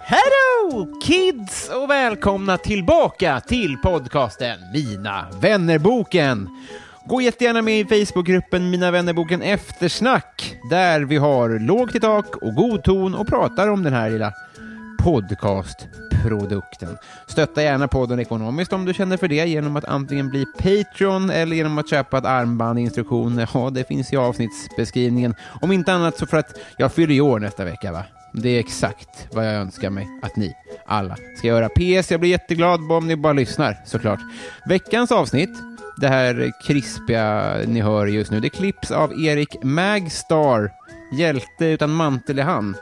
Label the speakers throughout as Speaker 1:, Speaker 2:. Speaker 1: Hello kids och välkomna tillbaka till podcasten Mina vännerboken. Gå jättegärna med i Facebookgruppen Mina vännerboken eftersnack där vi har lågt i tak och god ton och pratar om den här lilla podcastprodukten. Stötta gärna podden ekonomiskt om du känner för det genom att antingen bli Patreon eller genom att köpa ett armband, instruktioner. Ja, det finns i avsnittsbeskrivningen. Om inte annat så för att jag fyller i år nästa vecka, va? Det är exakt vad jag önskar mig att ni alla ska göra. PS, jag blir jätteglad om ni bara lyssnar såklart. Veckans avsnitt det här krispiga ni hör just nu, det klipps av Erik Magstar, hjälte utan mantel i hand.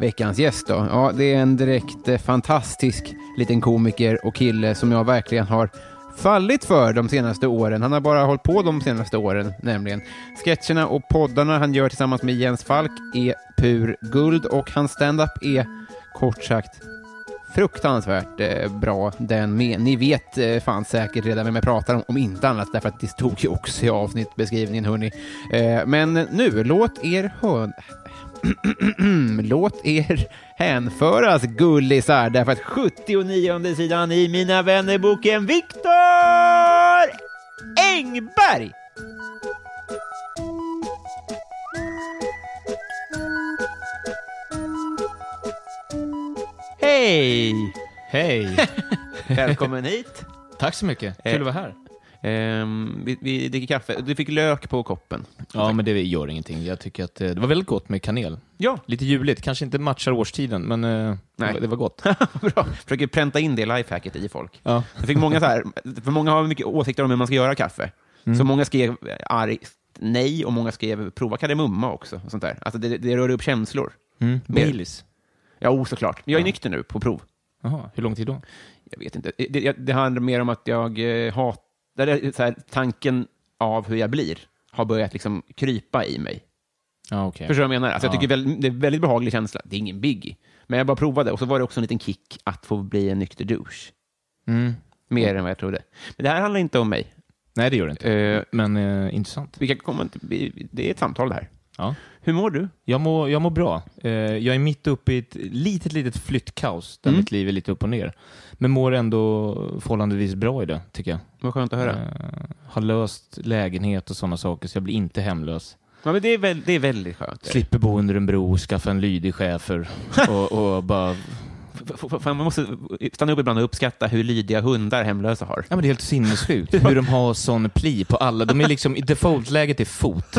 Speaker 1: Veckans gäst då? Ja, det är en direkt eh, fantastisk liten komiker och kille som jag verkligen har fallit för de senaste åren. Han har bara hållit på de senaste åren nämligen. Sketcherna och poddarna han gör tillsammans med Jens Falk är pur guld och hans stand-up är kort sagt fruktansvärt eh, bra den med. Ni vet eh, fan säkert redan vem jag pratar om, om inte annat därför att det stod ju också i avsnittbeskrivningen hörni. Eh, men nu, låt er hön... låt er hänföras gullisar därför att 79 sidan i Mina vännerboken Viktor Engberg Hej!
Speaker 2: Hej!
Speaker 1: Välkommen hit.
Speaker 2: Tack så mycket. Kul
Speaker 1: Eh,
Speaker 2: att vara här.
Speaker 1: Ehm, vi, vi dricker kaffe. Du fick lök på koppen.
Speaker 2: Ja, men det gör ingenting. Jag tycker att eh, det var väldigt gott med kanel.
Speaker 1: Ja.
Speaker 2: Lite juligt. Kanske inte matchar årstiden, men eh,
Speaker 1: Nej.
Speaker 2: det var- det var gott.
Speaker 1: Bra. Försöker pränta in det lifehacket i folk.
Speaker 2: Ja.
Speaker 1: Jag fick många så här, för många har mycket åsikter om hur man ska göra kaffe.
Speaker 2: Mm.
Speaker 1: Så många skrev argt nej och många skrev prova kardemumma också. Och sånt där. Alltså det, det rör upp känslor.
Speaker 2: Mm.
Speaker 1: Mer.
Speaker 2: Baileys.
Speaker 1: Ja, oh, såklart. Jag är nykter nu på prov.
Speaker 2: Jaha, hur lång tid då?
Speaker 1: Jag vet inte. Det, det, det handlar mer om att jag eh, hatar... det är Så här, tanken av hur jag blir har börjat liksom krypa i mig.
Speaker 2: Ja, okej.
Speaker 1: Förstår du vad jag menar? Alltså, Jag
Speaker 2: Ja.
Speaker 1: tycker väl, det är en väldigt behaglig känsla. Det är ingen biggie. Men jag bara provade och så var det också en liten kick att få bli en nykter douche.
Speaker 2: Mm.
Speaker 1: Mer än vad jag trodde. Men det här handlar inte om mig.
Speaker 2: Nej, det gör det inte.
Speaker 1: Eh,
Speaker 2: Men eh, intressant.
Speaker 1: vi kan komma till, vi- det är ett samtal det här.
Speaker 2: Ja.
Speaker 1: Hur mår du?
Speaker 2: Jag mår, jag mår bra. Eh, jag är mitt uppe i ett litet, litet flyttkaos där
Speaker 1: Mm.
Speaker 2: mitt liv är lite upp och ner. Men mår ändå förhållandevis bra i det, tycker jag.
Speaker 1: Vad skönt att höra.
Speaker 2: Eh, har löst lägenhet och sådana saker, så jag blir inte hemlös.
Speaker 1: Ja, men det, är väl, det är väldigt skönt.
Speaker 2: Slipper bo under en bro, skaffa en lydig chefer och, och bara...
Speaker 1: F- f- fan, man måste stanna upp ibland och uppskatta hur lydiga hundar hemlösa har.
Speaker 2: Ja, men det är helt sinnessjukt hur de har sån pli på alla. De är liksom, i defaultläget är fot.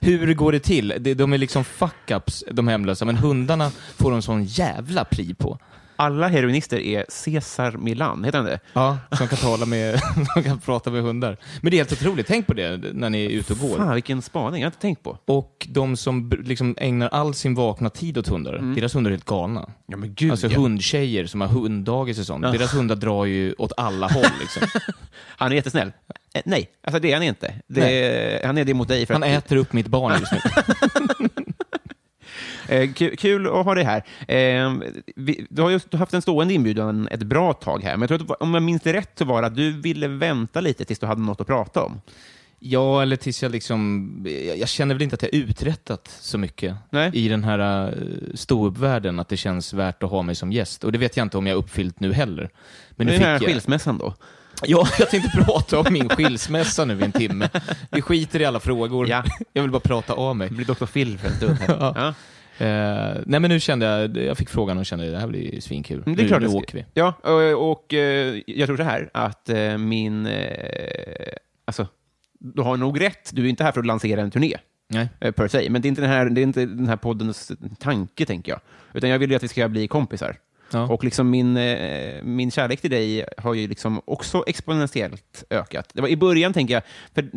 Speaker 2: Hur går det till? Det- De är liksom fuck-ups, de hemlösa, men hundarna får de sån jävla pli på.
Speaker 1: Alla heroinister är Cesar Milan, heter han det?
Speaker 2: Ja, som kan tala med, de kan prata med hundar. Men det är helt otroligt, tänk på det när ni är ute och går.
Speaker 1: Fan, vilken spaning. Jag har inte tänkt på.
Speaker 2: Och de som b- liksom ägnar all sin vakna tid åt hundar, deras hundar är helt galna.
Speaker 1: Mm. Ja, men gud.
Speaker 2: Alltså
Speaker 1: ja. Ah.
Speaker 2: hundtjejer som har hunddagis och sånt,
Speaker 1: Ja.
Speaker 2: deras hundar drar ju åt alla håll. Liksom.
Speaker 1: Han är jättesnäll. Eh, nej, alltså det är han inte. Det,
Speaker 2: Nej.
Speaker 1: han är det mot dig. För
Speaker 2: Han
Speaker 1: att,
Speaker 2: äter upp mitt barn just nu.
Speaker 1: Eh, ku- kul att ha dig här. Eh, vi, du har ju haft en stående inbjudan ett bra tag här, men jag tror att, det var- om jag minns det rätt så var det att du ville vänta lite tills du hade något att prata om.
Speaker 2: Ja, eller tills jag liksom... Jag, jag känner väl inte att jag uträttat så mycket
Speaker 1: Nej.
Speaker 2: i den här uh, ståuppvärlden, att det känns värt att ha mig som gäst. Och det vet jag inte om jag har uppfyllt nu heller.
Speaker 1: Men
Speaker 2: Men nu
Speaker 1: det är den här
Speaker 2: fick jag...
Speaker 1: skilsmässan då.
Speaker 2: Ja, jag tänkte prata om min skilsmässa nu i en timme. Vi skiter i alla frågor.
Speaker 1: Ja.
Speaker 2: Jag vill bara prata av mig.
Speaker 1: Det blir Dr. Phil för en stund här.
Speaker 2: Ja.
Speaker 1: Ja.
Speaker 2: Eh, nej, men nu kände jag, jag fick frågan och kände det här blir ju svinkul.
Speaker 1: Mm, Det är klart
Speaker 2: nu,
Speaker 1: det
Speaker 2: nu
Speaker 1: ska-
Speaker 2: åker vi.
Speaker 1: Ja, och, och eh, jag tror så här att eh, min... eh, Alltså, du har nog rätt. Du är inte här för att lansera en turné.
Speaker 2: Nej.
Speaker 1: eh, per se. Men det är inte den här, det är inte den här poddens tanke, tänker jag. Utan jag vill ju att vi ska bli kompisar.
Speaker 2: Ja.
Speaker 1: Och liksom min, eh, min kärlek till dig har ju liksom också exponentiellt ökat. Det var i början, tänker jag, för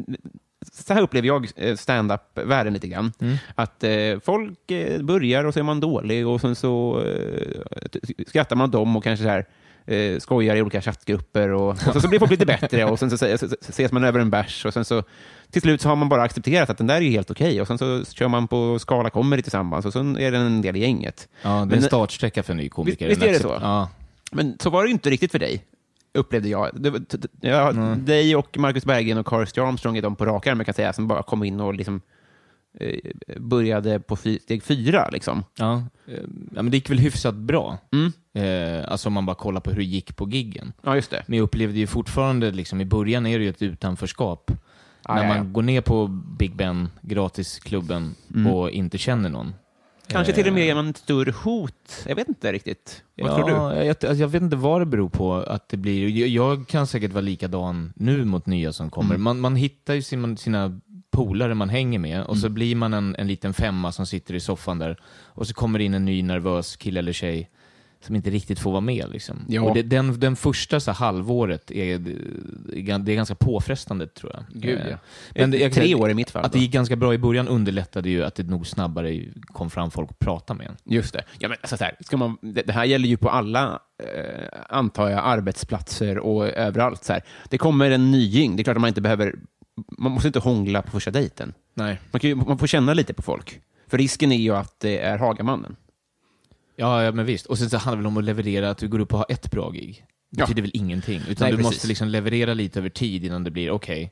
Speaker 1: så här upplever jag eh, stand-up-världen lite grann. Att eh, folk eh, börjar och så är man dålig och sen så eh, t- skrattar man åt dem och kanske så här eh, skojar i olika chattgrupper och, och sen så blir folk lite bättre och sen så, säger- så, så ses man över en bärs och sen så till slut så har man bara accepterat att den där är ju helt okej och sen så kör man på Skala comedy tillsammans och sen är den en del i gänget.
Speaker 2: Ja, det är
Speaker 1: Men-
Speaker 2: en startsträcka för en ny komiker.
Speaker 1: Visst- visst är det
Speaker 2: Men accept-
Speaker 1: så?
Speaker 2: Ja.
Speaker 1: Men så var det ju inte riktigt för dig, upplevde jag. Det, var- t- t- jag
Speaker 2: Mm.
Speaker 1: Dig och Marcus Berggren och Karl Strarmstrong är de på rak arm, jag kan säga, som bara kom in och liksom, eh, började på fy, steg fyra. Liksom. Mm.
Speaker 2: Ja. eh, ja, men det gick väl hyfsat bra. Eh, alltså om man bara kollar på hur det gick på giggen.
Speaker 1: Ja, just det.
Speaker 2: Men jag upplevde ju fortfarande, liksom, i början är det ju ett utanförskap.
Speaker 1: Ah,
Speaker 2: När
Speaker 1: ja,
Speaker 2: man
Speaker 1: ja.
Speaker 2: går ner på Big Ben, gratisklubben, och inte känner någon.
Speaker 1: Kanske till och med genom ett större hot. Jag vet inte riktigt. Vad
Speaker 2: eh, ja,
Speaker 1: tror du?
Speaker 2: Jag, alltså, jag, jag vet inte vad det beror på att det blir. Jag, jag kan säkert vara likadan nu mot nya som kommer.
Speaker 1: Mm.
Speaker 2: Man, man hittar ju sina, sina polare man hänger med och så
Speaker 1: Mm.
Speaker 2: blir man en, en liten femma som sitter i soffan där och så kommer det in en ny nervös kille eller tjej som inte riktigt får vara med. Liksom.
Speaker 1: Ja.
Speaker 2: Och det, den, den första så här, halvåret är, det är ganska påfrestande tror jag.
Speaker 1: Gud, ja.
Speaker 2: Eh, Men det, jag kan
Speaker 1: Tre
Speaker 2: säga-
Speaker 1: år i mitt fall.
Speaker 2: Att det gick ganska bra i början underlättade ju att det nog snabbare kom fram folk att prata med en.
Speaker 1: Just det. Ja, men, alltså, så här, ska man, det, det här gäller ju på alla, eh, antar jag, arbetsplatser och överallt. Så här. Det kommer en nying. Det är klart att man inte behöver... Man måste inte hångla på första dejten.
Speaker 2: Nej.
Speaker 1: Man, kan ju, man får känna lite på folk. För risken är ju att det är Hagamannen.
Speaker 2: Ja, ja men visst. Och sen så handlar det väl om att leverera, att du går upp och har ett bra gig. Det
Speaker 1: Ja.
Speaker 2: betyder väl ingenting. Utan
Speaker 1: Nej,
Speaker 2: du
Speaker 1: precis.
Speaker 2: måste liksom leverera lite över tid innan det blir, okej,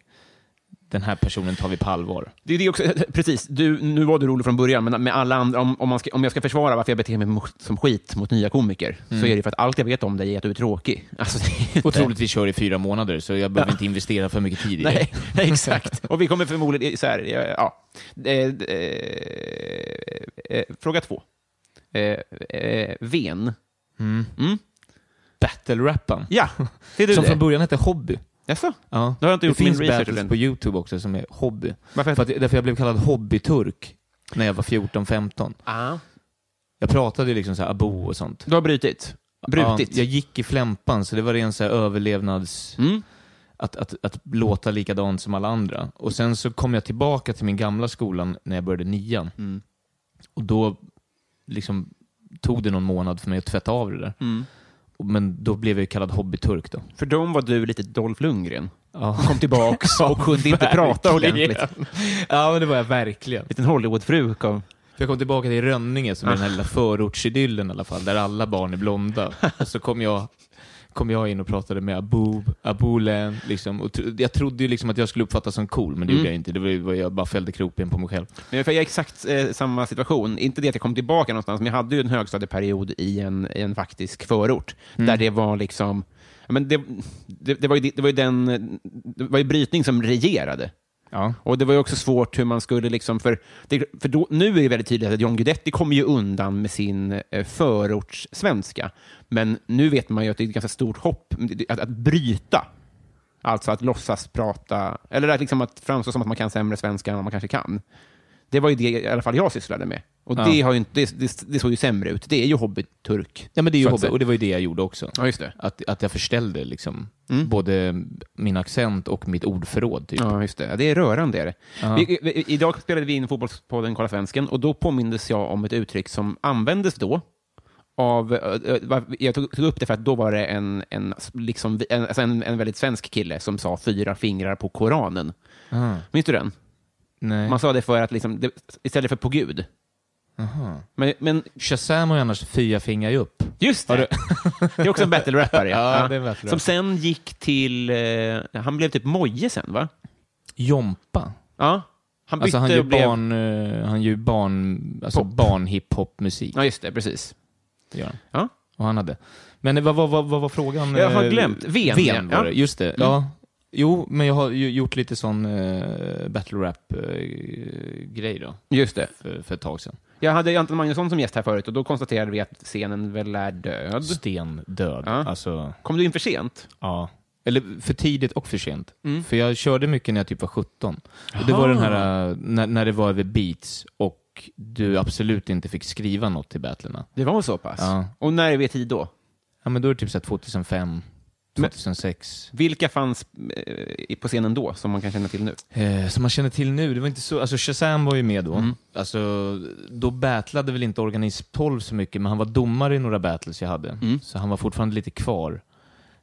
Speaker 2: den här personen tar vi på allvar.
Speaker 1: Det är det också, precis, du, nu var du rolig från början, men med alla andra, om, om, man ska, om jag ska försvara varför jag beter mig mot, som skit mot nya komiker, så är det för att allt jag vet om dig är att du är tråkig. Alltså, det är
Speaker 2: Och
Speaker 1: inte-
Speaker 2: troligtvis kör i fyra månader, så jag behöver inte investera för mycket tid i det.
Speaker 1: Nej, exakt. Och vi kommer förmodligen... Så här, ja, ja. Eh, eh, eh, Fråga två. Eh, eh, Ven.
Speaker 2: Battle-rappen.
Speaker 1: Ja, ser du
Speaker 2: Som
Speaker 1: det?
Speaker 2: från början hette Hobby.
Speaker 1: Jaså?
Speaker 2: Ja.
Speaker 1: Då har jag inte
Speaker 2: det
Speaker 1: gjort min
Speaker 2: finns
Speaker 1: research
Speaker 2: battles
Speaker 1: ordentligt.
Speaker 2: på YouTube också som är Hobby.
Speaker 1: Varför?
Speaker 2: För att, därför jag blev kallad Hobbyturk när jag var 14-15.
Speaker 1: Ah.
Speaker 2: Jag pratade ju liksom så här abo och sånt.
Speaker 1: Du har brutit? Brutit?
Speaker 2: Ja, jag gick i flämpan, så det var ren så här överlevnads...
Speaker 1: Mm.
Speaker 2: Att, att, att låta likadant som alla andra. Och sen så kom jag tillbaka till min gamla skolan när jag började nian. Och då liksom tog det någon månad för mig att tvätta av det där. Och- Men då blev jag ju kallad hobbyturk då.
Speaker 1: mm. För dem var du lite Dolph Lundgren.
Speaker 2: Ja.
Speaker 1: Kom tillbaks och kunde inte prata ordentligt.
Speaker 2: Ja, men det var jag verkligen.
Speaker 1: liten Hollywoodfru kom.
Speaker 2: För jag kom tillbaka till Rönninge, som är den här lilla förortsidyllen i alla fall, där alla barn är blonda. Och så kom jag, kom jag in och pratade med Aboob, Aboolan, liksom. Och tro, jag trodde ju liksom att jag skulle uppfattas som cool, men det gjorde jag inte. Det var, ju- jag bara fällde kroppen på mig själv.
Speaker 1: Men för jag är exakt eh, samma situation. Inte det att jag kom tillbaka någonstans, men jag hade ju en högstadieperiod i en, i en faktisk förort, där det var liksom... ja, Men det, det, det, var ju, det var ju den... Det var ju brytning som regerade.
Speaker 2: Ja.
Speaker 1: Och det var ju också svårt hur man skulle liksom, för, det, för då, nu är det väldigt tydligt att John Guidetti kommer ju undan med sin eh, förortssvenska. Men nu vet man ju att det är ett ganska stort hopp att, att bryta. Alltså att låtsas prata, eller att, liksom att framstå som att man kan sämre svenska än vad man kanske kan. Det var ju det i alla fall jag sysslade med. Och
Speaker 2: Ja.
Speaker 1: det, har ju inte, det, det, det såg ju sämre ut. Det är ju hobbyturk.
Speaker 2: ja, men det är ju
Speaker 1: Så att
Speaker 2: hobby,
Speaker 1: säga.
Speaker 2: och det var ju det jag gjorde också.
Speaker 1: Ja, just det.
Speaker 2: Att, att jag förställde liksom, både min accent och mitt ordförråd. Typ.
Speaker 1: Mm. Ja, just det. Ja, det är rörande. Är det. Vi, vi, idag spelade vi in Fotbollspodden Kolla Svensken och då påmindes jag om ett uttryck som användes då. Av, eh, eh, var- jag tog, tog upp det för att då var det en, en, liksom, vi- en, alltså en, en väldigt svensk kille som sa fyra fingrar på Koranen. Minns du den?
Speaker 2: Nej.
Speaker 1: Man sa det för att liksom, det, istället för på Gud. Men, men
Speaker 2: Shazam har ju annars fyra fingrar ju upp.
Speaker 1: just det! det är också en battle-rappare.
Speaker 2: Ja, det är en battle-rappare.
Speaker 1: Som sen gick till... Eh, han blev typ Moje sen, va?
Speaker 2: Jompa.
Speaker 1: Ja. Han bytte
Speaker 2: Alltså han gör
Speaker 1: och blev...
Speaker 2: barn, eh, han gör barn, alltså
Speaker 1: Pop.
Speaker 2: barn hiphop musik.
Speaker 1: Ja, just det. Precis.
Speaker 2: Ja.
Speaker 1: Ja.
Speaker 2: Och han hade. Men eh, vad, vad, vad, vad var frågan?
Speaker 1: Jag har
Speaker 2: Eh,
Speaker 1: glömt. Ven,
Speaker 2: Ven
Speaker 1: ja. Mm.
Speaker 2: var det, just det. Ja. Jo, men jag har ju gjort lite sån eh, battle rap-grej då,
Speaker 1: Just det.
Speaker 2: för, för ett tag sedan.
Speaker 1: Jag hade Anton Magnusson som gäst här förut och då konstaterade vi att scenen väl är död.
Speaker 2: Stendöd.
Speaker 1: Ja.
Speaker 2: Alltså,
Speaker 1: Kom du in för sent?
Speaker 2: ja. Eller för tidigt och för sent. För jag körde mycket när jag typ var 17. Och det var den här, eh, när, när det var över beats och du absolut inte fick skriva något till battlerna.
Speaker 1: Det var så pass?
Speaker 2: Ja.
Speaker 1: Och när är vi i tid då?
Speaker 2: Ja, men då är det typ så här 2005, 2006.
Speaker 1: Vilka fanns eh, på scenen då som man kan känna till nu?
Speaker 2: Eh, som man känner till nu, det var inte så, alltså Shazam var ju med då.
Speaker 1: Mm.
Speaker 2: Alltså, då battlade väl inte Organism 12 så mycket, men han var domare i några battles jag hade. Så han var fortfarande lite kvar.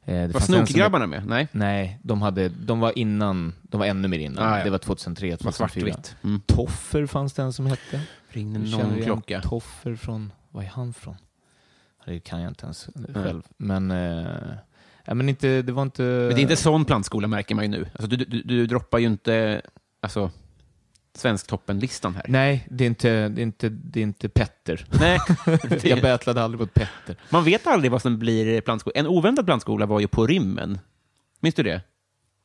Speaker 2: Eh, det
Speaker 1: Var
Speaker 2: fanns en som-
Speaker 1: Snokgrabbarna med? Nej?
Speaker 2: Nej, de, hade, de var innan, de var ännu mer innan.
Speaker 1: Ah, ja.
Speaker 2: Det var 2003,
Speaker 1: var
Speaker 2: 2004.
Speaker 1: svartvitt. Mm.
Speaker 2: Toffer fanns det en som hette.
Speaker 1: Ringde
Speaker 2: Nu känner
Speaker 1: någon
Speaker 2: jag
Speaker 1: klocka?
Speaker 2: Toffer från, var är han från? Det kan jag inte ens själv. Men, eh, ja, men inte, det var inte...
Speaker 1: Men det är inte sån plantskola märker man ju nu. Alltså, du, du, du droppar ju inte alltså, Svensktoppen-listan här.
Speaker 2: Nej, det är inte, det är inte, det är inte Petter.
Speaker 1: Nej.
Speaker 2: jag battlade aldrig mot Petter.
Speaker 1: Man vet aldrig vad som blir plantskola. En oväntad plantskola var ju På rymmen. Minns du det?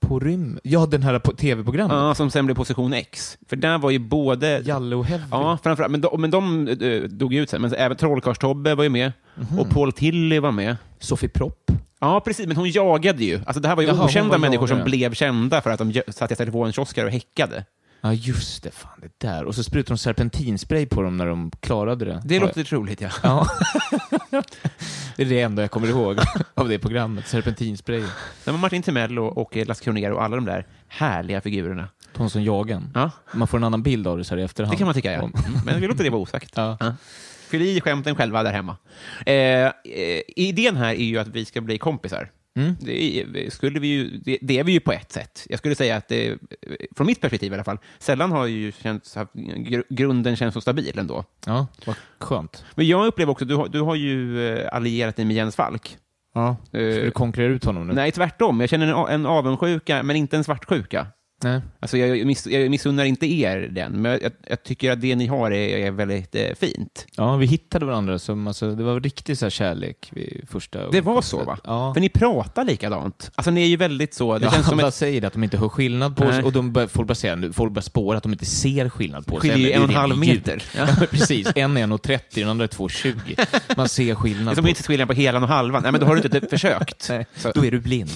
Speaker 2: På rymmen? Ja, den här på- tv-programmet.
Speaker 1: Ja, som sen blev position X. För där var ju både...
Speaker 2: Jalle och Heavy.
Speaker 1: Ja, framförallt. Men de, men de eh, dog ju ut sen. Men även Trollkarlstobbe var ju med. Och Paul Tilly var med.
Speaker 2: Sofie Propp.
Speaker 1: Ja, precis. Men hon jagade ju. Alltså, det här var ju
Speaker 2: Jaha, hon
Speaker 1: okända
Speaker 2: var
Speaker 1: människor som
Speaker 2: jagare.
Speaker 1: blev kända för att de gö- satt i telefonkiosker och häckade.
Speaker 2: Ja, just det. Fan, det där. Och så sprutade de serpentinspray på dem när de klarade det.
Speaker 1: Det låter troligt, ja.
Speaker 2: Ja. det är det enda jag kommer ihåg av det programmet. Serpentinspray.
Speaker 1: Det var Martin Timell och, och eh, Lasse Kronér och alla de där härliga figurerna.
Speaker 2: De som jagar en.
Speaker 1: Ja,
Speaker 2: Man får en annan bild av det så här i efterhand.
Speaker 1: det kan man tycka, ja. Mm.
Speaker 2: Om-
Speaker 1: Men vi låter det vara osagt.
Speaker 2: Ja.
Speaker 1: Fyll i skämten själva där hemma. Eh, eh, idén här är ju att vi ska bli kompisar. Det, är- skulle vi ju, det, det är vi ju på ett sätt. Jag skulle säga att, det, eh, från mitt perspektiv i alla fall, sällan har ju känts, haft, gr, grunden känns så stabil ändå.
Speaker 2: ja, vad skönt.
Speaker 1: Men jag upplever också, du har, du har ju eh, allierat dig med Jens Falk.
Speaker 2: Ja. Ska
Speaker 1: Eh,
Speaker 2: du konkurrera ut honom nu?
Speaker 1: Nej, tvärtom. Jag känner en, a- en avundsjuka, men inte en svartsjuka.
Speaker 2: Nej.
Speaker 1: Alltså jag, miss, jag missunnar inte er den, men jag, jag, jag tycker att det ni har är, är väldigt eh, fint.
Speaker 2: Ja, vi hittade varandra. Som, alltså, det var riktig så här kärlek vid första...
Speaker 1: Det var så, va?
Speaker 2: Ja.
Speaker 1: För ni pratar likadant. Alltså ni är ju väldigt så... Det
Speaker 2: ja,
Speaker 1: känns som
Speaker 2: alla
Speaker 1: ett
Speaker 2: säger det, att de inte hör skillnad på
Speaker 1: Nej.
Speaker 2: oss och de bör, folk, börjar säga, nu- folk börjar spåra att de inte ser skillnad på oss.
Speaker 1: skiljer ju en
Speaker 2: Även-
Speaker 1: och en
Speaker 2: det är
Speaker 1: halv
Speaker 2: ljud.
Speaker 1: meter. Ja.
Speaker 2: Ja, precis. En är 1,30 den andra är 2,20. Man ser
Speaker 1: Det är
Speaker 2: skillnad.
Speaker 1: som
Speaker 2: på-
Speaker 1: inte skillnad på helan och halvan. Nej, men då har du inte typ försökt.
Speaker 2: Nej,
Speaker 1: Så.
Speaker 2: Då är du blind.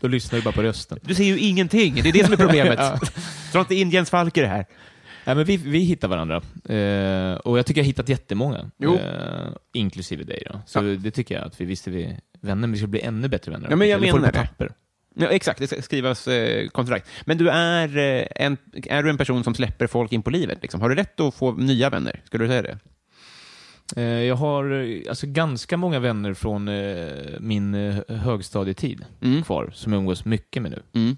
Speaker 2: Då lyssnar du bara på rösten.
Speaker 1: Du ser ju ingenting. Det är det som är problemet. Dra inte in Jens Falk i det här.
Speaker 2: Nej, men vi, vi hittar varandra. Eh, och jag tycker jag har hittat jättemånga.
Speaker 1: Jo.
Speaker 2: Eh, inklusive dig då. Så det tycker jag att vi visste vi vänner, men vi skulle bli ännu bättre vänner.
Speaker 1: Ja, men jag
Speaker 2: Eller får
Speaker 1: menar
Speaker 2: på
Speaker 1: det.
Speaker 2: papper.
Speaker 1: Ja, exakt, det ska skrivas eh, kontrakt. Men du är, eh, en, är du en person som släpper folk in på livet? Liksom? Har du rätt att få nya vänner? Skulle du säga det?
Speaker 2: Eh, jag har eh, alltså, ganska många vänner från eh, min eh, högstadietid
Speaker 1: Mm.
Speaker 2: kvar, som jag umgås mycket med nu.
Speaker 1: Mm.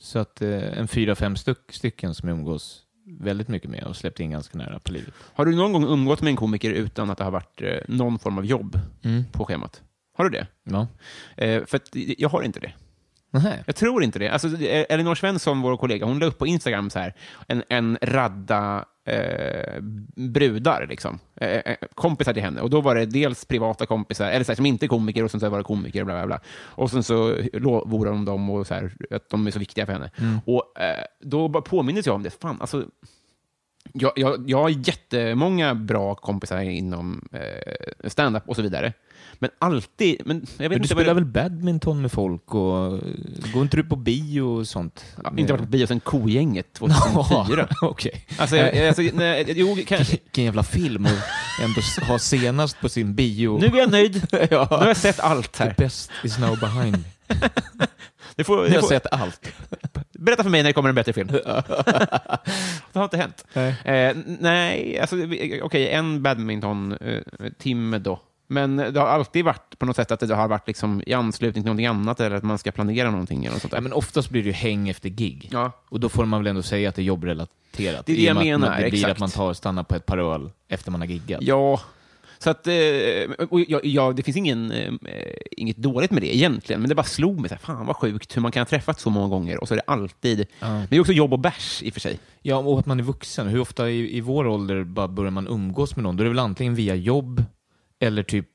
Speaker 2: Så att eh, en fyra, fem styck, stycken som jag umgås väldigt mycket med och släppt in ganska nära på livet.
Speaker 1: Har du någon gång umgått med en komiker utan att det har varit eh, någon form av jobb på schemat? Har du det?
Speaker 2: Ja.
Speaker 1: Eh, för att jag har inte det.
Speaker 2: Nähä.
Speaker 1: Jag tror inte det. Alltså, eh, Elinor Svensson, vår kollega, hon la upp på Instagram så här, en, en radda eh, brudar, liksom. Eh, eh, kompisar till henne. Och då var det dels privata kompisar, eller så här, som inte är komiker, och sen så var det komiker, bla bla bla. Och sen så lovordade de dem och så här, att de är så viktiga för henne.
Speaker 2: Mm.
Speaker 1: Och eh, då bara påminner jag om det. Fan, alltså, jag, jag, jag har jättemånga bra kompisar inom eh, stand-up och så vidare. Men alltid... Men jag vet
Speaker 2: Men
Speaker 1: inte
Speaker 2: du
Speaker 1: vad det-
Speaker 2: spelar väl badminton med folk och eh, går inte du på bio och sånt?
Speaker 1: Ja, inte varit på bio sen Kogänget 2004.
Speaker 2: Ja, Okej. Eh,
Speaker 1: Alltså, jag, jag- alltså, nej, jo, kanske.
Speaker 2: Vilken jävla film att ändå s- ha senast på sin bio.
Speaker 1: Nu är jag nöjd.
Speaker 2: ja.
Speaker 1: Nu har jag sett allt
Speaker 2: The
Speaker 1: här.
Speaker 2: best is now behind me.
Speaker 1: Du får,
Speaker 2: Jag
Speaker 1: du
Speaker 2: har
Speaker 1: får,
Speaker 2: sett allt.
Speaker 1: berätta för mig när det kommer en bättre film. Det har inte hänt. Eh, nej, alltså, vi- okej, en badminton-timme då. Men det har alltid varit på något sätt att det har varit liksom i anslutning till någonting annat eller att man ska planera någonting. Eller något sånt
Speaker 2: Ja,
Speaker 1: där.
Speaker 2: men oftast blir det ju häng efter gig.
Speaker 1: Ja.
Speaker 2: Och då får man väl ändå säga att det är jobbrelaterat.
Speaker 1: Det är det
Speaker 2: I och
Speaker 1: jag
Speaker 2: med att
Speaker 1: menar,
Speaker 2: man- Det blir
Speaker 1: exakt.
Speaker 2: att man tar och stannar på ett par öl efter man har giggat.
Speaker 1: Ja, så att, eh, och jag, jag, det finns ingen, eh, inget dåligt med det egentligen, men det bara slog mig. Så här, fan vad sjukt hur man kan ha träffats så många gånger och så är det alltid... Men det är också jobb och bärs i och för sig.
Speaker 2: Ja, och att man är vuxen. Hur ofta i, i vår ålder bara börjar man umgås med någon? Då är det väl antingen via jobb eller typ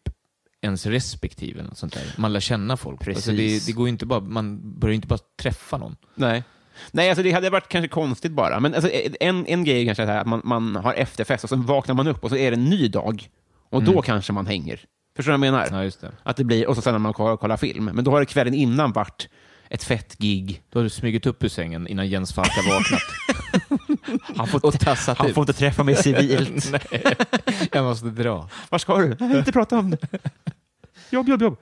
Speaker 2: ens respektive eller något sånt där. Man lär känna folk.
Speaker 1: Precis.
Speaker 2: Alltså det, det går ju inte bara, man börjar ju inte bara träffa någon.
Speaker 1: Nej. Nej, alltså det hade varit kanske konstigt bara. Men alltså, en, en grej är kanske är så här att man, man har efterfest och sen vaknar man upp och så är det en ny dag. Och då kanske man hänger. Förstår du vad jag menar?
Speaker 2: Ja, just det.
Speaker 1: Att det blir, och så sen när man kollar, kollar film. Men då har det kvällen innan varit ett fett gig.
Speaker 2: Då har du smugit upp ur sängen innan Jens Falk har vaknat. han får och tassat ut.
Speaker 1: inte träffa mig civilt.
Speaker 2: Nej, jag måste dra.
Speaker 1: Var ska du? Jag vill inte prata om det. Jobb, jobb, jobb.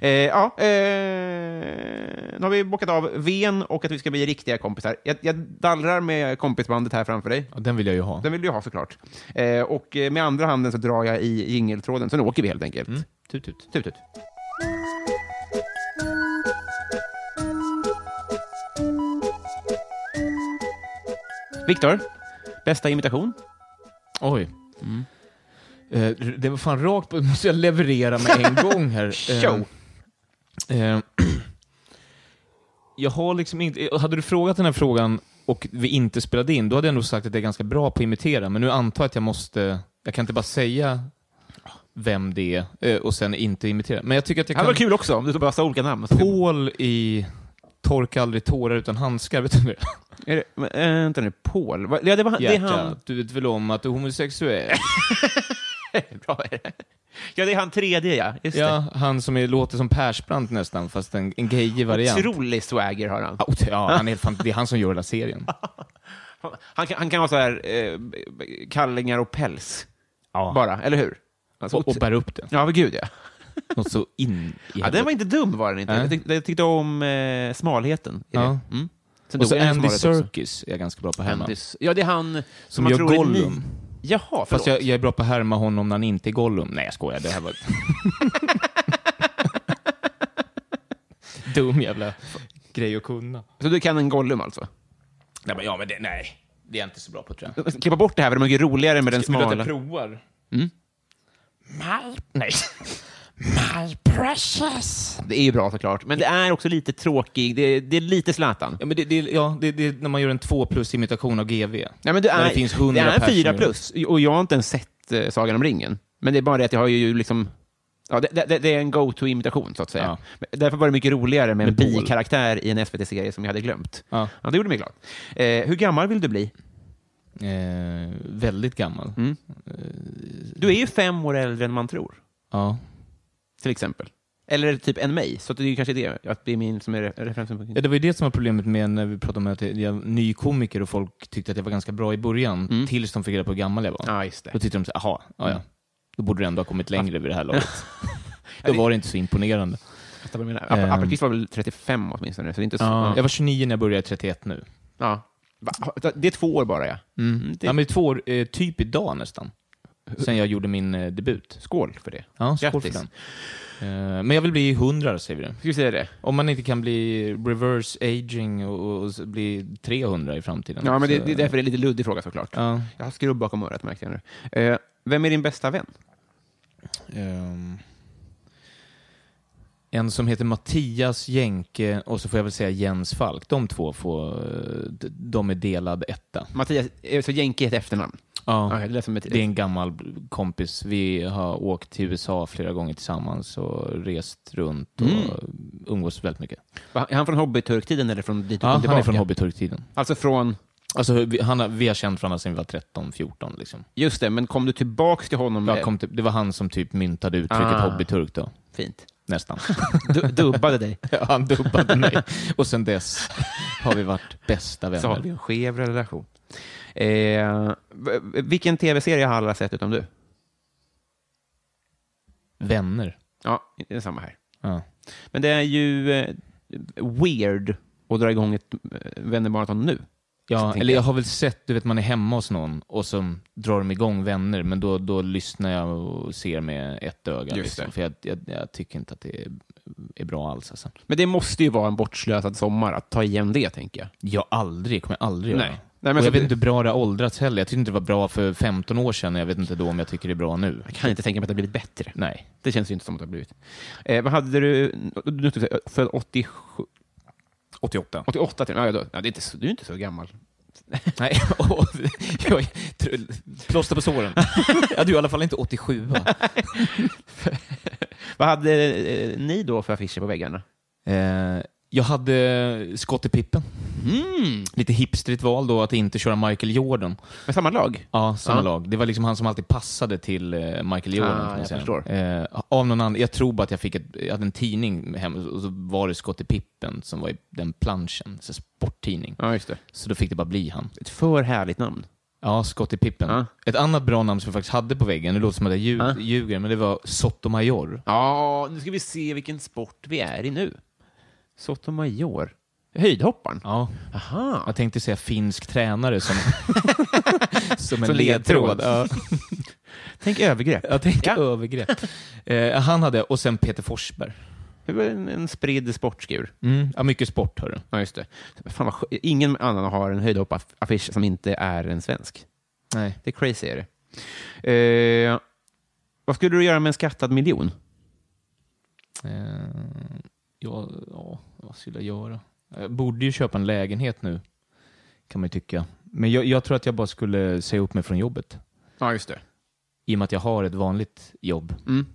Speaker 1: Eh, ja, eh, nu har vi bockat av ven och att vi ska bli riktiga kompisar. Jag, jag dallrar med kompisbandet här framför dig.
Speaker 2: Ja, den vill jag ju ha.
Speaker 1: Den vill du ha såklart. Eh, och eh, med andra handen så drar jag i jingeltråden, så nu åker vi helt enkelt.
Speaker 2: Mm. Tut, tut.
Speaker 1: Tut, tut. Viktor, bästa imitation?
Speaker 2: Oj. Mm. Eh, det var fan rakt på, måste jag leverera med en gång här. Eh,
Speaker 1: Show.
Speaker 2: eh, jag har liksom inte, hade du frågat den här frågan och vi inte spelade in, då hade jag nog sagt att jag är ganska bra på att imitera, men nu antar jag att jag måste, jag kan inte bara säga vem det är eh, och sen inte imitera. Men jag tycker att jag
Speaker 1: Det hade
Speaker 2: kan...
Speaker 1: varit kul också om du tog bara sa olika namn.
Speaker 2: Paul i Torka aldrig tårar utan handskar, vet du det? eh,
Speaker 1: Är det, men, äh, vänta nu, Paul? Va- Ja, det, var, han- det är han.
Speaker 2: du vet väl om att du är homosexuell?
Speaker 1: Bra är det. Ja, det är han tredje, ja. Just
Speaker 2: ja, han som är, låter som Persbrandt nästan, fast en, en gayig
Speaker 1: det.
Speaker 2: variant.
Speaker 1: Otrolig swagger har han.
Speaker 2: Ja, ot- Ja, han är helt fan, det är han som gör hela serien.
Speaker 1: Han kan, han kan ha så här eh, b- b- kallingar och päls,
Speaker 2: Ja.
Speaker 1: bara, eller hur? Alltså,
Speaker 2: Och, och bär upp det.
Speaker 1: ja, men gud ja.
Speaker 2: Något så in i
Speaker 1: ja. Den var inte dum var den inte.
Speaker 2: Nej.
Speaker 1: Jag, tyckte, jag tyckte om eh, smalheten. i det.
Speaker 2: Ja.
Speaker 1: Mm. Sen
Speaker 2: Och
Speaker 1: dog
Speaker 2: så
Speaker 1: jag en
Speaker 2: Andy
Speaker 1: smalhet också.
Speaker 2: Serkis är jag ganska bra på att härma.
Speaker 1: Andy S- Ja, det är han
Speaker 2: Som
Speaker 1: man
Speaker 2: gör
Speaker 1: tror är
Speaker 2: Gollum.
Speaker 1: ny- Jaha, förlåt.
Speaker 2: Fast jag, jag är bra på att härma honom när han inte är Gollum. Nej, jag skojar. Det här var... Dum jävla grej att kunna.
Speaker 1: Så du kan en Gollum alltså?
Speaker 2: Nej, men, ja, men det, nej. Det är jag inte så bra på, tror jag.
Speaker 1: Klippa bort det här, för det är mycket roligare med den
Speaker 2: Vill du att jag
Speaker 1: smala. Mm.
Speaker 2: provar? My... Nej. My precious.
Speaker 1: Det är ju bra såklart, men det är också lite tråkig. Det, det är lite Zlatan.
Speaker 2: Ja, men det, det, ja, det, det är när man gör en 2 plus-imitation av GV.
Speaker 1: Nej, men det
Speaker 2: När
Speaker 1: är,
Speaker 2: det finns 100
Speaker 1: det är en
Speaker 2: personer.
Speaker 1: fyra plus, och jag har inte ens sett eh, Sagan om ringen. Men det är bara det att jag har ju liksom... Ja, det, det, det är en go-to-imitation, så att säga.
Speaker 2: Ja.
Speaker 1: Men Därför var det mycket roligare med en
Speaker 2: Med Paul.
Speaker 1: bikaraktär i en SVT-serie som jag hade glömt.
Speaker 2: Ja.
Speaker 1: Ja, det gjorde mig glad. Eh, hur gammal vill du bli?
Speaker 2: Eh, väldigt gammal.
Speaker 1: Du är ju fem år äldre än man tror,
Speaker 2: Ja.
Speaker 1: till exempel. Eller typ än mig, så att det är ju kanske det att det är min som är re- referensen.
Speaker 2: Ja, det var ju det som var problemet med när vi pratade om att jag var ny komiker och folk tyckte att jag var ganska bra i början, tills de fick reda på hur gammal jag var.
Speaker 1: Mm. Ja, just det.
Speaker 2: Då tyckte de så här, aha, ja, ja. Då borde du ändå ha kommit längre vid det här laget. Då var det inte så imponerande.
Speaker 1: Fattar vad du menar. Ap-
Speaker 2: Ehm.
Speaker 1: Appelqvist var väl 35 åtminstone, så det är inte så...
Speaker 2: Jag var 29 när jag började, jag är 31 nu.
Speaker 1: Ja. Va- Det är två år bara, ja. Mm, det-
Speaker 2: Ja, men två år, eh, typ idag nästan. Sen jag gjorde min eh, debut.
Speaker 1: Skål för det.
Speaker 2: Ja, skål för
Speaker 1: Grattis.
Speaker 2: den. Eh, men jag vill bli 100, säger vi.
Speaker 1: Ska vi säga det?
Speaker 2: Om man inte kan bli reverse aging och, och, och s- bli 300 i framtiden.
Speaker 1: Ja, men det,
Speaker 2: så-
Speaker 1: det är därför det är lite luddig fråga såklart.
Speaker 2: Ja.
Speaker 1: Jag har skrubb bakom örat märkte jag nu. Eh, vem är din bästa vän?
Speaker 2: Ehm, en som heter Mattias Jenke och så får jag väl säga Jens Falk. De två får, eh, d- de är delad etta.
Speaker 1: Mattias, eh, så Jänke är ett efternamn? Ja, det lät som ett...
Speaker 2: Det är en gammal kompis. Vi har åkt till USA flera gånger tillsammans och rest runt och umgås väldigt mycket.
Speaker 1: Va, Är han från hobbyturktiden eller från dit du
Speaker 2: Mm. Ja,
Speaker 1: kom
Speaker 2: han
Speaker 1: tillbaka?
Speaker 2: är från hobbyturktiden.
Speaker 1: Alltså från...
Speaker 2: Alltså, vi, han har, vi har känt varandra sedan vi var 13, 14 liksom.
Speaker 1: Just det, men kom du tillbaka till honom?
Speaker 2: Jag
Speaker 1: eh,
Speaker 2: kom till, det var han som typ myntade uttrycket
Speaker 1: Ah.
Speaker 2: hobbyturk då.
Speaker 1: Fint.
Speaker 2: Nästan.
Speaker 1: Du, dubbade dig.
Speaker 2: han dubbade mig. Och sen dess har vi varit bästa vänner.
Speaker 1: Så har vi en skev relation. Eh, v- vilken tv-serie har alla sett utom du?
Speaker 2: Vänner.
Speaker 1: Ja, det är samma här.
Speaker 2: Ja.
Speaker 1: Men det är ju eh, weird att dra igång ett eh, vännermaraton nu.
Speaker 2: Ja,
Speaker 1: tänker
Speaker 2: eller jag
Speaker 1: jag.
Speaker 2: har väl sett, du vet man är hemma hos någon och så drar de igång vänner, men då, då lyssnar jag och ser med ett öga.
Speaker 1: Just det.
Speaker 2: Liksom, för jag, jag, jag tycker inte att det är, är bra alls. Alltså.
Speaker 1: Men det måste ju vara en bortslösad sommar att ta igen det, tänker jag.
Speaker 2: Jag aldrig, kommer jag aldrig
Speaker 1: Nej.
Speaker 2: göra.
Speaker 1: Nej, men
Speaker 2: och
Speaker 1: så
Speaker 2: jag vet
Speaker 1: det-
Speaker 2: inte hur bra det har åldrats heller. Jag tyckte inte det var bra för 15 år sedan och jag vet inte då om jag tycker det är bra nu.
Speaker 1: Jag kan inte tänka mig att det har blivit bättre.
Speaker 2: Nej.
Speaker 1: Det känns ju inte som att det har blivit. Eh, vad hade du... du född 87,
Speaker 2: 88.
Speaker 1: 88 till och med. ja, då, ja, det är inte, så- Du är inte så gammal.
Speaker 2: Nej, åh, jag, tr- plåster på såren. Jag hade ju i alla fall inte 87. Va?
Speaker 1: Vad hade eh, ni då för affischer på väggarna?
Speaker 2: Eh, jag hade skott i pippen.
Speaker 1: Mm.
Speaker 2: Lite hipstrigt val då att inte köra Michael Jordan.
Speaker 1: Med samma lag?
Speaker 2: Ja, samma
Speaker 1: Ja.
Speaker 2: lag. Det var liksom han som alltid passade till eh, Michael Jordan.
Speaker 1: Ah,
Speaker 2: kan man
Speaker 1: jag
Speaker 2: säga.
Speaker 1: förstår.
Speaker 2: Eh, av någon annan, jag tror bara att jag fick ett, jag hade en tidning hem och så var det skott i pippen som var i den planschen, så sporttidning.
Speaker 1: Ja, just det.
Speaker 2: Så då fick det bara bli han.
Speaker 1: Ett för härligt namn.
Speaker 2: Ja, skott i pippen.
Speaker 1: Ja.
Speaker 2: Ett annat bra namn som jag faktiskt hade på väggen, det låter som att jag ljug,
Speaker 1: Ja.
Speaker 2: ljuger, men det var Sotomayor.
Speaker 1: Ja, nu ska vi se vilken sport vi är i nu. Sotomayor. Höjdhopparen?
Speaker 2: Ja.
Speaker 1: Aha.
Speaker 2: Jag tänkte säga finsk tränare som, som en
Speaker 1: Som ledtråd.
Speaker 2: ledtråd. Ja.
Speaker 1: Tänk övergrepp.
Speaker 2: Jag tänker
Speaker 1: Ja.
Speaker 2: övergrepp. Eh, han hade, och sen Peter Forsberg.
Speaker 1: Det var en, en spridd sportskur.
Speaker 2: Mm. Ja, mycket sport, hörru.
Speaker 1: Ja, just det. Fan vad skö- Ingen annan har en höjdhoppaffisch som inte är en svensk.
Speaker 2: Nej.
Speaker 1: Det är crazy. Är det. Eh, vad skulle du göra med en skattad miljon?
Speaker 2: Eh, ja, ja, vad skulle jag göra? Jag borde ju köpa en lägenhet nu, kan man ju tycka. Men jag, jag tror att jag bara skulle säga upp mig från jobbet.
Speaker 1: Ja, just det.
Speaker 2: I och med att jag har ett vanligt jobb.
Speaker 1: Mm.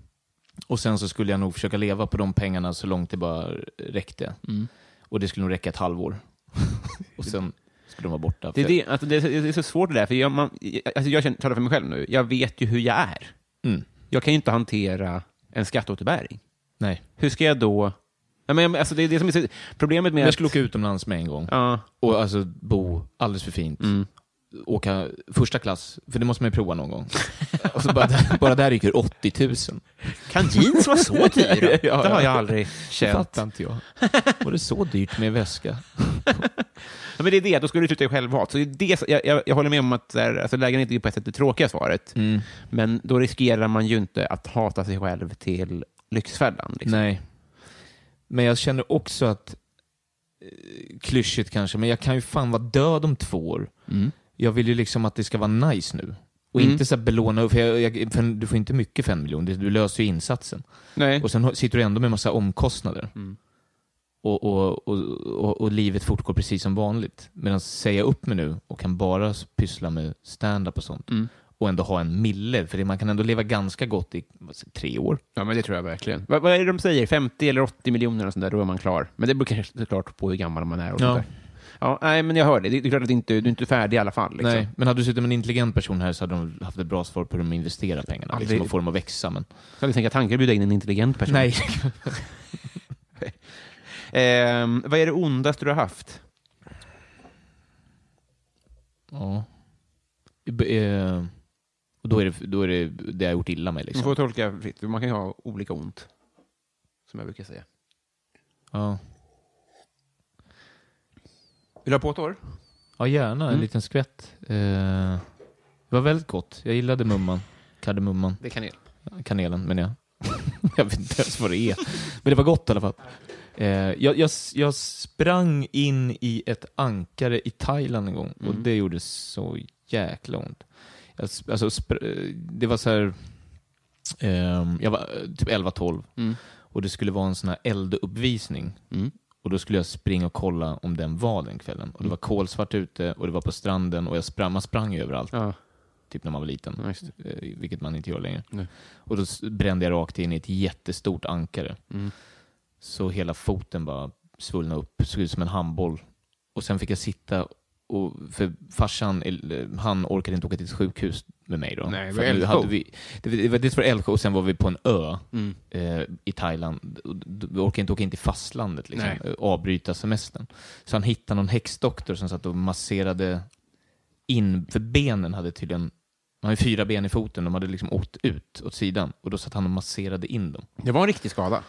Speaker 2: Och sen så skulle jag nog försöka leva på de pengarna så långt det bara räckte.
Speaker 1: Mm.
Speaker 2: Och det skulle nog räcka ett halvår. och sen skulle de vara borta.
Speaker 1: Det är, det, alltså, det, är, så- det är så svårt det där, för jag, man, alltså, jag känner, talar för mig själv nu. Jag vet ju hur jag är.
Speaker 2: Mm.
Speaker 1: Jag kan ju inte hantera en skatteåterbäring.
Speaker 2: Nej.
Speaker 1: Hur ska jag då... Nej, men, alltså, det är det som är så, problemet med...
Speaker 2: Jag skulle åka utomlands med en gång.
Speaker 1: Ja,
Speaker 2: Och alltså bo alldeles för fint.
Speaker 1: Mm.
Speaker 2: Åka första klass, för det måste man ju prova någon gång. och så bara, bara där gick det 80 000.
Speaker 1: kan jeans vara så dyra?
Speaker 2: Ja,
Speaker 1: Det har
Speaker 2: ja.
Speaker 1: jag aldrig
Speaker 2: Det
Speaker 1: känt.
Speaker 2: fattar inte jag. Var det så dyrt med väska?
Speaker 1: Ja, men det är det, då skulle du sluta i självhat. Så det är det, som- jag, jag, jag håller med om att så här, alltså, lägenhet är ju på ett sätt det tråkiga svaret. Men då riskerar man ju inte att hata sig själv till Lyxfällan. Liksom.
Speaker 2: Nej. Men jag känner också att, eh, klyschigt kanske, men jag kan ju fan vara död om två år.
Speaker 1: Mm.
Speaker 2: Jag vill ju liksom att det ska vara nice nu. Och inte så här belåna, för, jag, jag, för du får inte mycket för en miljon, Det- du löser ju insatsen.
Speaker 1: Nej.
Speaker 2: Och sen har- sitter du ändå med massa omkostnader. Och, och, och, och, och livet fortgår precis som vanligt. Medan säga upp mig nu och kan bara s- pyssla med stand-up och sånt. Och ändå ha en mille, för det, man kan ändå leva ganska gott i vad säger- tre år.
Speaker 1: Ja, men det tror jag verkligen. Vad, vad är det de säger? 50 eller 80 miljoner och sånt där, då är man klar. Men det beror kanske såklart på hur gammal man är. Och
Speaker 2: Ja.
Speaker 1: sånt där. Ja, nej, men jag hör det. Det är klart att du inte, du är inte färdig i alla fall. Liksom.
Speaker 2: Nej, men hade du suttit med en intelligent person här så hade de haft ett bra svar på hur de investerar pengarna
Speaker 1: Ja,
Speaker 2: liksom,
Speaker 1: det-
Speaker 2: och får dem att växa. Men...
Speaker 1: Så jag tänker tanken att bjuda in en intelligent person.
Speaker 2: Nej.
Speaker 1: Ehm, vad är det ondaste du har haft?
Speaker 2: ja. B- eh, och då är, det, då är det det jag har gjort illa mig.
Speaker 1: Du
Speaker 2: Liksom.
Speaker 1: får tolka fritt. Man kan ju ha olika ont, som jag brukar säga.
Speaker 2: Ja.
Speaker 1: Vill du ha på ett år?
Speaker 2: Ja, gärna. En liten skvätt. Eh, det var väldigt gott. Jag gillade mumman. Kardemumman.
Speaker 1: Det är kanel.
Speaker 2: Kanelen, menar jag. jag vet inte ens vad det är. Men det var gott i alla fall. Eh, jag, jag, jag sprang in i ett ankare i Thailand en gång och det gjorde så jäkla ont. Jag, s- alltså, spr- eh, det var så här... ehm, jag var eh, typ 11-12
Speaker 1: Mm.
Speaker 2: och det skulle vara en sån här elduppvisning. Och då skulle jag springa och kolla om den var den kvällen. Och det var kolsvart ute och det var på stranden och jag sprang, man sprang ju överallt
Speaker 1: Ja.
Speaker 2: typ när man var liten.
Speaker 1: Ja, just
Speaker 2: Eh, Vilket man inte gör längre.
Speaker 1: Nej.
Speaker 2: Och då s- brände jag rakt in i ett jättestort ankare.
Speaker 1: Mm.
Speaker 2: Så hela foten bara svullnade upp, såg ut som en handboll. Och sen fick jag sitta, och, för farsan eller, han orkade inte åka till ett sjukhus med mig då.
Speaker 1: Nej, det
Speaker 2: För
Speaker 1: var
Speaker 2: nu
Speaker 1: eldshow.
Speaker 2: hade vi, det, var- det var dels var det eldshow och sen var vi på en ö
Speaker 1: Mm.
Speaker 2: eh, i Thailand. Och d- d- Vi orkade inte åka in till fastlandet, liksom,
Speaker 1: Nej.
Speaker 2: eh, avbryta semestern. Så han hittade någon häxdoktor som satt och masserade in, för benen hade tydligen, man har ju fyra ben i foten, de hade liksom åkt ut åt sidan och då satt han och masserade in dem.
Speaker 1: Det var en riktig skada.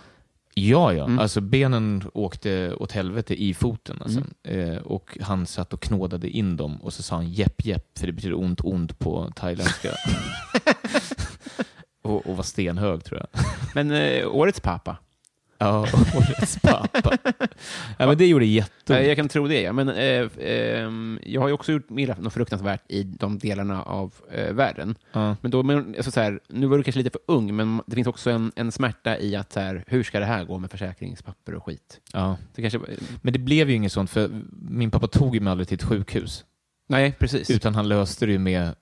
Speaker 2: Ja, ja, alltså benen åkte åt helvete i foten alltså. eh, och han satt och knådade in dem och så sa han jepp jepp, för det betyder ont ont på thailändska. och, och var stenhög tror jag.
Speaker 1: Men eh, årets pappa.
Speaker 2: Ja, årets pappa. ja, men det gjorde jätteont.
Speaker 1: Nej, jag kan tro det, ja. Men eh, f- ehm, jag har ju också gjort mig illa något fruktansvärt i de delarna av eh, världen.
Speaker 2: Ja.
Speaker 1: Men då, men, alltså, så här, nu var du kanske lite för ung, men det finns också en, en smärta i att så här, hur ska det här gå med försäkringspapper och skit?
Speaker 2: Ja.
Speaker 1: Så kanske, eh,
Speaker 2: Men det blev ju inget sånt, för min pappa tog ju mig aldrig till ett sjukhus.
Speaker 1: Nej, precis.
Speaker 2: Utan han löste det ju med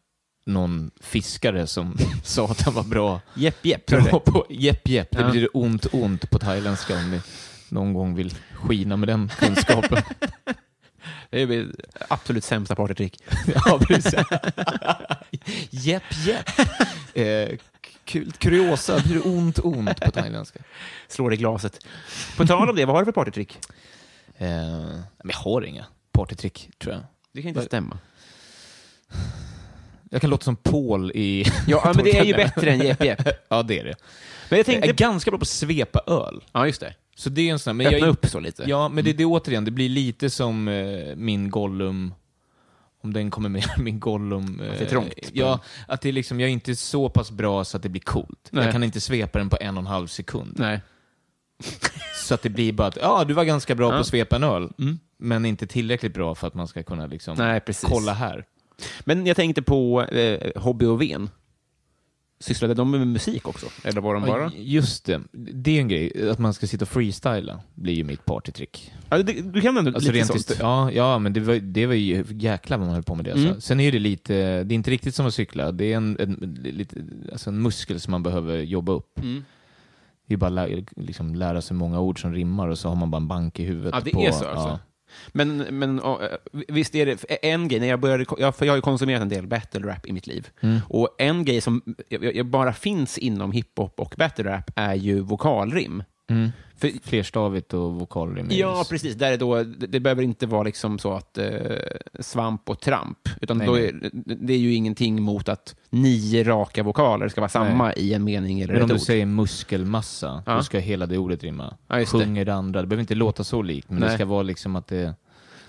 Speaker 2: någon fiskare som sa att han var bra.
Speaker 1: Jepp, jepp. tror du
Speaker 2: Bra
Speaker 1: det?
Speaker 2: på jepp, jepp. Det
Speaker 1: Ja.
Speaker 2: betyder ont, ont på thailändska om ni någon gång vill skina med den kunskapen.
Speaker 1: Det är väl absolut sämsta partytrick.
Speaker 2: ja, precis. jepp, jepp. Eh, kul, kuriosa betyder ont, ont på thailändska.
Speaker 1: Slår i glaset. På tal om det, vad har du för partytrick?
Speaker 2: Eh, men jag har inga partytrick, tror jag.
Speaker 1: Det kan inte stämma.
Speaker 2: Jag kan låta som Paul i...
Speaker 1: Ja, men det är ju bättre än jepp, jepp.
Speaker 2: ja, det är det.
Speaker 1: Men jag
Speaker 2: Jag är
Speaker 1: tänkte...
Speaker 2: ganska bra på att svepa öl.
Speaker 1: Ja, just det.
Speaker 2: Så det är en sån här, men
Speaker 1: Öppna
Speaker 2: jag,
Speaker 1: upp Mm. så lite.
Speaker 2: Ja, men det, det är återigen, det blir lite som eh, min Gollum, om den kommer med, min Gollum. Eh,
Speaker 1: det är trångt på
Speaker 2: Ja, att det är liksom, jag är inte så pass bra så att det blir coolt.
Speaker 1: Nej.
Speaker 2: Jag kan inte svepa den på en och en halv sekund.
Speaker 1: Nej.
Speaker 2: Så att det blir bara att, ja, du var ganska bra på
Speaker 1: Ja. Mm.
Speaker 2: att svepa en öl, men inte tillräckligt bra för att man ska kunna liksom,
Speaker 1: Nej, precis.
Speaker 2: kolla här.
Speaker 1: Men jag tänkte på eh, Hobby och Ven. Sysslade de med musik också? Eller var de bara...
Speaker 2: Ja, Just det, det är en grej, att man ska sitta och freestyla blir ju mitt partytrick.
Speaker 1: Ja, det, du kan ändå
Speaker 2: Alltså
Speaker 1: lite
Speaker 2: rent
Speaker 1: sånt.
Speaker 2: histo- ja, ja, men det var, det var ju jäklar vad man höll på med det. Alltså.
Speaker 1: Mm.
Speaker 2: Sen är det lite, det är inte riktigt som att cykla. Det är en, en, lite, alltså en muskel som man behöver jobba upp.
Speaker 1: Mm.
Speaker 2: Det är bara lä, liksom lära sig många ord som rimmar och så har man bara en bank i huvudet.
Speaker 1: Ja, det
Speaker 2: på,
Speaker 1: är så alltså. Men, men ja, visst är det en grej, när jag började, jag, för jag har ju konsumerat en del battle rap i mitt liv.
Speaker 2: Mm.
Speaker 1: Och en grej som jag, jag bara finns inom hiphop och battle rap är ju vokalrim.
Speaker 2: Mm.
Speaker 1: För,
Speaker 2: Flerstavigt och vokalrim. är ju-
Speaker 1: ja, precis. Där är då, det, det behöver inte vara liksom så att eh, svamp och tramp, utan
Speaker 2: Nej,
Speaker 1: då
Speaker 2: nej.
Speaker 1: är, det är ju ingenting mot att nio raka vokaler ska vara samma i en mening eller
Speaker 2: Men om
Speaker 1: ett
Speaker 2: du
Speaker 1: ord.
Speaker 2: säger muskelmassa,
Speaker 1: Ja.
Speaker 2: då ska hela det ordet rimma.
Speaker 1: Ja, just det.
Speaker 2: Sjunger det andra, det behöver inte låta så likt, men det
Speaker 1: Nej.
Speaker 2: ska vara liksom att det är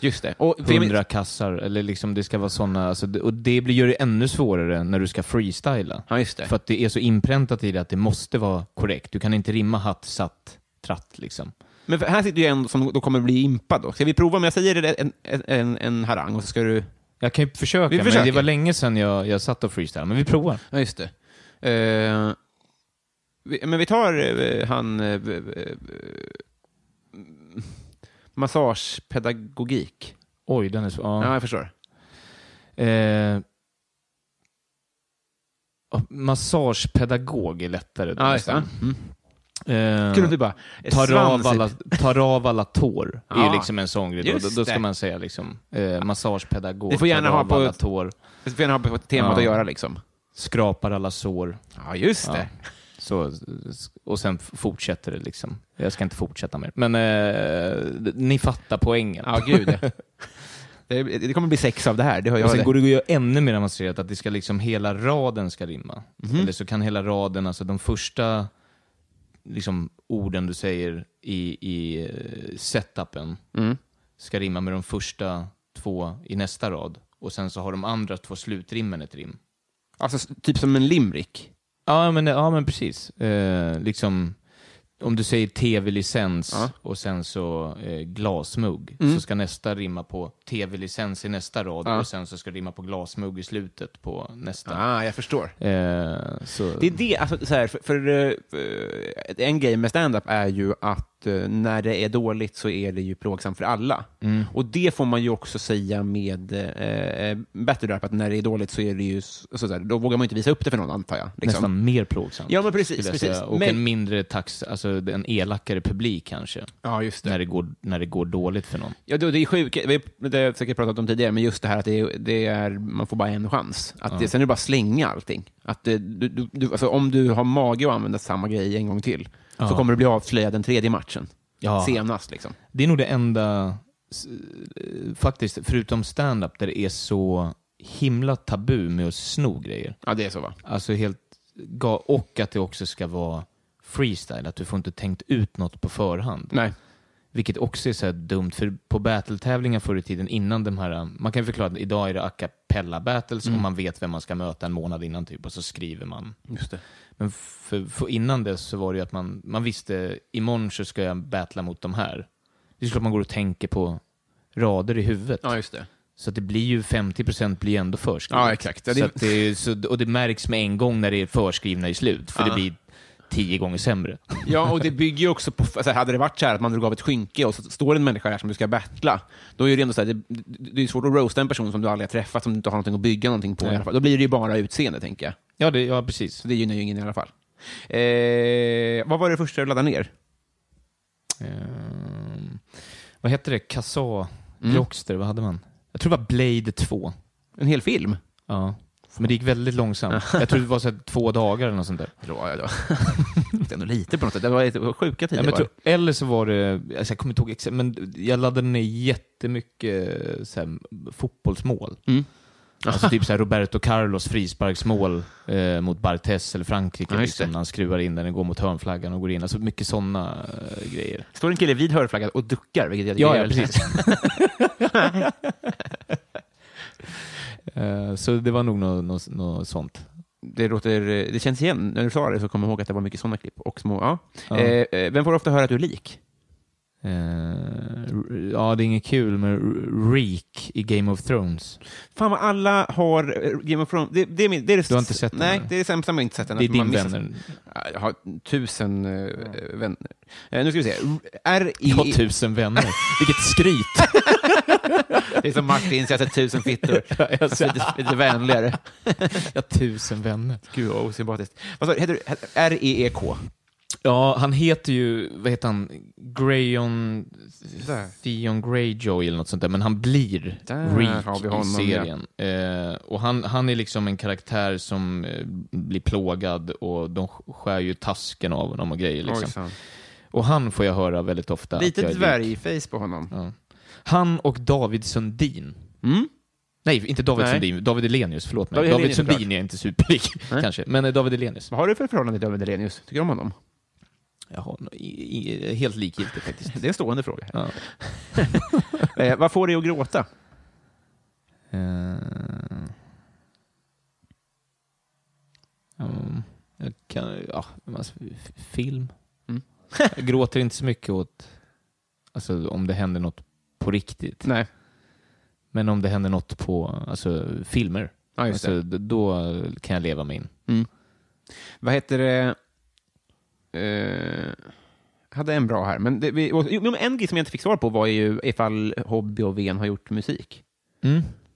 Speaker 1: Just det. Och, för jag minns-
Speaker 2: hundra kassar, eller liksom det ska vara sådana, alltså, det- och det blir, gör det ännu svårare när du ska freestyla.
Speaker 1: ja, just det.
Speaker 2: För att det är så inpräntat i det att det måste vara korrekt. Du kan inte rimma hatt, satt, tratt liksom.
Speaker 1: Men för- här sitter ju en som då kommer bli impad. Då. Ska vi prova om jag säger en, en, en, en harang och så ska du...
Speaker 2: Jag kan ju försöka,
Speaker 1: Vi
Speaker 2: men det
Speaker 1: försöker.
Speaker 2: var länge sedan jag, jag satt och freestyle. Men vi provar.
Speaker 1: Ja, just det. Eh, vi, men vi tar eh, han... eh, v- v- eh, massagepedagogik.
Speaker 2: Oj, den är så...
Speaker 1: Ja.
Speaker 2: Ja.
Speaker 1: jag förstår.
Speaker 2: Eh, ja, massagepedagog är lättare. då
Speaker 1: Ja, just det.
Speaker 2: nästan.
Speaker 1: Mm.
Speaker 2: Eh,
Speaker 1: Kul om vi bara... eh,
Speaker 2: tar, av
Speaker 1: svans-
Speaker 2: alla, tar av alla tår. Det är
Speaker 1: Ja.
Speaker 2: ju liksom en sån grej. Då,
Speaker 1: Just
Speaker 2: då, då ska
Speaker 1: det.
Speaker 2: man säga liksom, eh, massagepedagog.
Speaker 1: Det får gärna
Speaker 2: tar
Speaker 1: ha
Speaker 2: av
Speaker 1: på-
Speaker 2: alla tår.
Speaker 1: Det får gärna ha på temat
Speaker 2: Ja.
Speaker 1: att göra liksom.
Speaker 2: Skrapar alla sår.
Speaker 1: Ja, just
Speaker 2: Ja.
Speaker 1: det.
Speaker 2: Så, och sen f- fortsätter det liksom. Jag ska inte fortsätta mer. Men eh, ni fattar poängen.
Speaker 1: Ja, gud ja. det, det kommer bli sex av det här, det hör
Speaker 2: och
Speaker 1: jag.
Speaker 2: sen
Speaker 1: Det.
Speaker 2: går det att göra ännu mer avancerat, att det ska liksom hela raden ska rimma.
Speaker 1: Mhm.
Speaker 2: Eller så kan hela raden, alltså de första liksom, orden du säger i, i eh, setupen
Speaker 1: Mm.
Speaker 2: ska rimma med de första två i nästa rad. Och sen så har de andra två slutrimmen ett rim.
Speaker 1: Alltså, s- typ som en limrik.
Speaker 2: Ja, men, ja, men precis. Eh, liksom, om du säger tv-licens
Speaker 1: Ja. Mm.
Speaker 2: och sen så eh, glasmugg, så ska nästa rimma på tv-licens i nästa rad
Speaker 1: Ja.
Speaker 2: och sen så ska det rimma på glasmugg i slutet på nästa.
Speaker 1: ah, jag förstår.
Speaker 2: Eh, så,
Speaker 1: Det är det, alltså, så här, för, för, eh, en grej med stand-up är ju att eh, när det är dåligt så är det ju plågsamt för alla. Och det får man ju också säga med eh, eh, battle rap, att när det är dåligt så är det ju, s- så, så här, då vågar man ju inte visa upp det för någon antar jag. Liksom.
Speaker 2: Nästan mer plågsamt.
Speaker 1: Ja, men precis,
Speaker 2: skulle jag
Speaker 1: precis.
Speaker 2: säga. Och
Speaker 1: Men-
Speaker 2: en mindre tax, alltså en elakare publik kanske,
Speaker 1: Ja, just
Speaker 2: när det, går, när det går dåligt för någon.
Speaker 1: Ja, det, det är sjukt, vi- det har jag säkert pratat om tidigare, men just det här att det, är- det är, man får bara en chans. Att det, Sen är det bara att slänga allting. Att det, du, du, du, alltså, om du har mage att använda samma grej en gång till, så
Speaker 2: Ja.
Speaker 1: kommer du bli avslöjad den tredje matchen.
Speaker 2: Ja.
Speaker 1: Senast liksom.
Speaker 2: Det är nog det enda, s- eh, faktiskt, förutom stand-up där det är så himla tabu med att sno grejer.
Speaker 1: Ja, det är så va?
Speaker 2: Alltså helt ga- och att det också ska vara freestyle, att du får inte tänkt ut något på förhand.
Speaker 1: Nej.
Speaker 2: Vilket också är så här dumt, för på battle-tävlingar förr i tiden innan de här, man kan ju förklara att idag är det a cappella battles och man vet vem man ska möta en månad innan typ och så skriver man.
Speaker 1: Just det.
Speaker 2: Men för, för innan dess så var det ju att man, man visste imorgon så ska jag battla mot de här. Det är klart man går och tänker på rader i huvudet.
Speaker 1: Ja, just det.
Speaker 2: Så att det blir ju 50% blir ju ändå förskrivet.
Speaker 1: Ja, exakt. Ja, det-
Speaker 2: Så att det, är- så, och det märks med en gång när det är förskrivna i slut. För
Speaker 1: Ja.
Speaker 2: det blir tio gånger sämre.
Speaker 1: Ja, och det bygger ju också på... Alltså, hade det varit så här att man drog av ett skynke och så står en människa där som du ska battla, då är det ändå så här, det, det är svårt att roasta en person som du aldrig har träffat, som du inte har någonting att bygga någonting på. I
Speaker 2: Nej.
Speaker 1: alla fall. Då blir det ju bara utseende, tänker jag.
Speaker 2: Ja, det, ja precis.
Speaker 1: Så det gynnar ju ingen i alla fall. Eh, vad var det första du laddade ner?
Speaker 2: Ehm, vad hette det? Kassa
Speaker 1: Mm.
Speaker 2: Rockster, vad hade man? Jag tror det var Blade 2.
Speaker 1: En hel film?
Speaker 2: Ja. Men det gick väldigt långsamt. Jag tror det var så här, två dagar eller något sånt där.
Speaker 1: Eller vad jag då? det är ändå lite på något sätt. Det var lite sjuka
Speaker 2: Ja,
Speaker 1: tider.
Speaker 2: men jag
Speaker 1: var det.
Speaker 2: tror, eller så var det, alltså jag kommer inte ihåg exakt, men jag laddade ner jättemycket så här, fotbollsmål.
Speaker 1: Mm.
Speaker 2: Alltså typ så här Roberto Carlos frisparksmål eh, mot Bartes eller Frankrike,
Speaker 1: Ja, just det.
Speaker 2: liksom, när han skruvar in den, den går mot hörnflaggan och går in. Alltså mycket sådana eh, grejer.
Speaker 1: Står en kille vid hörflaggan och duckar, vilket jag tycker
Speaker 2: Ja,
Speaker 1: är
Speaker 2: ja
Speaker 1: väldigt-
Speaker 2: precis. Eh, så det var nog något nå, nå sånt.
Speaker 1: Det, låter, eh, det känns igen. När du sa det så kommer jag ihåg att det var mycket sådana klipp. Och små, ja.
Speaker 2: Ja.
Speaker 1: Eh, eh, vem får ofta höra att du är lik?
Speaker 2: Eh, r- ja, det är inget kul, men r- Reek i Game of Thrones.
Speaker 1: Fan vad alla har eh, Game of Thrones. Det, det, är min, det är det
Speaker 2: Du har inte sett den,
Speaker 1: Nej,
Speaker 2: eller?
Speaker 1: det är det sämsta man inte sett den.
Speaker 2: Det är
Speaker 1: Att alltså, man
Speaker 2: din
Speaker 1: missar-
Speaker 2: vänner.
Speaker 1: Ja, Jag har tusen eh, eh, vänner. Eh, nu ska vi se. R
Speaker 2: Jag har
Speaker 1: I...
Speaker 2: tusen vänner. Vilket skryt!
Speaker 1: Det är som Martin, så jag har sett tusen fittor.
Speaker 2: jag
Speaker 1: Så lite, lite vänligare.
Speaker 2: Alltså, Jag har tusen vänner.
Speaker 1: Gud vad osympatiskt. Vad sa du? E Heter du R-E-E-K?
Speaker 2: Ja, han heter ju, vad heter han, Grayon... Theon Greyjoy eller något sånt där, men han blir
Speaker 1: Där
Speaker 2: Reek
Speaker 1: har vi
Speaker 2: i
Speaker 1: honom,
Speaker 2: serien. Eh, och han, han är liksom en karaktär som eh, blir plågad och de sk- skär ju tasken av honom och grejer. Liksom.
Speaker 1: Ojsan.
Speaker 2: Och han får jag höra väldigt ofta. att jag
Speaker 1: Lite
Speaker 2: är lik.
Speaker 1: dvärgface på honom.
Speaker 2: Ja. Han och David Sundin.
Speaker 1: Mm?
Speaker 2: Nej, inte David
Speaker 1: Nej.
Speaker 2: Sundin. David Elenius, förlåt mig.
Speaker 1: David
Speaker 2: David,
Speaker 1: Hellenius,
Speaker 2: Sundin
Speaker 1: såklart.
Speaker 2: är inte superlik, kanske. Men eh, David Elenius.
Speaker 1: Vad har du för förhållande till David Hellenius? Tycker du om honom?
Speaker 2: Jaha, i, i, helt likgiltigt faktiskt.
Speaker 1: Det är en stående fråga.
Speaker 2: Ja.
Speaker 1: Eh, vad får dig att gråta?
Speaker 2: Eh, um, jag kan, ja, alltså, f- film.
Speaker 1: Mm.
Speaker 2: jag gråter inte så mycket åt, alltså om det händer något på riktigt.
Speaker 1: Nej.
Speaker 2: Men om det händer något på, alltså filmer.
Speaker 1: Ja, just det.
Speaker 2: Alltså, d- då kan jag leva mig in.
Speaker 1: Vad heter det? Eh, hade en bra här. Men det, vi, och, jo, men en grej som jag inte fick svar på var ju ifall Hobby och Ven har gjort musik.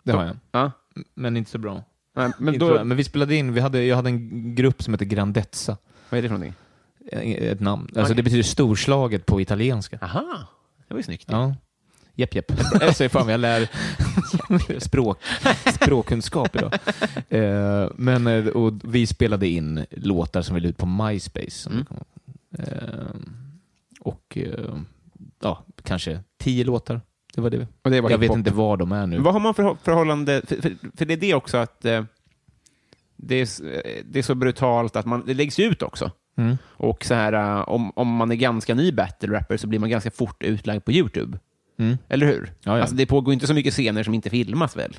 Speaker 2: det har jag.
Speaker 1: Mm. Ja.
Speaker 2: Men inte så bra.
Speaker 1: Nej,
Speaker 2: Men,
Speaker 1: men
Speaker 2: inte
Speaker 1: då,
Speaker 2: så bra. men vi spelade in, vi hade, jag hade en grupp som hette Grandezza.
Speaker 1: vad är det för någonting?
Speaker 2: Ett namn. Alltså
Speaker 1: Okej.
Speaker 2: det betyder storslaget på italienska.
Speaker 1: Aha, det var ju snyggt.
Speaker 2: Ja. Jepp, jepp. Alltså, fan, jag lär språk, språkkunskap idag. Eh, men, eh, och vi spelade in låtar som vi la ut på MySpace. Som
Speaker 1: Mm.
Speaker 2: kom. Eh, och eh, ja, kanske tio låtar. Det var det.
Speaker 1: Och det var
Speaker 2: Jag vet
Speaker 1: hiphop.
Speaker 2: inte var de är nu.
Speaker 1: Vad har man för förhållande... För, för, för det är det också att eh, det, är, s- eh, det är så brutalt att man, det läggs ju ut också.
Speaker 2: Mm.
Speaker 1: Och så här, eh, om, om man är ganska ny battle-rapper så blir man ganska fort utlagd på YouTube.
Speaker 2: Mm.
Speaker 1: Eller hur?
Speaker 2: Ja, ja.
Speaker 1: Alltså, det pågår inte så mycket scener som inte filmas väl?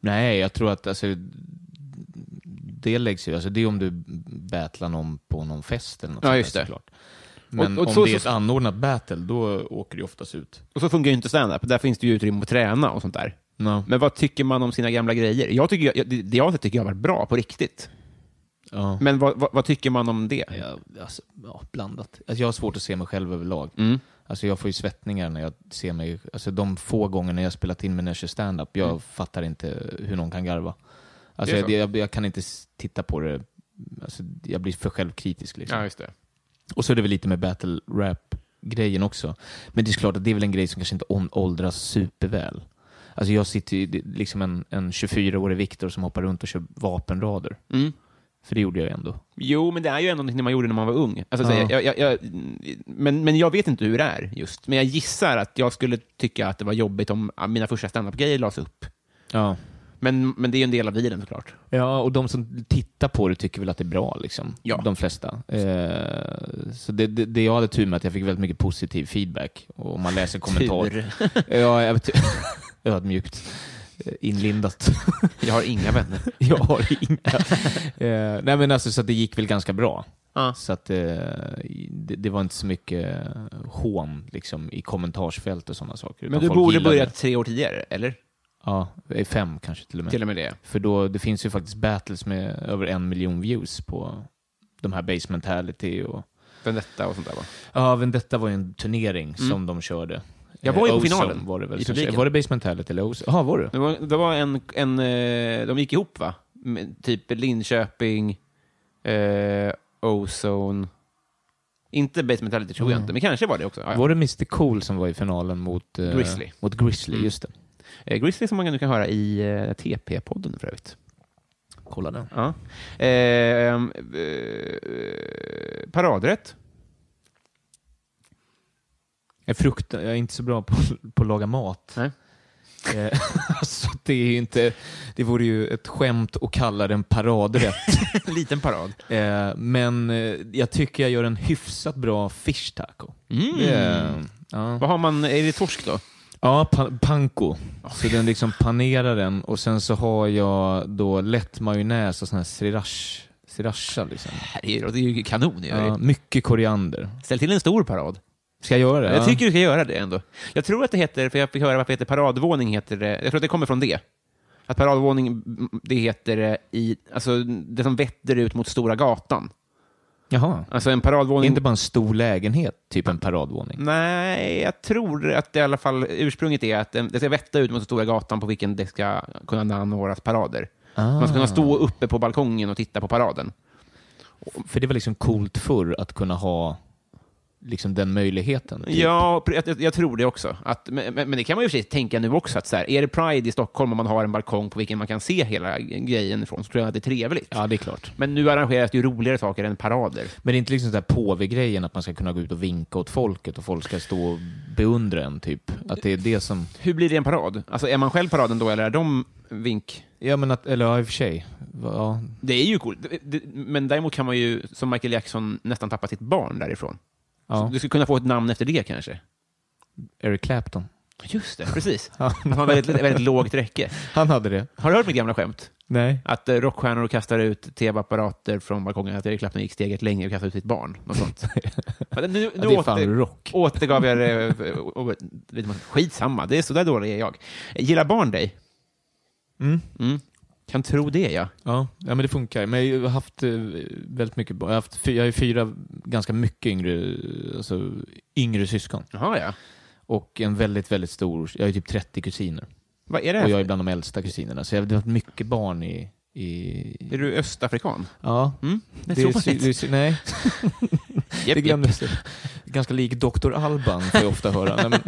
Speaker 2: Nej, jag tror att alltså, det läggs ju... Alltså, det är om du battlar någon på någon fest eller något
Speaker 1: Ja,
Speaker 2: sånt
Speaker 1: just
Speaker 2: där,
Speaker 1: det.
Speaker 2: såklart. Men
Speaker 1: och
Speaker 2: om
Speaker 1: så-
Speaker 2: det är
Speaker 1: så-
Speaker 2: ett anordnat battle, då åker det oftast ut.
Speaker 1: Och så funkar ju inte stand-up. Där finns det ju utrymme att träna och sånt där. Men vad tycker man om sina gamla grejer? Jag tycker, jag, det det jag sett tycker jag har varit bra på riktigt.
Speaker 2: Ja.
Speaker 1: Men vad, vad, vad tycker man om det?
Speaker 2: Ja, alltså, ja, blandat. Alltså, jag har svårt att se mig själv överlag.
Speaker 1: Mm.
Speaker 2: Alltså, jag får ju svettningar när jag ser mig. Alltså, de få gånger när jag spelat in med när jag kör stand-up, jag fattar inte hur någon kan garva. Alltså,
Speaker 1: Det är så.
Speaker 2: jag, jag, jag kan inte s- titta på det. Alltså, jag blir för självkritisk. Liksom.
Speaker 1: just det.
Speaker 2: Och så är det väl lite med battle rap-grejen också. Men det är klart att det är väl en grej som kanske inte on- åldras superväl. Alltså, jag sitter ju det är liksom en, en 24-årig Viktor som hoppar runt och kör vapenrader.
Speaker 1: Mm.
Speaker 2: För det gjorde jag ändå.
Speaker 1: Jo, men det är ju ändå någonting man gjorde när man var ung. Alltså, så
Speaker 2: Ja.
Speaker 1: jag, jag, jag, men, men jag vet inte hur det är just. Men jag gissar att jag skulle tycka att det var jobbigt om ah, mina första standup-grejer lades upp.
Speaker 2: Ja.
Speaker 1: Men, men det är ju en del av dealen såklart.
Speaker 2: Ja, och de som tittar på det tycker väl att det är bra, liksom.
Speaker 1: Ja.
Speaker 2: de flesta. Eh, så det, det, det jag hade tur med att jag fick väldigt mycket positiv feedback. Och om man läser kommentarer.
Speaker 1: Tur.
Speaker 2: ja, jag vet, ödmjukt. Eh, Inlindat.
Speaker 1: Jag har inga vänner.
Speaker 2: jag har inga. Eh, nej, men alltså, så att det gick väl ganska bra.
Speaker 1: Ja.
Speaker 2: Så att eh, det, det var inte så mycket eh, hån liksom, i kommentarsfält och sådana saker.
Speaker 1: Men
Speaker 2: utan
Speaker 1: du
Speaker 2: folk
Speaker 1: borde
Speaker 2: gillade
Speaker 1: börjat
Speaker 2: det.
Speaker 1: tre år tidigare, eller?
Speaker 2: Ja, fem kanske till och med.
Speaker 1: Till och med det.
Speaker 2: För då, det finns ju faktiskt battles med över en miljon views på de här Base Mentality och...
Speaker 1: Vendetta och sånt där va?
Speaker 2: Ja, Vendetta var ju en turnering som de körde.
Speaker 1: Mm.
Speaker 2: Eh,
Speaker 1: Jag var ju på
Speaker 2: Ozone
Speaker 1: finalen,
Speaker 2: Var det, väl
Speaker 1: i
Speaker 2: som-
Speaker 1: publiken.
Speaker 2: var det Base Mentality eller Ozone? Ja, var du?
Speaker 1: Det var, det var en, en, eh, de gick ihop va? Med typ Linköping, eh, Ozone. Inte Base Mentality tror jag inte, men kanske var det också. Ja, ja.
Speaker 2: Var det Mr Cool som var i finalen mot... eh,
Speaker 1: Grizzly. Mm.
Speaker 2: Mot Grizzly, just det.
Speaker 1: Eh, Grizzly som man nu kan höra i eh, TP-podden för övrigt.
Speaker 2: Kolla den.
Speaker 1: Ja. Eh, ehm, eh, paradrätt.
Speaker 2: Jag, fruktar, jag är inte så bra på, på att laga mat.
Speaker 1: Nej.
Speaker 2: Eh, alltså, det, är ju inte, det vore ju ett skämt att kalla den paradrätt.
Speaker 1: Liten parad.
Speaker 2: eh, men eh, jag tycker jag gör en hyfsat bra fish taco.
Speaker 1: Mm.
Speaker 2: Det är- ja.
Speaker 1: Vad har man? Är det torsk då?
Speaker 2: Ja, pa- panko. Så den liksom panerar den och sen så har jag då lätt majonnäs och sån här sriracha. sriracha liksom.
Speaker 1: Det är ju kanon.
Speaker 2: ja, mycket koriander.
Speaker 1: Ställ till en stor parad.
Speaker 2: Ska jag göra det?
Speaker 1: Jag tycker du ska göra det ändå. Jag tror att det heter, för jag fick höra varför det heter paradvåning, heter det, jag tror att det kommer från det. Att paradvåning, mm, det heter eh, i, alltså det som vetter ut mot Stora gatan.
Speaker 2: Jaha.
Speaker 1: Alltså en
Speaker 2: Det är
Speaker 1: paradvåning...
Speaker 2: inte bara en stor lägenhet, typ en
Speaker 1: Mm.
Speaker 2: paradvåning.
Speaker 1: Nej, jag tror att det i alla fall ursprunget är att den- det ska vetta ut mot Stora gatan på vilken det ska kunna anordnas parader. Man ska kunna stå uppe på balkongen och titta på paraden.
Speaker 2: För det var liksom coolt förr att kunna ha liksom den möjligheten. typ.
Speaker 1: Ja, pr- jag, jag tror det också. Att, men, men men det kan man ju i och för sig tänka nu också. Att så här, är det Pride i Stockholm och man har en balkong på vilken man kan se hela grejen ifrån så tror jag att det är trevligt.
Speaker 2: ja, det är klart.
Speaker 1: Men nu arrangeras det ju roligare saker än parader.
Speaker 2: Men det är inte liksom den där påvegrejen att man ska kunna gå ut och vinka åt folket och folk ska stå och beundra en, typ. Att det är det som...
Speaker 1: Hur blir det en parad? Alltså, är man själv paraden då eller är de vink?
Speaker 2: Ja, men att, eller ja, i och för sig. Ja,
Speaker 1: Det är ju coolt. Det- det- Men däremot kan man ju, som Michael Jackson, nästan tappa sitt barn därifrån.
Speaker 2: ja.
Speaker 1: Du skulle kunna få ett namn efter det kanske.
Speaker 2: Eric Clapton.
Speaker 1: Just det, precis. Att man har väldigt, väldigt lågt räcke.
Speaker 2: Han hade det.
Speaker 1: Har du hört mitt gamla skämt?
Speaker 2: Nej.
Speaker 1: Att eh, rockstjärnor kastar ut tv-apparater från balkongen, att Eric Clapton gick steget längre och kastade ut sitt barn. Något sånt. Men nu
Speaker 2: Ja,
Speaker 1: nu
Speaker 2: det är fan
Speaker 1: åter,
Speaker 2: rock.
Speaker 1: återgav jag det. eh, och- och- lite- Skitsamma, det är så där dålig är jag. Gillar barn dig?
Speaker 2: Mm.
Speaker 1: Mm. Kan tro det, ja.
Speaker 2: Ja, ja, men det funkar. Men jag har ju haft eh, väldigt mycket barn. Jag har, haft, fy- jag har ju fyra ganska mycket yngre, alltså, yngre syskon.
Speaker 1: Jaha, ja.
Speaker 2: Och en väldigt, väldigt stor, jag har ju typ 30 kusiner.
Speaker 1: Vad är det?
Speaker 2: Och
Speaker 1: här
Speaker 2: jag är
Speaker 1: för-
Speaker 2: bland de äldsta kusinerna. Så jag det har varit mycket barn i... i
Speaker 1: Är du östafrikan?
Speaker 2: ja.
Speaker 1: Mm.
Speaker 2: Det
Speaker 1: tror
Speaker 2: är,
Speaker 1: man
Speaker 2: sy-
Speaker 1: inte.
Speaker 2: det är, sy- nej,
Speaker 1: Japp,
Speaker 2: det
Speaker 1: japp.
Speaker 2: glömdes. Ganska lik Dr. Alban, får jag ofta höra. Nej, men,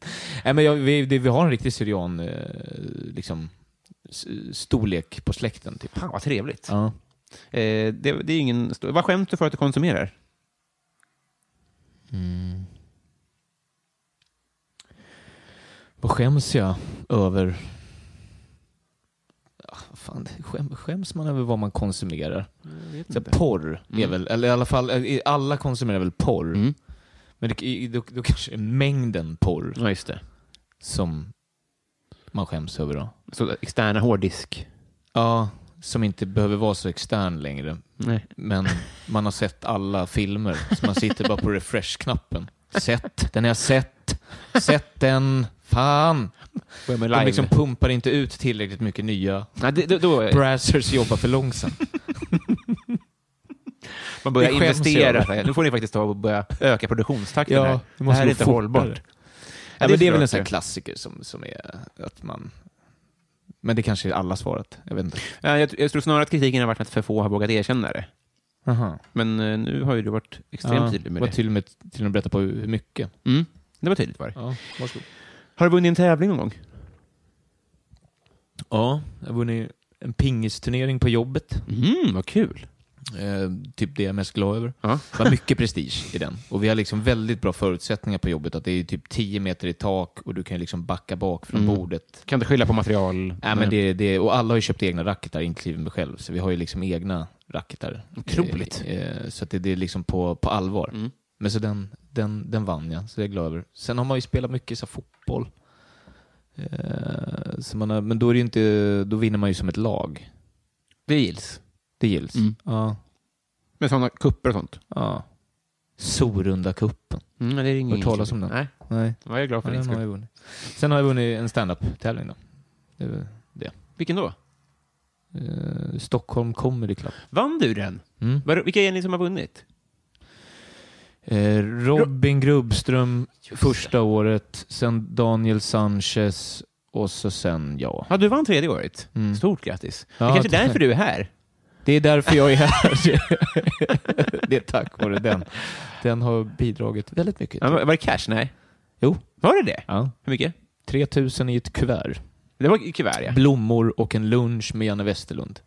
Speaker 2: nej, men jag, vi, det, vi har en riktig syrian eh, liksom, s- storlek på släkten. Typ.
Speaker 1: Fan, vad trevligt.
Speaker 2: Ja.
Speaker 1: Eh, det, det är ingen... stor- Vad skämt du för att du konsumerar?
Speaker 2: Vad skäms jag över? Ja, vad fan, det- skäm, skäms man över vad man konsumerar? Så här, porr är
Speaker 1: Mm.
Speaker 2: väl, eller i alla fall, eh, alla konsumerar väl porr.
Speaker 1: Mm.
Speaker 2: Men det, i- då, då kanske är mängden porr
Speaker 1: Ja, just det.
Speaker 2: som man skäms över då.
Speaker 1: Så, externa hårddisk.
Speaker 2: Ja, som inte behöver vara så extern längre.
Speaker 1: Nej.
Speaker 2: Men man har sett alla filmer, så man sitter bara på refresh-knappen. Sett, den har jag sett, sett den, fan.
Speaker 1: Börja med
Speaker 2: De
Speaker 1: live.
Speaker 2: liksom pumpar inte ut tillräckligt mycket nya.
Speaker 1: Nej, det, då, då,
Speaker 2: Brassers jobbar för långsamt.
Speaker 1: Man börjar
Speaker 2: Det skäms
Speaker 1: investera.
Speaker 2: jag
Speaker 1: Så här, Nu får ni faktiskt ta och börja öka produktionstakten här. Det
Speaker 2: det
Speaker 1: här är
Speaker 2: gå
Speaker 1: inte
Speaker 2: fortare.
Speaker 1: hållbart.
Speaker 2: Ja, men det är väl en sån
Speaker 1: sån
Speaker 2: här klassiker som, som är att man... Men det kanske är alla svaret. Jag vet inte.
Speaker 1: ja, jag, jag tror snarare att kritiken har varit att för få har vågat erkänna det.
Speaker 2: Aha.
Speaker 1: Men eh, nu har ju du varit extremt tydlig med
Speaker 2: var
Speaker 1: det.
Speaker 2: Till och med, till och med berätta på hur mycket.
Speaker 1: mm. Det var tydligt var det.
Speaker 2: Ja, varsågod.
Speaker 1: Har du vunnit en tävling någon gång?
Speaker 2: Ja, jag har vunnit en pingisturnering på jobbet.
Speaker 1: Mm, vad kul.
Speaker 2: Eh, typ det jag är mest glad över.
Speaker 1: Ja.
Speaker 2: Det var mycket prestige i den. Och vi har liksom väldigt bra förutsättningar på jobbet. Att det är typ 10 meter i tak och du kan ju liksom backa bak från
Speaker 1: Mm.
Speaker 2: bordet.
Speaker 1: Kan inte skylla på material.
Speaker 2: Nej, men det, det, och alla har ju köpt egna racketar, inklusive mig själv, så vi har ju liksom egna racketar.
Speaker 1: Otroligt.
Speaker 2: Eh, eh, Så att det, det är liksom på, på allvar.
Speaker 1: Mm.
Speaker 2: Men så den, den, den vann jag, så det är jag glad över. Sen har man ju spelat mycket så här, fotboll. Eh, Så man har, men då, är det ju inte, då vinner man ju som ett lag.
Speaker 1: det gills.
Speaker 2: Det gills.
Speaker 1: Mm.
Speaker 2: Ja.
Speaker 1: Med sådana kupper och sånt.
Speaker 2: ja. Sorunda-cupen.
Speaker 1: Mm, det är ingen
Speaker 2: Hört talas om den?
Speaker 1: Nej,
Speaker 2: Nej,
Speaker 1: vad jag är glad för din
Speaker 2: den har
Speaker 1: skull.
Speaker 2: jag vunnit. Sen har jag vunnit en stand-up tävling då. Det är väl-
Speaker 1: Vilken då?
Speaker 2: eh, Stockholm Comedy Club.
Speaker 1: Vann du den?
Speaker 2: Mm.
Speaker 1: Var, vilka är ni som har vunnit?
Speaker 2: Eh, Robin Grubbström första året, sen Daniel Sanchez och så sen jag.
Speaker 1: Ja, du vann tredje året.
Speaker 2: Mm.
Speaker 1: Stort grattis.
Speaker 2: Ja,
Speaker 1: det kanske är
Speaker 2: tack.
Speaker 1: därför du är här.
Speaker 2: Det är därför jag är här. det är tack vare den. Den har bidragit väldigt mycket.
Speaker 1: Ja, var var det cash? Nej.
Speaker 2: Jo.
Speaker 1: Var det det?
Speaker 2: Ja.
Speaker 1: Hur mycket?
Speaker 2: 3000 i ett kuvert.
Speaker 1: Det var i kuvert, ja.
Speaker 2: Blommor och en lunch med Janne Westerlund.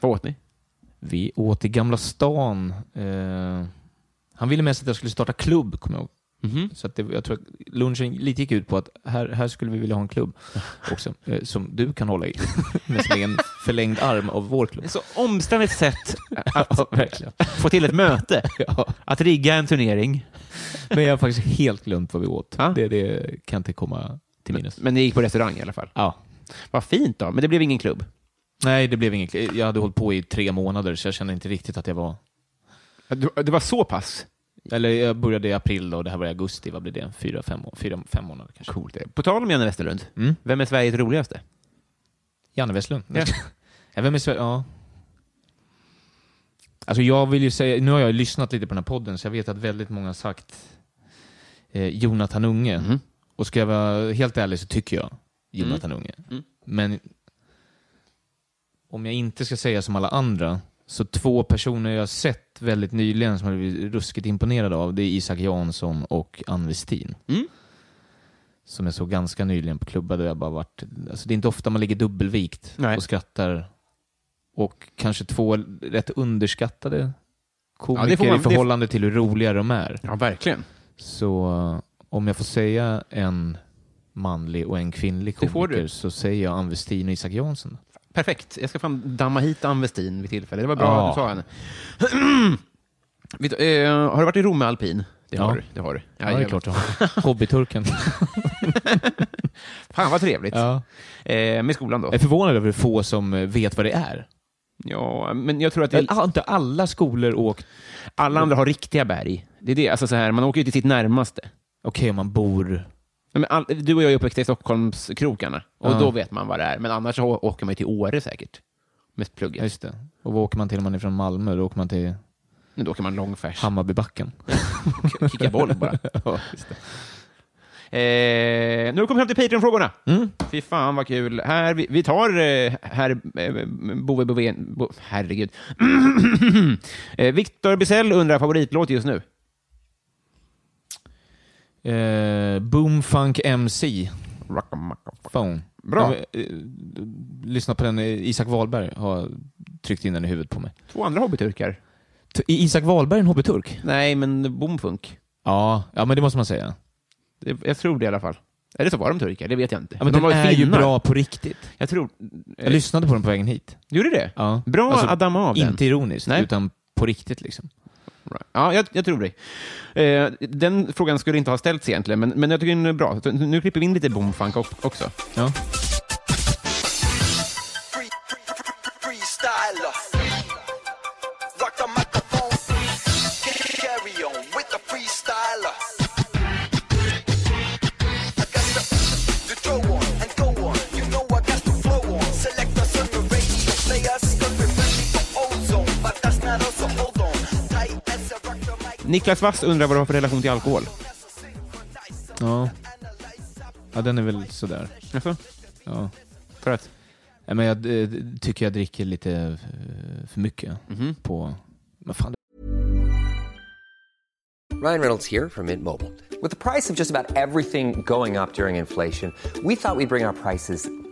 Speaker 1: Vad åt ni?
Speaker 2: Vi åt i Gamla stan. Eh, han ville mest att jag skulle starta klubb, kommer jag ihåg.
Speaker 1: Mhm.
Speaker 2: Så att det, jag tror att lunchen lite gick ut på att här, här skulle vi vilja ha en klubb också, eh, som du kan hålla i. Men som är en förlängd arm av vår klubb.
Speaker 1: Ett så omständigt sätt att
Speaker 2: Ja, verkligen.
Speaker 1: få till ett möte.
Speaker 2: Ja.
Speaker 1: Att rigga en turnering.
Speaker 2: Men jag har faktiskt helt glömt vad vi åt.
Speaker 1: Ja.
Speaker 2: Det, det kan jag inte komma till minnes.
Speaker 1: Men ni gick på restaurang i alla fall.
Speaker 2: Ja.
Speaker 1: Vad fint då. Men det blev ingen klubb.
Speaker 2: Nej, det blev inget. Jag hade hållit på i tre månader, så jag kände inte riktigt att jag var...
Speaker 1: Det var så pass?
Speaker 2: Eller jag började i april då, och det här var i augusti. Vad blir det? Fyra, fem, må- fyra, fem månader kanske.
Speaker 1: Coolt. På tal om Janne Westerlund.
Speaker 2: Mm.
Speaker 1: Vem är Sveriges roligaste?
Speaker 2: Janne Westlund.
Speaker 1: Ja.
Speaker 2: Ja. vem är Sver- Ja. Alltså jag vill ju säga, nu har jag ju lyssnat lite på den här podden, så jag vet att väldigt många har sagt eh, Jonathan Unge. Och ska jag vara helt ärlig så tycker jag Jonathan Unge. Men om jag inte ska säga som alla andra, så två personer jag har sett väldigt nyligen som jag blivit ruskigt imponerad av, det är Isak Jansson och Ann Westin. Som jag såg ganska nyligen på klubbar där jag bara varit, alltså det är inte ofta man ligger dubbelvikt
Speaker 1: Nej.
Speaker 2: och skrattar. Och kanske två rätt underskattade
Speaker 1: Ja, det
Speaker 2: komiker
Speaker 1: får man-
Speaker 2: i förhållande till hur roliga de är.
Speaker 1: Ja, verkligen.
Speaker 2: Så eh, om jag får säga en manlig och en kvinnlig
Speaker 1: Det får
Speaker 2: komiker
Speaker 1: du.
Speaker 2: så säger jag Ann Westin och Isak Jansson.
Speaker 1: Perfekt. Jag ska fan damma hit Ann Westin vid tillfälle. Det var bra
Speaker 2: Ja.
Speaker 1: att du sa henne. Vet, du, eh, har du varit i Rom med alpin? Det har
Speaker 2: Ja.
Speaker 1: du. Det har du.
Speaker 2: Ja, det är klart jag har. Hobbyturken.
Speaker 1: Fan vad trevligt.
Speaker 2: ja.
Speaker 1: Eh, med skolan då?
Speaker 2: Jag är förvånad över hur få som eh, vet vad det är.
Speaker 1: Ja, men jag tror att
Speaker 2: Väl,
Speaker 1: det,
Speaker 2: ah, inte alla skolor åkt...
Speaker 1: alla andra har riktiga berg. Det är det, alltså så här, man åker ju till sitt närmaste.
Speaker 2: Okej, om man bor...
Speaker 1: Ja, Men all, du och jag är uppväxta i Stockholmskrokarna och
Speaker 2: Ja.
Speaker 1: då vet man vad det är. Men annars så å- åker man ju till Åre säkert. Med
Speaker 2: Ja,
Speaker 1: plugget.
Speaker 2: just det. Och vad åker man till om man är från Malmö? Då åker man till
Speaker 1: Nu då åker man långfärs.
Speaker 2: Hammarbybacken.
Speaker 1: K- Kicka boll bara. Eh, nu kommer vi fram till Patreon-frågorna.
Speaker 2: Mm.
Speaker 1: Fy fan vad kul. Här, vi, vi tar eh, här eh, Bove Bovén... Bo, herregud. eh, Viktor Bissell undrar favoritlåt just nu.
Speaker 2: Eh, Boomfunk MC.
Speaker 1: Rockamacka.
Speaker 2: Phone.
Speaker 1: Bra.
Speaker 2: Ja, eh, lyssna på den. eh, Isak Wahlberg har tryckt in den i huvudet på mig.
Speaker 1: Två andra hobbyturkar.
Speaker 2: T- Är Isak Wahlberg en hobbyturk?
Speaker 1: Nej, men bomfunk.
Speaker 2: Ja, ja, men det måste man säga.
Speaker 1: Det- Jag tror det i alla fall. Eller så var de turkar, det vet jag inte.
Speaker 2: Ja, men
Speaker 1: de
Speaker 2: den
Speaker 1: var
Speaker 2: är ju
Speaker 1: finnar.
Speaker 2: bra på riktigt.
Speaker 1: Jag tror...
Speaker 2: Jag
Speaker 1: Eh,
Speaker 2: lyssnade på den på vägen hit.
Speaker 1: gjorde det?
Speaker 2: Ja.
Speaker 1: Bra
Speaker 2: Alltså,
Speaker 1: att damma av den.
Speaker 2: Inte ironiskt,
Speaker 1: Nej.
Speaker 2: utan på riktigt liksom.
Speaker 1: Right. Ja, jag, jag tror det. Eh, den frågan skulle inte ha ställts egentligen, men, men jag tycker den är bra. Så Nu klipper vi in lite boomfunk op- också.
Speaker 2: Ja.
Speaker 3: free, free, free, freestyler. Rock the microphone. Carry on with the freestyler. I got the, the throw on and go on. You know I got the flow on. Select us on the radio. Play us scurry friendly for ozone. But that's not us, so hold on. Tight as a rock the mic.
Speaker 1: Niklas Wass undrar vad du har för relation till alkohol.
Speaker 2: Ja. ja, den är väl sådär.
Speaker 1: Jaså?
Speaker 2: Ja.
Speaker 1: För att?
Speaker 2: Nej, Men jag eh, tycker jag dricker lite eh, för mycket
Speaker 1: Mm-hmm.
Speaker 2: på... Men fan,
Speaker 4: Ryan Reynolds here from Mint Mobile. With the price of just about everything going up during inflation, we thought we'd bring our prices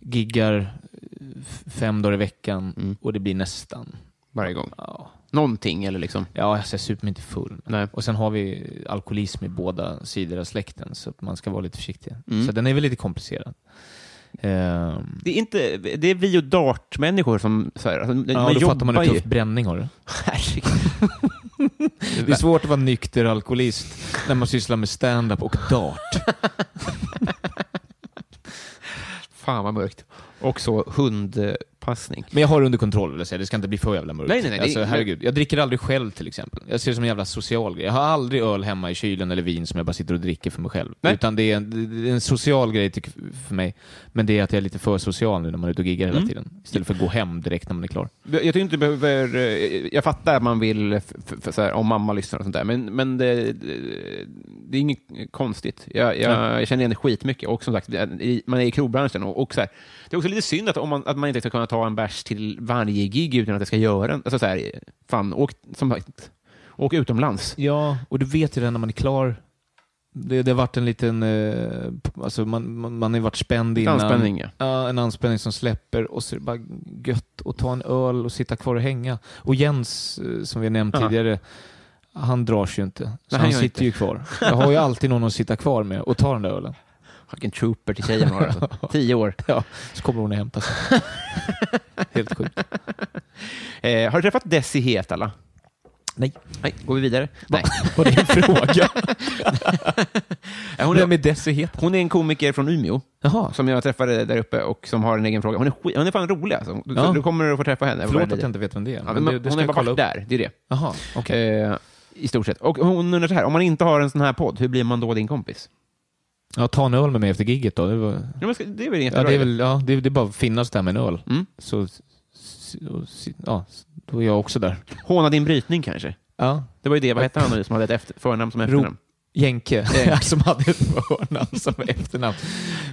Speaker 2: giggar eh, f- fem dagar i veckan
Speaker 1: Mm.
Speaker 2: och det blir nästan.
Speaker 1: Varje gång.
Speaker 2: Ja,
Speaker 1: Någonting eller liksom.
Speaker 2: ja alltså jag super mig inte full.
Speaker 1: Nej.
Speaker 2: Och sen har vi alkoholism i båda sidor av släkten, så att man ska vara lite försiktig.
Speaker 1: Mm.
Speaker 2: Så den är väl lite komplicerad. Ehm,
Speaker 1: Det är, inte, det är vi och dartmänniskor som... Så här, alltså,
Speaker 2: ja,
Speaker 1: man
Speaker 2: då fattar man
Speaker 1: jobbar
Speaker 2: hur
Speaker 1: ju.
Speaker 2: tuff bränning har du.
Speaker 1: Herregud.
Speaker 2: Det är svårt att vara nykter alkoholist när man sysslar med stand-up och dart.
Speaker 1: Fan vad mörkt. Och så hundpassning.
Speaker 2: Men jag har det under kontroll, vill jag säga. Det ska inte bli för jävla mörkt.
Speaker 1: Nej, nej, nej.
Speaker 2: Alltså,
Speaker 1: Det-
Speaker 2: herregud. Jag dricker aldrig själv till exempel. Jag ser det som en jävla social grej. Jag har aldrig öl hemma i kylen eller vin som jag bara sitter och dricker för mig själv.
Speaker 1: Nej.
Speaker 2: Utan det är, en, det är en social grej tycker- för mig. Men det är att jag är lite för social nu när man är ute och giggar hela
Speaker 1: Mm.
Speaker 2: tiden. Istället för att gå hem direkt när man är klar.
Speaker 1: Jag tycker inte du behöver... eh, Jag fattar att man vill, f- f- f- så här, om mamma lyssnar och sånt där, men, men det, det- det är inget konstigt. Jag, jag, jag känner igen det skitmycket. Och som sagt, i- man är i krogbranschen. Och, och så här, det är också lite synd att, om man, att man inte ska kunna ta en bärs till varje gig utan att det ska göra en... Alltså så här, fan, åk, som sagt, åk utomlands.
Speaker 2: Ja, och du vet ju det när man är klar. Det, det har varit en liten... Eh, p- alltså man, man, man har ju varit spänd
Speaker 1: Utan
Speaker 2: innan.
Speaker 1: spänning. ja.
Speaker 2: Ja, en anspänning som släpper och så är det bara gött att ta en öl och sitta kvar och hänga. Och Jens, eh, som vi har nämnt
Speaker 1: Ja.
Speaker 2: tidigare, han drar sig ju inte. Så
Speaker 1: Nej,
Speaker 2: han
Speaker 1: jag
Speaker 2: sitter
Speaker 1: inte.
Speaker 2: ju kvar. Jag har ju alltid någon att sitta kvar med och ta den där ölen.
Speaker 1: Vilken trooper till tjejen har alltså. Tio år.
Speaker 2: Så kommer hon och hämtar sig. Helt sjukt.
Speaker 1: Eh, har du träffat Desi Hetala?
Speaker 2: Nej.
Speaker 1: Nej, går vi vidare? Nej.
Speaker 2: Var det en fråga?
Speaker 1: Eh, Hon
Speaker 2: Vem
Speaker 1: är,
Speaker 2: är Desi het?
Speaker 1: hon är en komiker från Umeå.
Speaker 2: Jaha,
Speaker 1: som jag träffade där uppe och som har en egen fråga. Hon är, skit, hon är fan rolig alltså. Du,
Speaker 2: Ja.
Speaker 1: du kommer att få träffa henne.
Speaker 2: förlåt att jag inte vet vem det är.
Speaker 1: ja,
Speaker 2: men
Speaker 1: men
Speaker 2: det, det
Speaker 1: Hon
Speaker 2: ska
Speaker 1: har
Speaker 2: jag
Speaker 1: bara
Speaker 2: kolla
Speaker 1: varit
Speaker 2: upp.
Speaker 1: där, det är det.
Speaker 2: Jaha, okej.
Speaker 1: Eh, I stort sett. Och hon undrar så här, om man inte har en sån här podd, hur blir man då din kompis?
Speaker 2: Ja, ta en öl med mig efter gigget då. Det, var,
Speaker 1: Ja, men ska- det är väl inget
Speaker 2: ja, det, är, väl, ja, det, det är bara att finnas där med en öl.
Speaker 1: Mm.
Speaker 2: Så, så- och si- ja, då är jag också där.
Speaker 1: Håna din brytning kanske?
Speaker 2: Ja,
Speaker 1: Det var ju det, vad hette han nu som hade ett efter, förnamn som
Speaker 2: Ro-
Speaker 1: efternamn?
Speaker 2: Jänke, som hade ett förnamn som efternamn.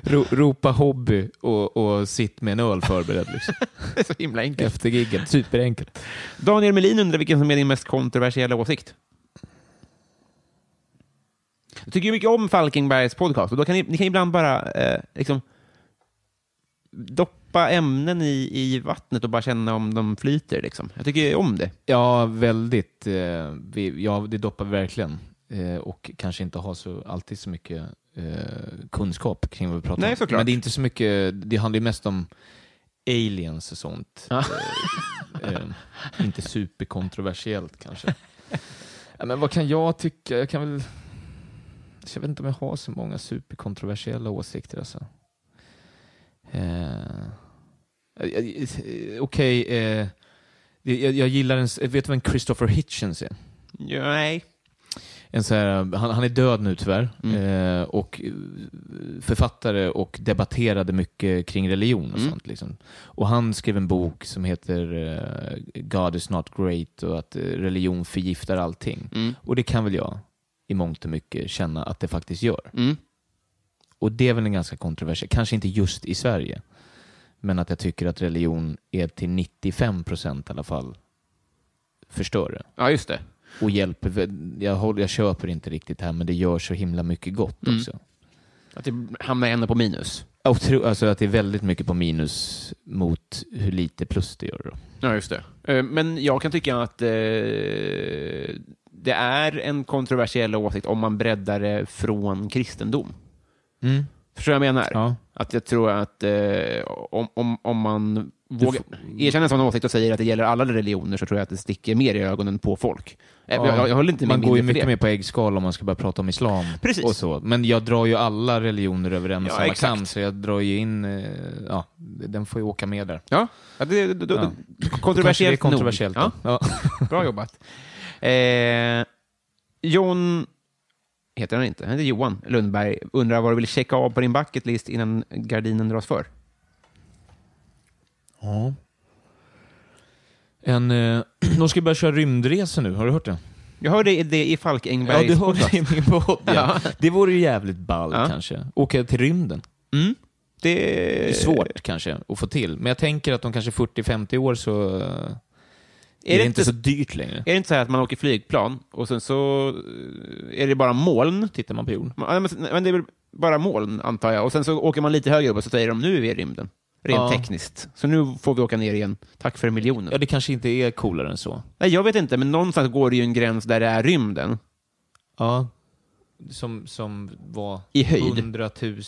Speaker 2: Ro, ropa hobby och, och sitt med en öl förberedd liksom.
Speaker 1: Det är så himla enkelt.
Speaker 2: efter gigget. Superenkelt.
Speaker 1: Daniel Melin undrar vilken som är din mest kontroversiella åsikt? Jag tycker ju mycket om Falkenbergs podcast och då kan ni, ni kan ibland bara eh, liksom doppa ämnen i, i vattnet och bara känna om de flyter. Liksom. Jag tycker ju om det.
Speaker 2: Ja, väldigt. Eh, vi, ja, det doppar vi verkligen. Eh, och kanske inte har så, alltid så mycket eh, kunskap kring vad vi pratar
Speaker 1: Nej,
Speaker 2: om.
Speaker 1: såklart.
Speaker 2: Men det är inte så mycket, det handlar ju mest om aliens och sånt.
Speaker 1: Ja.
Speaker 2: Eh, eh, inte superkontroversiellt kanske. Ja, men vad kan jag tycka? Jag kan väl... Jag vet inte om jag har så många superkontroversiella åsikter. Alltså. Eh, eh, eh, Okej, eh, det- jag, jag gillar en... s- Vet du vem Christopher Hitchens är?
Speaker 1: Ja, nej. Mm.
Speaker 2: En så här, han, han är död nu tyvärr. Eh, och eh, författare och debatterade mycket kring religion och
Speaker 1: Mm.
Speaker 2: sånt. Liksom. Och han skrev en bok som heter eh, God is not great och att eh, religion förgiftar allting.
Speaker 1: Mm.
Speaker 2: Och det kan väl jag i mångt och mycket känna att det faktiskt gör.
Speaker 1: Mm.
Speaker 2: Och det är väl en ganska kontroversiell, kanske inte just i Sverige, men att jag tycker att religion är till 95 procent i alla fall förstör det
Speaker 1: ja, just det.
Speaker 2: och hjälper. Jag, håller, jag köper inte riktigt här, men det gör så himla mycket gott
Speaker 1: Mm.
Speaker 2: också.
Speaker 1: Att det hamnar ändå på minus.
Speaker 2: Otro, alltså att det är väldigt mycket på minus mot hur lite plus det gör. Då.
Speaker 1: Ja, just det. Eh, Men jag kan tycka att eh, det är en kontroversiell åsikt om man breddar det från kristendom. Förstår du vad jag menar?
Speaker 2: Mm. Ja.
Speaker 1: Att jag tror att eh, om, om, om man
Speaker 2: Du
Speaker 1: vågar erkänner en sån åsikt och säger att det gäller alla religioner så tror jag att det sticker mer i ögonen på folk. Eh, Jag, jag, jag håller inte med
Speaker 2: man går
Speaker 1: mindre
Speaker 2: ju
Speaker 1: för
Speaker 2: mycket
Speaker 1: det.
Speaker 2: mer på äggskal om man ska börja prata om islam.
Speaker 1: Precis.
Speaker 2: Och så. Men jag drar ju alla religioner över en
Speaker 1: Ja,
Speaker 2: samma
Speaker 1: exakt.
Speaker 2: kam, så jag drar ju in... eh, Ja, den får ju åka med där.
Speaker 1: Ja, ja, det, det, det,
Speaker 2: Ja. Kanske det är
Speaker 1: Kontroversiellt
Speaker 2: kontroversiellt.
Speaker 1: nog. Ja.
Speaker 2: då. Ja.
Speaker 1: Bra jobbat. Eh, John, heter han inte, han heter Johan Lundberg, undrar vad du vill checka av på din bucket list innan gardinen dras för.
Speaker 2: Ja. En, eh, de ska börja köra rymdresor nu, har du hört det?
Speaker 1: Jag hörde i- det i Falkenbergs
Speaker 2: Ja, du hörde
Speaker 1: podcast.
Speaker 2: det i min podd. Ja. Det vore ju jävligt ball
Speaker 1: Ja.
Speaker 2: kanske. Åka till rymden.
Speaker 1: Mm. det...
Speaker 2: Det är svårt kanske att få till, men jag tänker att om kanske 40-50 år så eh, är det, inte så dyrt längre.
Speaker 1: Är det inte så här att man åker flygplan och sen så eh, är det bara moln?
Speaker 2: Tittar man på jorden.
Speaker 1: Man- ja, Men men det är väl bara moln, antar jag. Och sen så åker man lite högre upp och så säger de nu är vi i rymden. Rent
Speaker 2: Ja.
Speaker 1: tekniskt. Så nu får vi åka ner igen. Tack för miljonen.
Speaker 2: Ja, det kanske inte är coolare än så.
Speaker 1: Nej, jag vet inte, men någonstans går det ju en gräns där det är rymden.
Speaker 2: Ja. Som, som var
Speaker 1: I höjd.
Speaker 2: 100 000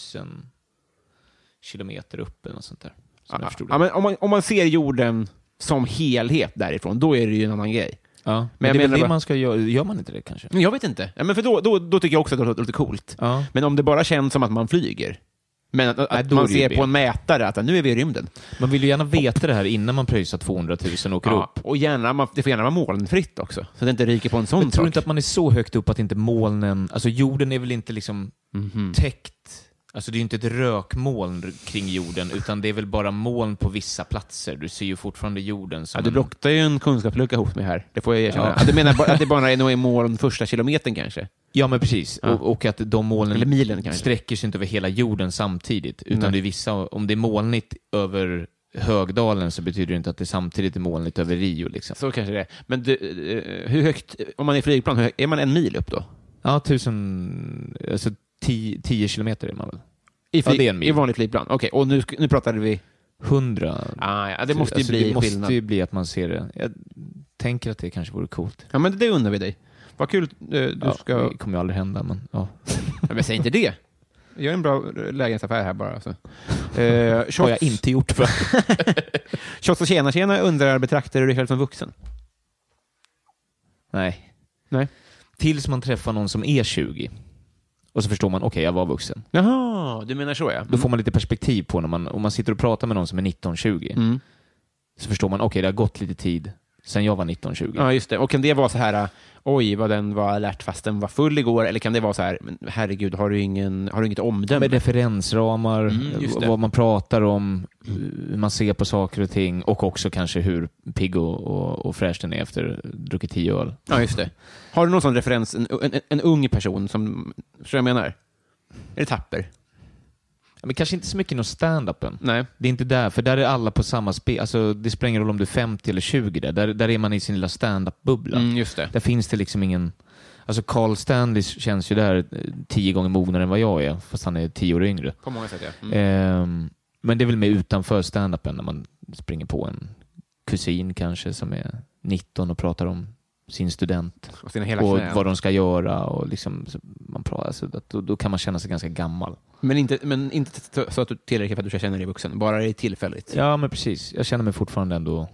Speaker 2: kilometer upp eller något sånt där. Som jag förstod det.
Speaker 1: Ja, men om, man, om man ser jorden som helhet därifrån, då är det ju en annan grej.
Speaker 2: Ja, men,
Speaker 1: jag
Speaker 2: det är
Speaker 1: menar
Speaker 2: väl det
Speaker 1: bara-
Speaker 2: man ska göra. Gör man inte det kanske?
Speaker 1: Men jag vet inte. Ja, men för då, då, då tycker jag också att det låter lite coolt.
Speaker 2: Ja.
Speaker 1: Men om det bara känns som att man flyger, men att,
Speaker 2: Nej,
Speaker 1: att
Speaker 2: då är
Speaker 1: man
Speaker 2: det ju
Speaker 1: ser
Speaker 2: B.
Speaker 1: på en mätare att nu är vi i rymden.
Speaker 2: Man vill ju gärna veta det här innan man pröjsar 200 000 och åker upp.
Speaker 1: Ja, och gärna, man, det får gärna vara molnfritt också, så det inte ryker på en sån
Speaker 2: Men tror
Speaker 1: sak.
Speaker 2: du inte att man är så högt upp att inte molnen, alltså jorden är väl inte liksom
Speaker 1: Mhm.
Speaker 2: täckt, alltså det är ju inte ett rökmoln r- kring jorden, utan det är väl bara moln på vissa platser. Du ser ju fortfarande jorden som
Speaker 1: Ja, du
Speaker 2: en-
Speaker 1: loctar ju en kunskapslucka hos mig här, det får jag erkänna.
Speaker 2: Ja.
Speaker 1: Ja. Du menar bara att det bara är nog i moln första kilometern kanske?
Speaker 2: Ja, men precis.
Speaker 1: Ja.
Speaker 2: Och, och att de
Speaker 1: Eller
Speaker 2: molnen
Speaker 1: milen kanske?
Speaker 2: sträcker sig inte över hela jorden samtidigt, utan
Speaker 1: Nej.
Speaker 2: det är vissa, om det är molnigt över Högdalen så betyder det inte att det samtidigt är molnigt över Rio. Liksom.
Speaker 1: Så kanske det är. Men du, eh, hur högt, om man är i flygplan, hur högt, är man en mil upp då?
Speaker 2: Ja, tusen, alltså tio, tio kilometer är man väl?
Speaker 1: I,
Speaker 2: Ja, det är en mil.
Speaker 1: I vanligt flygplan? Okej, och nu, sk- nu pratade vi...
Speaker 2: Hundra
Speaker 1: Ah, ja, det måste ju
Speaker 2: Alltså,
Speaker 1: bli
Speaker 2: det måste
Speaker 1: skillnad.
Speaker 2: ju bli att man ser det. Jag tänker att det kanske vore coolt.
Speaker 1: Ja, men det undrar vi dig. Vad kul eh, du
Speaker 2: Ja,
Speaker 1: ska...
Speaker 2: Det kommer ju aldrig hända, men ja.
Speaker 1: Ja, men säg inte det. Jag gör en bra eh, lägenhetsaffär här bara. alltså. Eh, Så.
Speaker 2: har jag inte gjort för.
Speaker 1: Shots och tjena tjena undrar betraktar du dig själv som vuxen?
Speaker 2: Nej.
Speaker 1: Nej.
Speaker 2: Tills man träffar någon som är 20. Och så förstår man, okej, jag var vuxen.
Speaker 1: Jaha, du menar så ja.
Speaker 2: Då får man lite perspektiv på när man, om man sitter och pratar med någon som är 19-20.
Speaker 1: Mm.
Speaker 2: Så förstår man, okej, det har gått lite tid sen jag var 19-20.
Speaker 1: Ja, just det. Och kan det vara så här, eh, oj vad den var alert fast den var full igår, eller kan det vara så här, men herregud, har du, ingen, har du inget omdöme?
Speaker 2: Med referensramar,
Speaker 1: Mm, just det. Mm.
Speaker 2: vad man pratar om, hur man ser på saker och ting och också kanske hur pigg och, och, och fräsch den är efter druckit tio öl.
Speaker 1: Ja, just det. Har du någon sån referens, en, en, en ung person som, förstår du vad jag menar? Är det tapper?
Speaker 2: Ja, Men kanske inte så mycket inom stand-upen.
Speaker 1: Nej.
Speaker 2: Det är inte där, för där är alla på samma spel. Alltså, det spelar ingen roll om du är 50 eller 20 där. Där, där är man i sin lilla stand-up-bubbla.
Speaker 1: Mm, just det.
Speaker 2: Där finns det liksom ingen... Alltså Carl Stanley känns ju där eh, tio gånger mognare än vad jag är, fast han är tio år yngre.
Speaker 1: På många sätt, ja. Mm.
Speaker 2: Ehm, men det är väl mer utanför stand-upen när man springer på en kusin kanske som är 19 och pratar om sin student
Speaker 1: Och sina hela
Speaker 2: och
Speaker 1: knän.
Speaker 2: vad de ska göra och liksom, så man pratar, alltså, att då, då kan man känna sig ganska gammal.
Speaker 1: Men inte, men inte t- så att du tillräckligt för att du ska känna dig vuxen, bara det är tillfälligt.
Speaker 2: Ja, men precis. Jag känner mig fortfarande ändå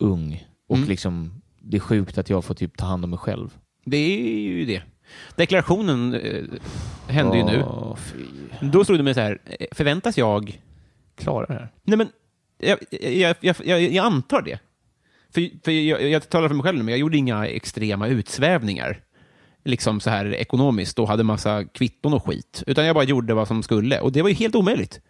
Speaker 2: ung. Och
Speaker 1: Mm.
Speaker 2: liksom, det är sjukt att jag får typ ta hand om mig själv.
Speaker 1: Det är ju det. Deklarationen eh, hände ju nu.
Speaker 2: Åh, fy.
Speaker 1: Då stod det med så här, eh, förväntas jag...
Speaker 2: Klara det här.
Speaker 1: Nej men, jag, jag, jag, jag, jag antar det. För, för jag, jag- jag talar för mig själv nu, men jag gjorde inga extrema utsvävningar. Liksom så här ekonomiskt och hade massa kvitton och skit. Utan jag bara gjorde vad som skulle. Och det var ju helt omöjligt.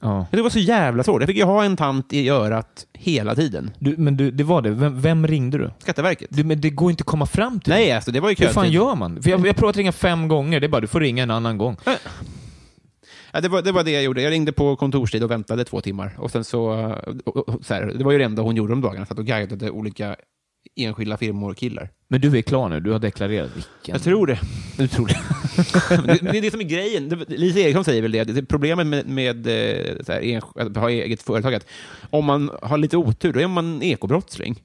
Speaker 2: Ja.
Speaker 1: Det var så jävla svårt. Jag fick ju ha en tant i örat hela tiden.
Speaker 2: Du, men du, det var det. Vem, vem ringde du?
Speaker 1: Skatteverket.
Speaker 2: du? Men det går inte att komma fram till.
Speaker 1: Nej, alltså det var ju
Speaker 2: Hur fan
Speaker 1: kötid.
Speaker 2: gör man? För jag, jag har provat ringa fem gånger. Det är bara, du får ringa en annan gång.
Speaker 1: Ja, det, var, det var det jag gjorde. Jag ringde på kontorstid och väntade två timmar. Och sen så, och, och, så här, det var ju det enda hon gjorde om dagarna. Satt och guidade olika enskilda firmor och killar.
Speaker 2: Men du är klar nu. Du har deklarerat. Vilken...
Speaker 1: Jag tror det.
Speaker 2: Du tror det.
Speaker 1: det. Det är det som är grejen. Det- Lisa Eriksson säger väl det. det är problemet med, med eh, så här, ensk- att ha eget företag är att om man har lite otur, då är man ekobrottsling.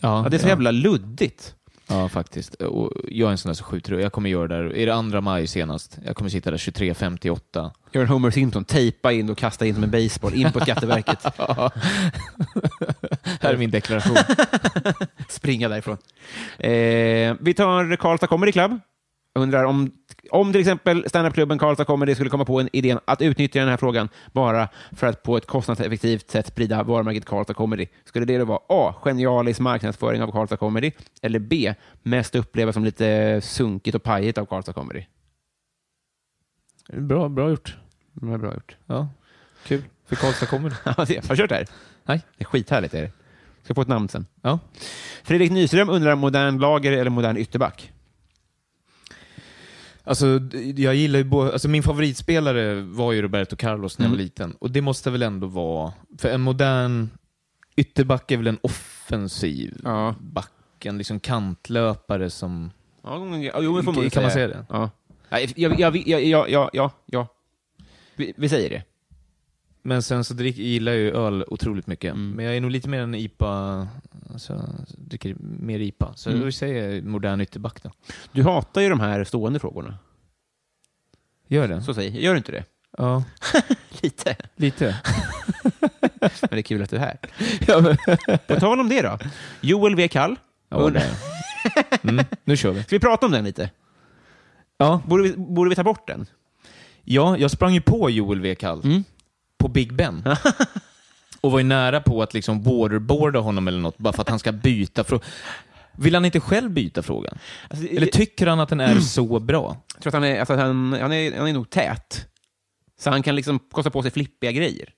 Speaker 2: Ja,
Speaker 1: Ja, det är så jävla luddigt.
Speaker 2: Ja, faktiskt. Och jag är en sån där som skjuter. Jag kommer göra det där. Är det andra maj senast? Jag kommer sitta där 23.58.
Speaker 1: Gör en Homer Simpson, tejpa in och kasta in som en baseball in på Skatteverket.
Speaker 2: Här är min deklaration.
Speaker 1: springa därifrån. Eh, vi tar Karlstad Comedy Club. Undrar om, om till exempel standupklubben Karlstad Comedy skulle komma på en idén att utnyttja den här frågan bara för att på ett kostnadseffektivt sätt sprida varumärket Karlstad Comedy. Skulle det då vara A. Genialisk marknadsföring av Karlstad Comedy eller B. Mest upplevas som lite sunkigt och pajigt av Karlstad Comedy?
Speaker 2: Bra, bra gjort.
Speaker 1: Det var bra gjort.
Speaker 2: Ja, kul. För Karlstad kommer det.
Speaker 1: Ja, det- Har du kört det här?
Speaker 2: Nej.
Speaker 1: Det är skithärligt. Är det. Ska få ett namn sen.
Speaker 2: Ja.
Speaker 1: Fredrik Nyström undrar modern lager eller modern ytterback?
Speaker 2: Alltså, d- jag gillar ju bo- alltså, min favoritspelare var ju Roberto Carlos när jag
Speaker 1: Mm.
Speaker 2: var liten. Och det måste väl ändå vara... För en modern ytterback är väl en offensiv
Speaker 1: Ja.
Speaker 2: back? En liksom kantlöpare som...
Speaker 1: Ja, jo, men får
Speaker 2: Kan-
Speaker 1: väl
Speaker 2: kan man
Speaker 1: säga.
Speaker 2: säga det?
Speaker 1: Ja. Ja, jag, jag, jag, jag, jag, ja, ja. Vi, vi säger det.
Speaker 2: Men sen så drick, gillar jag ju öl otroligt mycket. Men jag är nog lite mer en IPA... Alltså, jag dricker mer IPA. Så
Speaker 1: Mm.
Speaker 2: då säger jag modern ytterback då.
Speaker 1: Du hatar ju de här stående frågorna.
Speaker 2: Gör det?
Speaker 1: Så säg, gör du inte det?
Speaker 2: Ja,
Speaker 1: Lite.
Speaker 2: lite.
Speaker 1: Men det är kul att du är här. På tal om det då. Joel W. Kall.
Speaker 2: Ja,
Speaker 1: Und-
Speaker 2: det. Mm, nu kör vi.
Speaker 1: Ska vi prata om den lite?
Speaker 2: Ja,
Speaker 1: Borde vi, borde vi ta bort den?
Speaker 2: Ja, jag sprang ju på Joel W. Kall på Big Ben. och var ju nära på att liksom waterboarda honom eller något, bara för att han ska byta fråga. Vill han inte själv byta frågan?
Speaker 1: Alltså,
Speaker 2: Eller tycker han att den är så bra?
Speaker 1: Jag tror att han är, alltså, han, han, är, han är nog tät. Så han kan liksom kosta på sig flippiga grejer.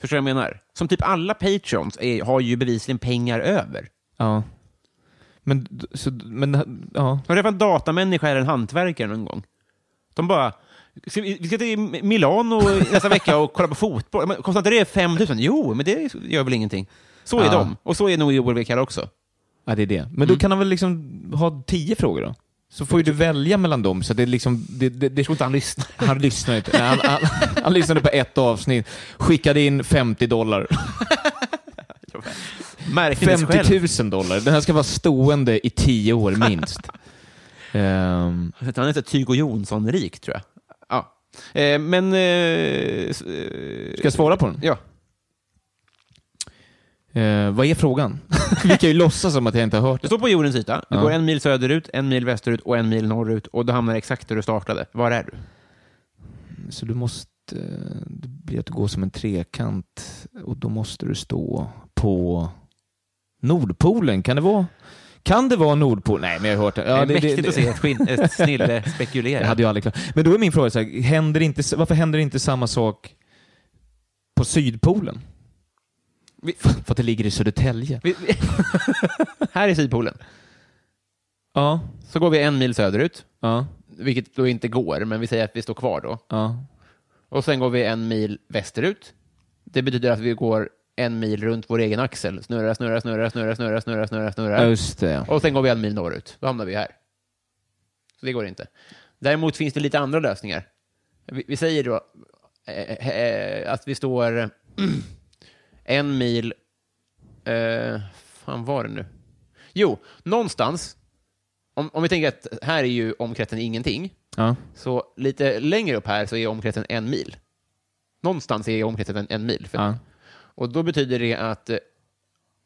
Speaker 1: Förstår du vad jag menar? Som typ alla patrons är, har ju bevisligen pengar över.
Speaker 2: Ja. Men, d- så, men ja.
Speaker 1: Har du träffat en datamänniska eller en hantverkare någon gång? De bara, "Ska vi vi ska till Milano nästa vecka och kolla på fotboll. Men kostar inte det 5 000? Jo, men det gör väl ingenting. Så är
Speaker 2: Ja.
Speaker 1: de. Och så är nog Joel W. Kall också.
Speaker 2: ja, det är det. Men då
Speaker 1: Mm.
Speaker 2: kan han väl liksom ha tio frågor då? Så får ju du välja mellan dem. Så det är liksom, det, det, det,
Speaker 1: Jag tror inte han lyssnar.
Speaker 2: han lyssnar inte. Nej, han, han, han lyssnade på ett avsnitt, skickade in 50 dollar.
Speaker 1: Märkte det själv.
Speaker 2: 50 000 dollar. Den här ska vara stående i tio år minst. Ehm,
Speaker 1: Han är så Tygo Jonsson-rik, tror jag. Ja. Eh, men... Eh, s- eh,
Speaker 2: ska jag svara på den?
Speaker 1: ja.
Speaker 2: Ehm, vad är frågan? Vi kan ju låtsas som att jag inte har hört
Speaker 1: Du
Speaker 2: den.
Speaker 1: står på jordens yta. Du
Speaker 2: Ja.
Speaker 1: går en mil söderut, en mil västerut och en mil norrut och du hamnar exakt där du startade. Var är du?
Speaker 2: Så du måste... Det blir att du går som en trekant och då måste du stå på Nordpolen. Kan det vara? Kan det vara Nordpolen? Nej, men jag har hört det. Ja,
Speaker 1: det är mäktigt att se ett, skinn, ett snille spekulera.
Speaker 2: Jag hade ju aldrig klarat. Men då är min fråga så här, händer inte, varför händer inte samma sak på Sydpolen?
Speaker 1: Vi-
Speaker 2: För för att det ligger i Södertälje.
Speaker 1: Vi- vi- här i Sydpolen.
Speaker 2: Ja,
Speaker 1: Så går vi en mil söderut,
Speaker 2: ja,
Speaker 1: vilket då inte går, men vi säger att vi står kvar då.
Speaker 2: ja.
Speaker 1: Och sen går vi en mil västerut. Det betyder att vi går en mil runt vår egen axel. Snurra, snurra, snurra, snurra, snurra, snurra, snurra,
Speaker 2: ja
Speaker 1: snurra.
Speaker 2: just det.
Speaker 1: Och sen går vi en mil norrut. Då hamnar vi här. Så det går inte. Däremot finns det lite andra lösningar. Vi, vi säger då eh, eh, att vi står eh, en mil... Eh, fan var det nu? Jo, någonstans. Om, om vi tänker att här är ju omkretsen ingenting.
Speaker 2: Ja.
Speaker 1: Så lite längre upp här så är omkretsen en mil. Någonstans är omkretsen en, en mil. För,
Speaker 2: Ja.
Speaker 1: Och då betyder det att eh,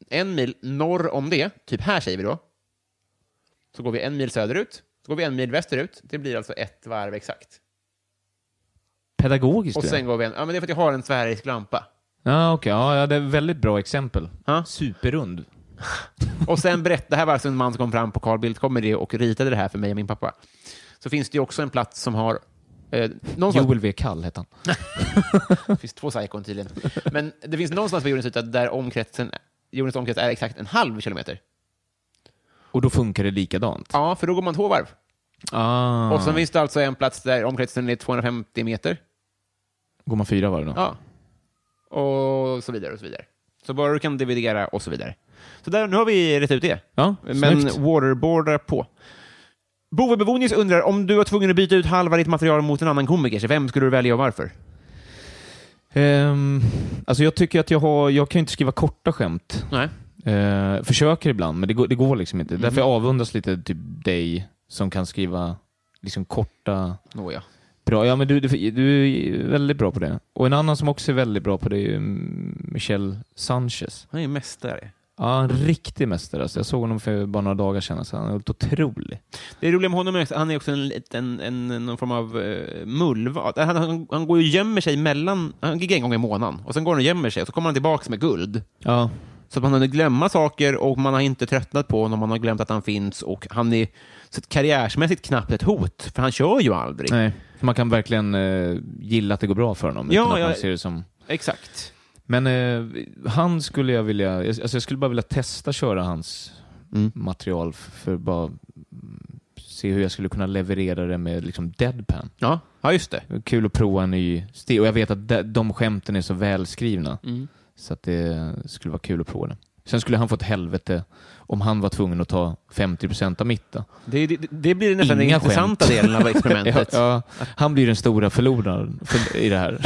Speaker 1: en mil norr om det, typ här säger vi då, så går vi en mil söderut, så går vi en mil västerut. Det blir alltså ett varv exakt.
Speaker 2: Pedagogiskt.
Speaker 1: Och
Speaker 2: det.
Speaker 1: sen går vi en... Ja, men det är för att jag har en sfärisk lampa.
Speaker 2: Ja, okej. Ja, ja, det är ett väldigt bra exempel.
Speaker 1: Ja.
Speaker 2: Superrund.
Speaker 1: Och sen berättade, det här var alltså en man som kom fram på Carl Bildt Comedy och ritade det här för mig och min pappa. Så finns det ju också en plats som har... Eh, någonstans,
Speaker 2: Joel W. Kall hette han.
Speaker 1: Det finns två psykon tydligen. Men det finns någonstans på jordens yta där omkretsen, jordens omkrets är exakt en halv kilometer.
Speaker 2: Och då funkar det likadant.
Speaker 1: Ja, för då går man två varv.
Speaker 2: Ah.
Speaker 1: Och sen finns det alltså en plats där omkretsen är 250 meter.
Speaker 2: Går man fyra varv då?
Speaker 1: Ja. Och så vidare och så vidare. Så bara du kan dividera och så vidare. Så där, nu har vi rätt ut det.
Speaker 2: Ja,
Speaker 1: Men
Speaker 2: snyggt.
Speaker 1: waterboardar på. Bove Bevonius undrar, om du var tvungen att byta ut halva ditt material mot en annan komiker, så vem skulle du välja och varför?
Speaker 2: Ehm, alltså jag tycker att jag har... Jag kan ju inte skriva korta skämt.
Speaker 1: Nej.
Speaker 2: Eh, försöker ibland, men det går, det går liksom inte. Därför jag avundas lite typ dig som kan skriva liksom korta...
Speaker 1: Nåja.
Speaker 2: Bra. Ja, men du, du, du är väldigt bra på det. Och en annan som också är väldigt bra på det är ju mm, Michel Sanchez.
Speaker 1: Han är ju mästare.
Speaker 2: Ja, en riktig mästare. Alltså, jag såg honom för bara några dagar sedan. Så han är helt otrolig.
Speaker 1: Det roliga med honom är att han är också en, liten- en, en, någon form av uh, mullvad. Han, han, han går ju och gömmer sig mellan... Han giggar en gång i månaden och sen går han och gömmer sig och så kommer han tillbaka med guld.
Speaker 2: Ja.
Speaker 1: Så att man hunnit glömma saker och man har inte tröttnat på honom, man har glömt att han finns och han är så att karriärsmässigt knappt ett hot, för han kör ju aldrig.
Speaker 2: Nej. Man kan verkligen eh, gilla att det går bra för honom.
Speaker 1: Ja,
Speaker 2: utan att
Speaker 1: jag-
Speaker 2: man ser det som...
Speaker 1: Exakt.
Speaker 2: Men eh, han skulle jag vilja... Alltså jag skulle bara vilja testa köra hans
Speaker 1: Mm.
Speaker 2: material f- för bara mm, se hur jag skulle kunna leverera det med liksom deadpan.
Speaker 1: Ja, ja just det.
Speaker 2: Det var Kul att prova en ny stil. Och jag vet att de, de skämten är så välskrivna.
Speaker 1: Mm.
Speaker 2: Så att det skulle vara kul att prova det. Sen skulle han få ett helvete om han var tvungen att ta 50% av mitt. Då.
Speaker 1: Det, det, det blir nästan den
Speaker 2: Inga skämt.
Speaker 1: intressanta delen av
Speaker 2: Ja,
Speaker 1: experimentet.
Speaker 2: ja, han blir den stora förloraren för, i det här.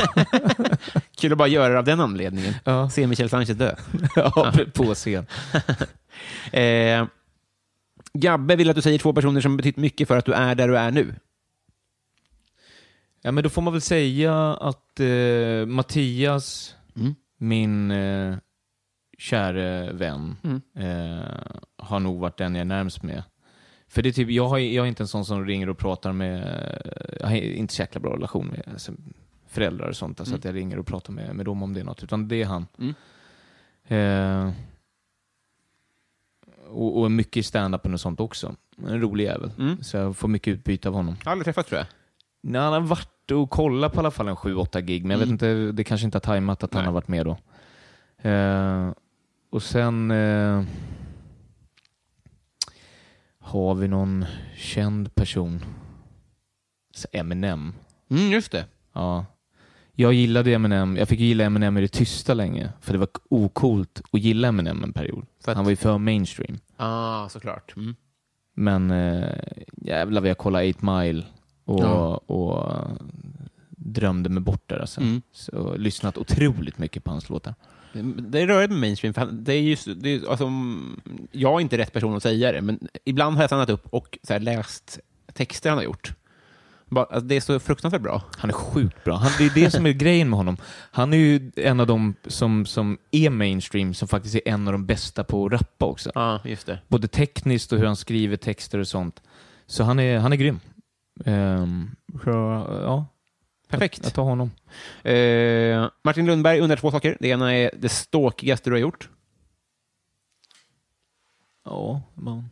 Speaker 1: Kul att bara göra det av den anledningen.
Speaker 2: Ja.
Speaker 1: Se Michel Sanchez dö.
Speaker 2: ja, på scen.
Speaker 1: Eh, Gabbe vill att du säger två personer som betytt mycket för att du är där du är nu.
Speaker 2: Ja, men då får man väl säga att eh, Mattias, min eh, käre vän, eh, har nog varit den jag är närmst med. För det är typ, jag, har, jag är inte en sån som ringer och pratar med, jag har inte så jäkla bra relation med alltså, föräldrar och sånt, alltså att jag ringer och pratar med, med dem om det är något, utan det är han. Eh, och, och mycket i stand-upen och sånt också. En rolig jävel. Så jag får mycket utbyte av honom.
Speaker 1: Jag har aldrig träffat tror jag.
Speaker 2: Nej, han har varit och kollat på i alla fall en 7-8 gig, men jag
Speaker 1: Mm.
Speaker 2: vet inte, det kanske inte har tajmat att han har varit med då. Eh, och sen eh, har vi någon känd person. Så Eminem.
Speaker 1: Mm, just det.
Speaker 2: Ja. Jag gillade Eminem. Jag fick ju gilla Eminem i det tysta länge, för det var okult att gilla Eminem en period.
Speaker 1: För att-
Speaker 2: Han var ju för mainstream.
Speaker 1: Ja, ah, såklart. Mm.
Speaker 2: Men eh, jävlar vad jag kollade 8 Mile och,
Speaker 1: Ja.
Speaker 2: och eh, drömde mig bort där alltså.
Speaker 1: Mm.
Speaker 2: Så lyssnat otroligt mycket på hans låtar.
Speaker 1: Det är rörigt med mainstream. För han- det är just, det är, alltså, mm, jag är inte rätt person att säga det, men ibland har jag stannat upp och så här, läst texter han har gjort. Bara, alltså, det är så fruktansvärt bra.
Speaker 2: Han är sjukt bra. Han, det är det som är grejen med honom. Han är ju en av de som, som är mainstream som faktiskt är en av de bästa på att rappa också.
Speaker 1: Ja, just det.
Speaker 2: Både tekniskt och hur han skriver texter och sånt. Så han är, han är grym. Ehm, så, ja,
Speaker 1: Perfekt.
Speaker 2: jag tar honom.
Speaker 1: Eh, Martin Lundberg undrar två saker. Det ena är det ståkigaste du har gjort.
Speaker 2: Ja, man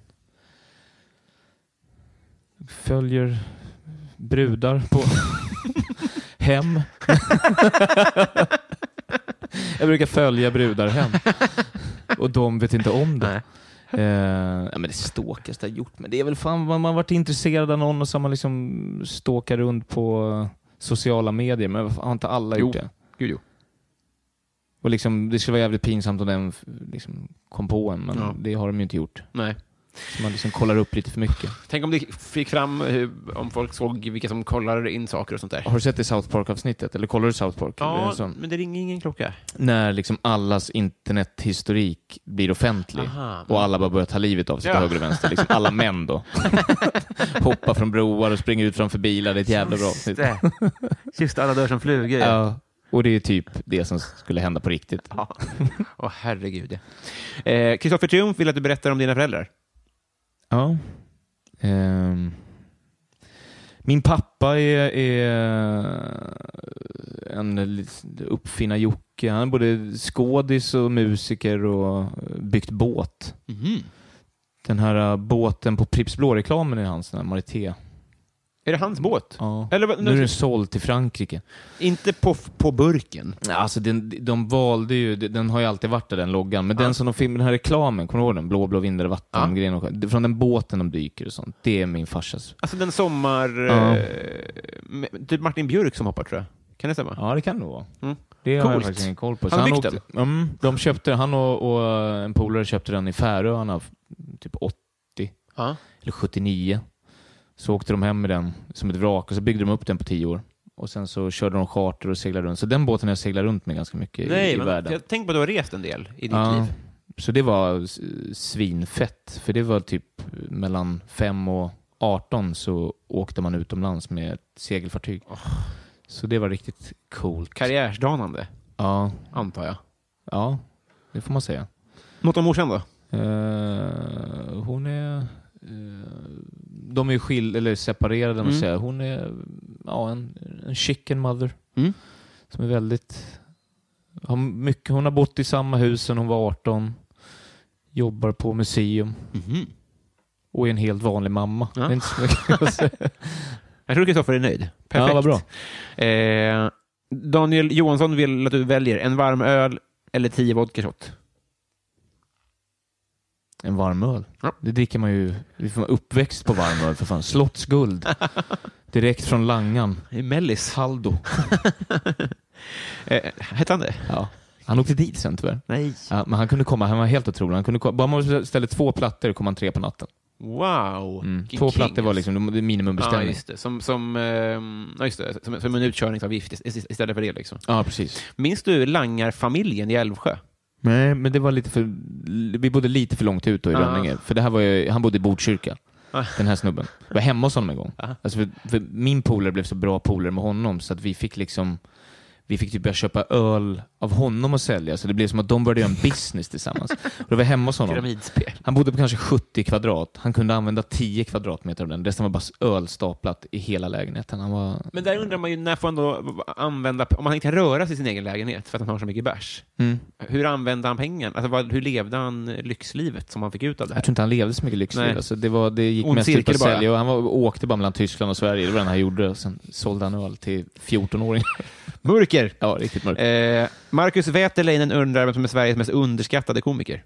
Speaker 2: följer brudar på hem. jag brukar följa brudar hem och de vet inte om det. Eh, ja, men det ståkaste jag gjort, men det är väl fan man man har varit intresserad av någon och så har man liksom ståkat runt på sociala medier, men vad fan, har inte alla gjort
Speaker 1: Jo.
Speaker 2: det?
Speaker 1: Gud, jo.
Speaker 2: Och liksom, det skulle vara jävligt pinsamt om den liksom, kom på en, men
Speaker 1: Ja.
Speaker 2: det har de ju inte gjort.
Speaker 1: Nej.
Speaker 2: Så man liksom kollar upp lite för mycket.
Speaker 1: Tänk om det fick fram eh, hur, om folk såg vilka som kollar in saker och sånt där.
Speaker 2: Har du sett det South Park-avsnittet? Eller kollar du South Park? Eller
Speaker 1: Ja,
Speaker 2: en sån-
Speaker 1: men det ringer ingen klocka.
Speaker 2: När liksom allas internethistorik blir offentlig
Speaker 1: Aha.
Speaker 2: och alla bara börjar ta livet av sig
Speaker 1: Ja.
Speaker 2: till höger och vänster. Liksom alla män då. Hoppar från broar och springer ut framför bilar. Det är ett jävla bra avsnitt.
Speaker 1: Just alla dör som flugor. Ja.
Speaker 2: Ja. Och det är typ det som skulle hända på riktigt.
Speaker 1: Åh, herregud. Eh, Kristoffer Christopher Triumf vill att du berättar om dina föräldrar.
Speaker 2: Ja. Ehm. Min pappa är, är eh, en lit- uppfinnar-Jocke. Han är både skådis och musiker och eh, byggt båt. Den här äh, båten på Pripps Blå-reklamen är hans, den här Marité.
Speaker 1: Är det hans båt?
Speaker 2: Ja.
Speaker 1: Eller vad-
Speaker 2: nu är den såld till Frankrike.
Speaker 1: Inte på, på burken.
Speaker 2: Ja, Alltså den, de valde ju, den har ju alltid varit där den loggan, men den som de filmade, den här reklamen, kommer du ihåg den? Blå, blå vindar och vatten,
Speaker 1: Ja.
Speaker 2: grejen och skön. Det- Från den båten de dyker och sånt. Det är min farsas.
Speaker 1: Alltså den sommar...
Speaker 2: Ja.
Speaker 1: Eh, med, typ Martin Björk som hoppar, tror jag. Kan det stämma?
Speaker 2: Ja, det kan det vara.
Speaker 1: Mm.
Speaker 2: Det har
Speaker 1: Coolt.
Speaker 2: jag faktiskt ingen koll på.
Speaker 1: Han har
Speaker 2: åkte,
Speaker 1: byggt
Speaker 2: mm, de köpte, han och, och en polare köpte den i Färöarna, typ 80
Speaker 1: Ja.
Speaker 2: eller 79. Så åkte de hem med den som ett vrak och så byggde de upp den på 10 år. Och sen så körde de charter och seglade runt. Så den båten har jag seglat runt med ganska mycket i,
Speaker 1: Nej,
Speaker 2: i
Speaker 1: men
Speaker 2: världen.
Speaker 1: jag tänker på att du har rest en del i ditt
Speaker 2: Ja.
Speaker 1: liv.
Speaker 2: Så det var s- svinfett, för det var typ mellan 5 och 18 så åkte man utomlands med ett segelfartyg. Så det var riktigt coolt.
Speaker 1: Karriärsdanande,
Speaker 2: ja,
Speaker 1: antar jag.
Speaker 2: ja, det får man säga.
Speaker 1: Något om morsan då?
Speaker 2: Eh, hon är... eh, de är ju skil- eller separerade, mm.
Speaker 1: Mm.
Speaker 2: säga. Hon är ja, en, en chicken mother.
Speaker 1: Mm.
Speaker 2: Som är väldigt... Har mycket, hon har bott i samma hus sedan hon var 18. Jobbar på museum.
Speaker 1: Mhm.
Speaker 2: Och är en helt vanlig mamma.
Speaker 1: Ja.
Speaker 2: Det är inte så mycket att säga.
Speaker 1: Jag tror Kristoffer är nöjd. Perfekt.
Speaker 2: ja, vad bra.
Speaker 1: Eh, Daniel Johansson vill att du väljer en varm öl eller tio vodka shot.
Speaker 2: en varmöl.
Speaker 1: Ja.
Speaker 2: Det dricker man ju, vi får uppväxt på varmöl för fan. Slottsguld. Direkt från Langan.
Speaker 1: I Mellis.
Speaker 2: Saldo.
Speaker 1: Eh, hette han det?
Speaker 2: Ja. Han åkte dit sen tyvärr.
Speaker 1: Nej.
Speaker 2: Ja, men han kunde komma, han var helt otrolig. Han kunde komma, bara man ställde två plattor kom han tre på natten.
Speaker 1: Wow.
Speaker 2: Mm.
Speaker 1: Vilken
Speaker 2: Två
Speaker 1: king,
Speaker 2: plattor var
Speaker 1: alltså.
Speaker 2: liksom de- det är
Speaker 1: Ja,
Speaker 2: minimumbeställning.
Speaker 1: just det. Som, som, ehm, ja, just det. Som, som en utkörning av gift ist- istället för det. Liksom.
Speaker 2: Ja, precis.
Speaker 1: Minns du Langarfamiljen i Älvsjö?
Speaker 2: Nej, men det var lite för... Vi bodde lite för långt ut då i
Speaker 1: Ah.
Speaker 2: Rönninge. För det här var ju, han bodde i Botkyrka,
Speaker 1: Ah.
Speaker 2: den här snubben. Jag var hemma hos honom en gång.
Speaker 1: Ah.
Speaker 2: Alltså för, för min polare blev så bra polare med honom så att vi fick liksom... Vi fick typ börja köpa öl av honom och sälja, så det blev som att de började göra en business tillsammans. Och då var jag hemma hos honom.
Speaker 1: Pyramidspel.
Speaker 2: Han bodde på kanske 70 kvadrat. Han kunde använda 10 kvadratmeter av den. Resten var bara öl staplat i hela lägenheten. Han var...
Speaker 1: Men där undrar man ju, när får han då använda... Om han inte kan röra sig i sin egen lägenhet för att han har så mycket bärs,
Speaker 2: Mm.
Speaker 1: hur använde han pengarna? Alltså, vad, hur levde han lyxlivet som han fick ut av det
Speaker 2: Jag
Speaker 1: här?
Speaker 2: tror inte han levde så mycket lyxliv.
Speaker 1: Nej.
Speaker 2: Alltså, det, var, det gick
Speaker 1: Ond
Speaker 2: mest ut på
Speaker 1: cirkel
Speaker 2: att
Speaker 1: bara.
Speaker 2: sälja. Och han var, åkte bara mellan Tyskland och Sverige. Det var det han gjorde. Sen sålde han öl till 14-åringar.
Speaker 1: Mörker!
Speaker 2: Ja, riktigt mörkt.
Speaker 1: Eh, Marcus Wäterleinen undrar vem som är Sveriges mest underskattade komiker.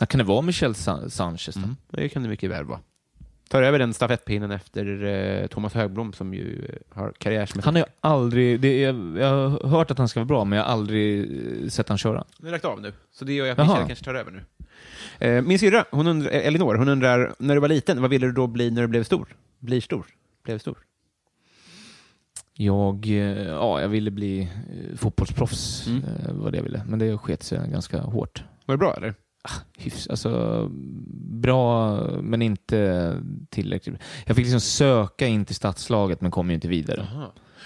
Speaker 2: Eh. Kan det vara Michel San Sanchez? då?
Speaker 1: Det kan det mycket väl vara. Tar över den stafettpinnen efter eh, Thomas Högblom som ju eh, har karriärsmässigt...
Speaker 2: Han har ju aldrig... Det är, jag har hört att han ska vara bra, men jag har aldrig eh, sett han köra.
Speaker 1: Nu har lagt av nu, så det gör ju att
Speaker 2: Jaha.
Speaker 1: Michel kanske tar över nu. Eh, min syrra, hon undrar, eh, Elinor, hon undrar, när du var liten, vad ville du då bli när du blev stor? Blir stor? Blev stor?
Speaker 2: Jag, eh, ja, jag ville bli eh, fotbollsproffs,
Speaker 1: Mm.
Speaker 2: eh, var det jag ville. Men det sket sig ganska hårt.
Speaker 1: Var det bra eller?
Speaker 2: hyfs, alltså, bra, men inte tillräckligt. Jag fick liksom söka in till stadslaget, men kom ju inte vidare.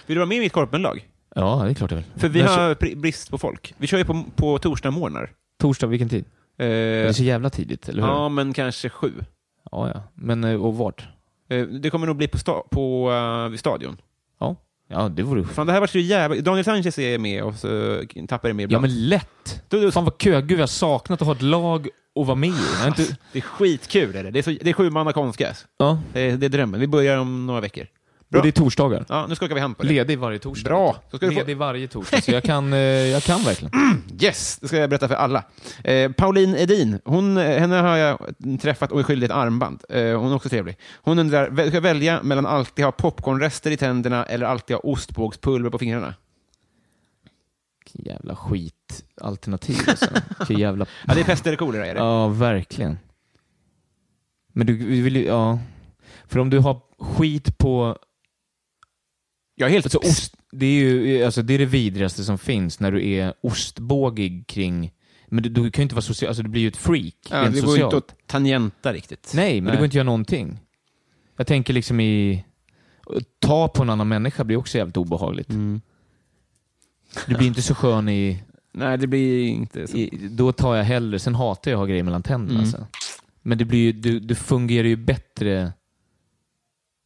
Speaker 1: Vill du vara med i mitt korpenlag?
Speaker 2: Ja, det är klart jag vill.
Speaker 1: För vi
Speaker 2: Men
Speaker 1: har pri- brist på folk. Vi kör ju på, på torsdagsmorgnar.
Speaker 2: Torsdag, vilken tid?
Speaker 1: Eh,
Speaker 2: det är så jävla tidigt, eller hur?
Speaker 1: ja, men kanske sju.
Speaker 2: ja. ja. Men, eh, och vart?
Speaker 1: Eh, det kommer nog bli på, sta- på eh, vid stadion.
Speaker 2: Ja, det vore
Speaker 1: Fan, det här var så jävla... Daniel Sanchez är med och så eh, tappar det med
Speaker 2: Ja,
Speaker 1: ibland.
Speaker 2: men lätt!
Speaker 1: Du- du-
Speaker 2: Fan vad kö. Gud, jag har saknat att ha ett lag och vara med i. Jag har inte...
Speaker 1: Det är skitkul. Är det? Det, är så, det är sju man konstgräs.
Speaker 2: Ja,
Speaker 1: Det, är- det är drömmen. Vi börjar om några veckor. Bra.
Speaker 2: och det är torsdagar.
Speaker 1: Ja, nu skakar vi hand på det.
Speaker 2: Ledig varje torsdag.
Speaker 1: Bra. Så ska du få-
Speaker 2: Ledig varje torsdag, så jag kan, eh, jag kan verkligen.
Speaker 1: Yes, det ska jag berätta för alla. Eh, Pauline Edin, hon, eh, henne har jag träffat och är skyldig ett armband. Eh, hon är också trevlig. Hon undrar, vä- ska jag välja mellan alltid ha popcornrester i tänderna eller alltid ha ostbågspulver på fingrarna?
Speaker 2: Vilken jävla skitalternativ alltså. Vilken jävla...
Speaker 1: Ja, det är pest eller kolera är det.
Speaker 2: Ja, verkligen. Men du du vill ju... Ja. För om du har skit på
Speaker 1: Jag är helt...
Speaker 2: Alltså, ost, det är ju alltså, det, är det vidrigaste som finns när du är ostbågig kring... Men du, du kan ju inte vara social, alltså du blir ju ett freak
Speaker 1: ja,
Speaker 2: rent
Speaker 1: det går ju
Speaker 2: socialt.
Speaker 1: inte att tangenta riktigt.
Speaker 2: Nej, men det går inte att göra någonting. Jag tänker liksom i... Ta på en annan människa blir också jävligt obehagligt.
Speaker 1: Mm.
Speaker 2: Du blir inte så skön i,
Speaker 1: Nej, det blir inte så.
Speaker 2: i... Då tar jag hellre... Sen hatar jag att ha grejer mellan
Speaker 1: Mm.
Speaker 2: tänderna. Alltså. Men det blir ju, du, du fungerar ju bättre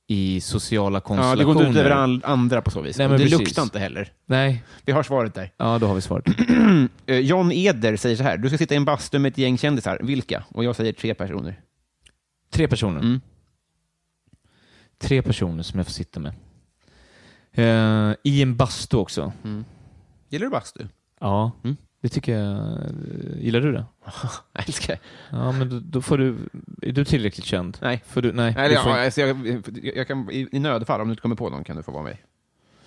Speaker 2: i sociala
Speaker 1: Ja, det
Speaker 2: konstellationer.
Speaker 1: går inte ut över all- andra på så vis.
Speaker 2: Nej,
Speaker 1: Och
Speaker 2: men
Speaker 1: det
Speaker 2: precis.
Speaker 1: luktar inte heller.
Speaker 2: Nej,
Speaker 1: Vi har svaret där.
Speaker 2: ja då har vi svaret.
Speaker 1: Eh, John Eder säger så här, du ska sitta i en bastu med ett gäng kändisar. Vilka? Och jag säger tre personer.
Speaker 2: Tre personer.
Speaker 1: Mm.
Speaker 2: Tre personer som jag får sitta med. Eh, I en bastu också.
Speaker 1: Gillar du bastu?
Speaker 2: Ja,
Speaker 1: Mm.
Speaker 2: det tycker jag. Gillar du det?
Speaker 1: Jag älskar
Speaker 2: Ja, men då, då får du... Är du tillräckligt känd?
Speaker 1: Nej.
Speaker 2: Får du, nej,
Speaker 1: Eller,
Speaker 2: du får,
Speaker 1: ja, alltså, jag, jag, jag kan, i, I nödfall, om du inte kommer på någon, kan du få vara med.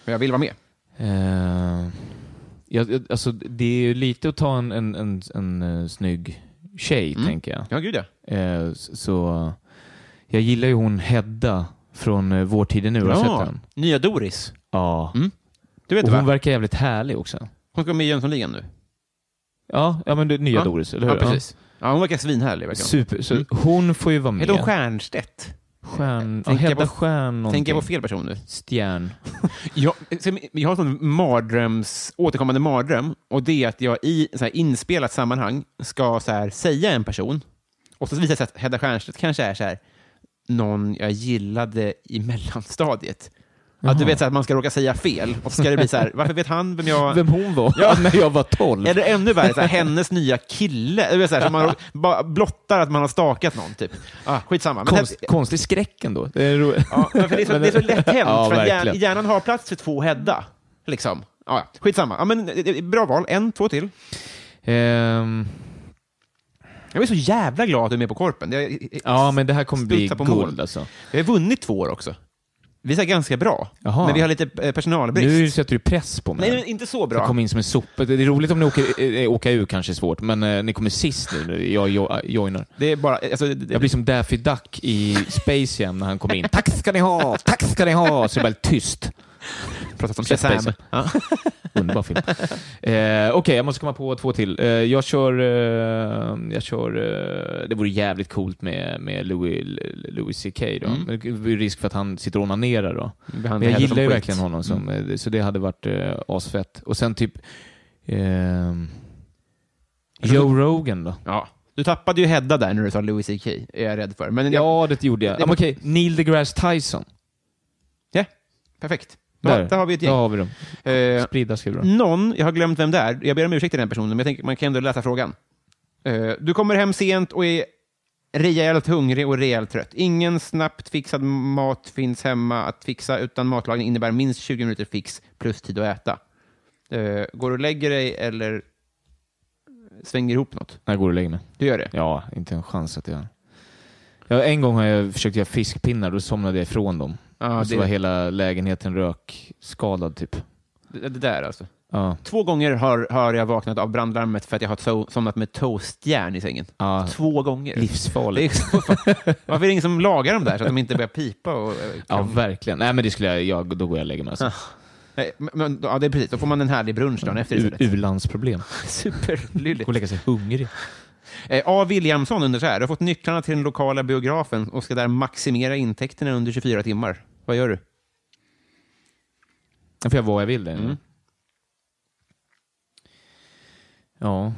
Speaker 1: Men jag vill vara med.
Speaker 2: Eh, jag, jag- alltså, det är ju lite att ta en, en, en, en eh, snygg tjej,
Speaker 1: Mm.
Speaker 2: tänker jag.
Speaker 1: Ja, gud ja.
Speaker 2: Eh, s- så... Jag gillar ju hon Hedda från eh, Vår tid är nu. Har du sett den?
Speaker 1: Nya Doris.
Speaker 2: Ja.
Speaker 1: Mm. Du vet
Speaker 2: Och
Speaker 1: va?
Speaker 2: hon verkar jävligt härlig också.
Speaker 1: Hon ska vara med i Jönssonligan nu.
Speaker 2: Ja, ja men det är nya
Speaker 1: Ja.
Speaker 2: Doris, eller hur?
Speaker 1: Ja, precis. Ja, hon verkar svinhärlig.
Speaker 2: Ja.
Speaker 1: Verkar hon.
Speaker 2: Super. Så
Speaker 1: Mm.
Speaker 2: hon får ju vara med.
Speaker 1: Heter hon Stiernstedt?
Speaker 2: Stjärn... Ja,
Speaker 1: Tänker jag
Speaker 2: Hedda
Speaker 1: på-
Speaker 2: Stjärn någonting.
Speaker 1: Tänker jag på fel person nu?
Speaker 2: Stjärn.
Speaker 1: Jag, jag har en sån mardröms, återkommande mardröm och det är att jag i så här inspelat sammanhang ska så här, säga en person och så visar det sig att Hedda Stiernstedt kanske är så här, någon jag gillade i mellanstadiet. Att du vet så här, att man ska råka säga fel och så ska det bli så här, varför vet han vem jag...
Speaker 2: Vem hon var
Speaker 1: Ja.
Speaker 2: när jag var 12.
Speaker 1: Eller ännu värre, så här, hennes nya kille. Du vet, så här, så man bara blottar att man har stakat någon, typ. Ah, skitsamma. Men
Speaker 2: Konst, konstig skräck ändå. Det är ro...
Speaker 1: Ja, men för det, är så, det är så lätt hänt,
Speaker 2: Ja,
Speaker 1: för att hjärnan,
Speaker 2: verkligen.
Speaker 1: hjärnan har plats för två Hedda. Liksom. Ja, ja. Skitsamma. Ja, men, eh, eh, bra val. En, två till.
Speaker 2: Ehm,
Speaker 1: Jag är så jävla glad att du är med på Korpen. Jag,
Speaker 2: Ja, men det här kommer bli
Speaker 1: Studsa på
Speaker 2: guld
Speaker 1: mål.
Speaker 2: alltså.
Speaker 1: jag har vunnit två år också. Vi är ganska bra,
Speaker 2: Jaha.
Speaker 1: men vi har lite eh, personalbrist.
Speaker 2: Nu sätter du press på mig.
Speaker 1: Nej, men inte så
Speaker 2: Jag
Speaker 1: bra.
Speaker 2: kom in som en sopa. Det är roligt om ni åker, eh, åka ur kanske är svårt, men eh, ni kommer sist nu. Jag jo, eh, joinar.
Speaker 1: Det är bara... Alltså, det, det,
Speaker 2: Jag blir som Daffy Duck i Space Jam när han kommer in. Tack ska ni ha! Tack ska ni ha! Så det är väldigt tyst.
Speaker 1: pratat om
Speaker 2: Space
Speaker 1: Shazam.
Speaker 2: Jam. Underbar film. Eh, Okej, jag måste komma på två till. Eh, jag kör... Eh, jag kör eh, det vore jävligt coolt med, med Louis, Louis CK då.
Speaker 1: Mm.
Speaker 2: Men det är ju risk för att han sitter och onanerar då.
Speaker 1: Behandlar
Speaker 2: Men
Speaker 1: hellre
Speaker 2: jag gillar
Speaker 1: som
Speaker 2: ju
Speaker 1: skit.
Speaker 2: verkligen honom, som,
Speaker 1: Mm.
Speaker 2: eh, så det hade varit eh, asfett. Och sen typ... ehm, Joe Rogan då?
Speaker 1: Ja. Du tappade ju Hedda där när du sa Louis CK, är jag rädd för. Men jag,
Speaker 2: Ja, det gjorde jag. Ja, men Okej, Neil deGrasse Tyson.
Speaker 1: ja, perfekt. Då, där. har vi ett
Speaker 2: Där
Speaker 1: gäng.
Speaker 2: har vi dem.
Speaker 1: Eh,
Speaker 2: Spridda ska vi bra.
Speaker 1: någon, jag har glömt vem det är, jag ber om ursäkt till den personen, men jag tänker, man kan ändå läsa frågan. Eh, du kommer hem sent och är rejält hungrig och rejält trött. Ingen snabbt fixad mat finns hemma att fixa, utan matlagning innebär minst 20 minuter fix plus tid att äta. Eh, går du och lägger dig eller svänger ihop något?
Speaker 2: När går du och lägger mig?
Speaker 1: Du gör det?
Speaker 2: Ja, inte en chans att jag... Ja, en gång har jag försökt göra fiskpinnar, då somnade jag ifrån dem.
Speaker 1: Ja,
Speaker 2: och så
Speaker 1: det-
Speaker 2: var hela lägenheten rökskadad typ.
Speaker 1: Det, det där alltså.
Speaker 2: Ja,
Speaker 1: Två gånger har, har jag vaknat av brandlarmet för att jag har to- somnat med toastjärn i sängen.
Speaker 2: Ja.
Speaker 1: Två gånger. Det är,
Speaker 2: livsfarligt.
Speaker 1: varför är det ingen som lagar dem där så att de inte börjar pipa? Och, eh,
Speaker 2: Ja, verkligen. Nej, men det skulle jag... jag då går jag och lägger mig. Alltså.
Speaker 1: nej, men- men, ja, det är precis. Då får man en härlig brunch dagen efter
Speaker 2: U-
Speaker 1: istället.
Speaker 2: U-landsproblem. Gå
Speaker 1: Superlylligt.
Speaker 2: och lägga sig hungrig.
Speaker 1: Eh, A. Williamson undrar så här. Du har fått nycklarna till den lokala biografen och ska där maximera intäkterna under 24 timmar. Vad gör du?
Speaker 2: Då får jag vara vad jag vill där
Speaker 1: Mm.
Speaker 2: inne. Ja.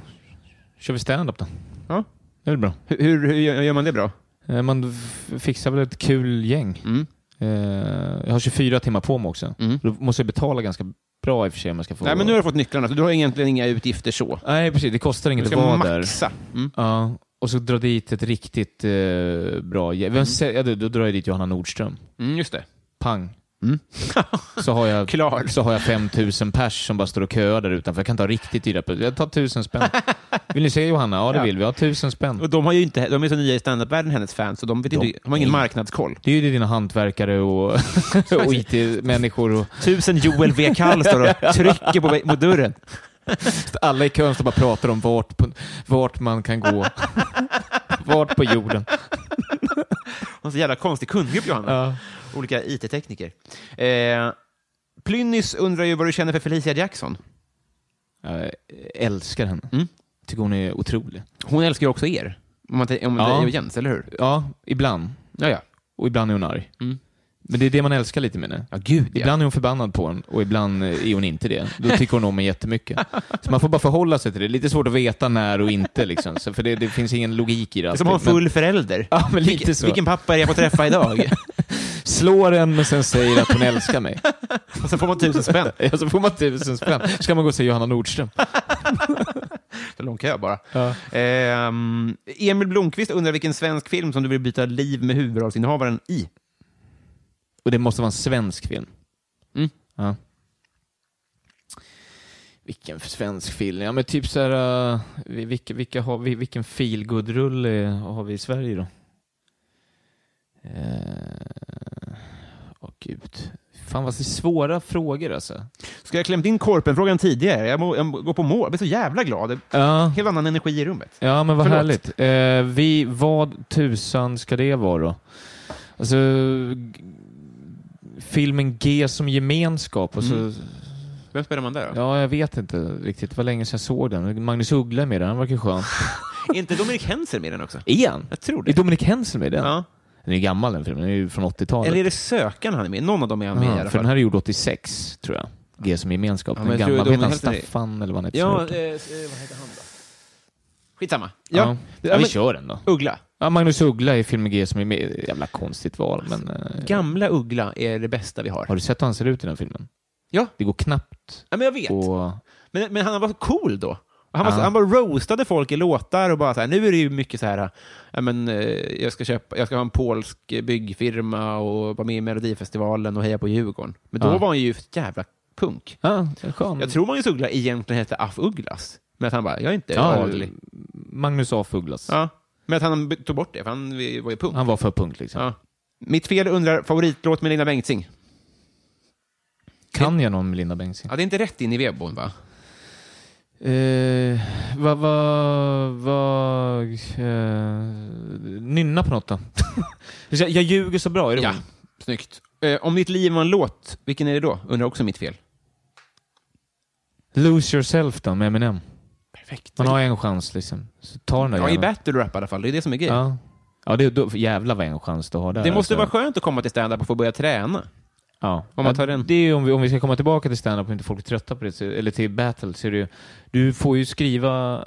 Speaker 2: Kör vi stand-up då?
Speaker 1: Ja.
Speaker 2: Det är väl bra.
Speaker 1: Hur, hur, hur gör man det bra?
Speaker 2: Eh, Man f- fixar väl ett kul gäng.
Speaker 1: Mm.
Speaker 2: Eh, Jag har 24 timmar på mig också.
Speaker 1: Mm.
Speaker 2: Då måste jag betala ganska bra i och för sig om jag ska få...
Speaker 1: Nej, men nu har du fått nycklarna, så du har egentligen inga utgifter så.
Speaker 2: Nej, precis. Det kostar
Speaker 1: Du
Speaker 2: inget att
Speaker 1: ska
Speaker 2: vara där.
Speaker 1: maxa. Mm.
Speaker 2: Ja. Och så dra dit ett riktigt eh, bra gäng. Vem sä- ja, då, då drar jag dit Johanna Nordström.
Speaker 1: Mm, just det.
Speaker 2: Pang. så, har jag,
Speaker 1: Klar.
Speaker 2: så har jag 5000 pers som bara står och köar där utanför. Jag kan ta riktigt dyra pris. Jag tar 1000 spänn. Vill ni se Johanna? Ja, det
Speaker 1: Ja.
Speaker 2: vill vi. Ja, 1000 spänn.
Speaker 1: Och de, har ju inte, de är så nya i standupvärlden, hennes fans, så de, vet
Speaker 2: De-
Speaker 1: inte, de har ingen marknadskoll.
Speaker 2: Det är ju dina hantverkare och, och IT-människor. Och
Speaker 1: Tusen Joel V. Kall står och trycker på, mot dörren.
Speaker 2: alla i kön som bara pratar om vart, på- vart man kan gå. vart på jorden.
Speaker 1: Hon är så jävla konstig kundgrupp, Johanna. Olika IT-tekniker. Eh, Plynnis undrar ju vad du känner för Felicia Jackson.
Speaker 2: Jag älskar henne. Tycker hon är otrolig.
Speaker 1: Hon älskar ju också er, om man t- om
Speaker 2: Ja.
Speaker 1: det är Jens, eller hur?
Speaker 2: Ja, ibland.
Speaker 1: Ja, ja.
Speaker 2: Och ibland är hon arg. Men det är det man älskar lite med henne.
Speaker 1: Ja, gud ja.
Speaker 2: Ibland är hon förbannad på en och ibland eh, är hon inte det. Då tycker hon om en jättemycket. Så man får bara förhålla sig till det. Det är lite svårt att veta när och inte, liksom. så för det, det finns ingen logik i det.
Speaker 1: Det är som att ha en
Speaker 2: alltid. Men
Speaker 1: full förälder.
Speaker 2: Ja, men lite
Speaker 1: vilken,
Speaker 2: så.
Speaker 1: vilken pappa är jag på att träffa idag?
Speaker 2: Slår en, men sen säger att hon älskar mig.
Speaker 1: och sen får man tusen spänn.
Speaker 2: Ja, så får man tusen spänn. Ska man gå och se Johanna Nordström.
Speaker 1: Så lång kö bara. Ehm, Emil Blomqvist undrar vilken svensk film som du vill byta liv med huvudrollsinnehavaren i.
Speaker 2: Och det måste vara en svensk film.
Speaker 1: Mm.
Speaker 2: Ja. Vilken svensk film? Ja, men typ så här, uh, vi- vilka, vilka har vi, vilken feelgood-rulle har vi i Sverige då? Åh Eh, åh, gud. Fan vad det är svåra frågor alltså.
Speaker 1: Ska jag klämt in korpenfrågan tidigare? Jag, må, jag må- går på mål. Jag blir så jävla glad. Det är
Speaker 2: Ja,
Speaker 1: Helt annan energi i rummet.
Speaker 2: ja men vad
Speaker 1: Förlåt.
Speaker 2: härligt. Eh, vi, vad tusan ska det vara då? Alltså, g- filmen G som gemenskap alltså, och så
Speaker 1: Mm. Vem spelar man där? då?
Speaker 2: Ja, jag vet inte riktigt. Det var länge sedan jag såg den. Magnus Uggla är med i den. Han verkar skön.
Speaker 1: Är inte Dominik Henser med i den också?
Speaker 2: Är han?
Speaker 1: Jag tror
Speaker 2: Är
Speaker 1: det.
Speaker 2: Dominik Hensen med i den?
Speaker 1: Ja.
Speaker 2: Den är gammal den filmen. Den är ju från 80-talet.
Speaker 1: Eller är det Sökan han är med i? Någon av dem är han med i
Speaker 2: ja,
Speaker 1: alla
Speaker 2: för den
Speaker 1: fall.
Speaker 2: här är gjord 86, tror jag. G som gemenskap.
Speaker 1: Ja,
Speaker 2: den
Speaker 1: men jag tror
Speaker 2: gamla. Vad
Speaker 1: Dominik
Speaker 2: heter
Speaker 1: Hensen
Speaker 2: han?
Speaker 1: är-
Speaker 2: Staffan eller vad han heter? som har
Speaker 1: Ja,
Speaker 2: gjort den?
Speaker 1: eh, eh, vad heter han då? Skitsamma.
Speaker 2: ja.
Speaker 1: Ja.
Speaker 2: ja. vi
Speaker 1: men-
Speaker 2: kör den då.
Speaker 1: Uggla.
Speaker 2: Ja, Magnus Uggla i filmen G som är med. Jävla konstigt val, men... eh,
Speaker 1: Gamla Uggla är det bästa vi har.
Speaker 2: Har du sett hur han ser ut i den filmen?
Speaker 1: Ja.
Speaker 2: Det går knappt
Speaker 1: Ja, men jag vet.
Speaker 2: och...
Speaker 1: Men, men han var cool då. Han, var,
Speaker 2: Ja.
Speaker 1: han bara roastade folk i låtar och bara så här, nu är det ju mycket så här, ja, men, eh, jag, ska köpa, jag ska ha en polsk eh, byggfirma och vara med i Melodifestivalen och heja på Djurgården. Men då
Speaker 2: Ja. Mm.
Speaker 1: var han ju ett jävla punk.
Speaker 2: Ja, skön.
Speaker 1: Jag tror Magnus Uggla egentligen hette Aff Ugglas, men att han bara, jag är inte
Speaker 2: Ja,
Speaker 1: adlig.
Speaker 2: Magnus A. Fuglas.
Speaker 1: Ja. Men att han b- tog bort det, för han var ju punk.
Speaker 2: Han var för punk liksom.
Speaker 1: Ja. Mitt fel undrar favoritlåt med Linda Bengtzing.
Speaker 2: Kan jag någon med Linda Bengtzing?
Speaker 1: Ja, det är inte rätt in i vedboden, va?
Speaker 2: Eh, vad, vad, vad, eh, nynna på något då. jag, jag ljuger så bra, är det
Speaker 1: Ja.
Speaker 2: hon?
Speaker 1: Snyggt. Eh, om ditt liv var en låt, vilken är det då? Undrar också mitt fel.
Speaker 2: Lose yourself då, med Eminem.
Speaker 1: Perfekt.
Speaker 2: Man har ju en chans liksom. Så ta den där
Speaker 1: Ja, i
Speaker 2: jäveln.
Speaker 1: battle rap i alla fall. Det är det som är grejen.
Speaker 2: Ja, ja det, då, jävlar vad en chans du har där.
Speaker 1: Det måste
Speaker 2: alltså.
Speaker 1: vara skönt att komma till stand-up och få börja träna.
Speaker 2: Ja.
Speaker 1: Om man
Speaker 2: Ja,
Speaker 1: tar den.
Speaker 2: Det är ju om vi, om vi ska komma tillbaka till stand-up och inte folk är trötta på det, så, eller till battle, så är det ju, du får ju skriva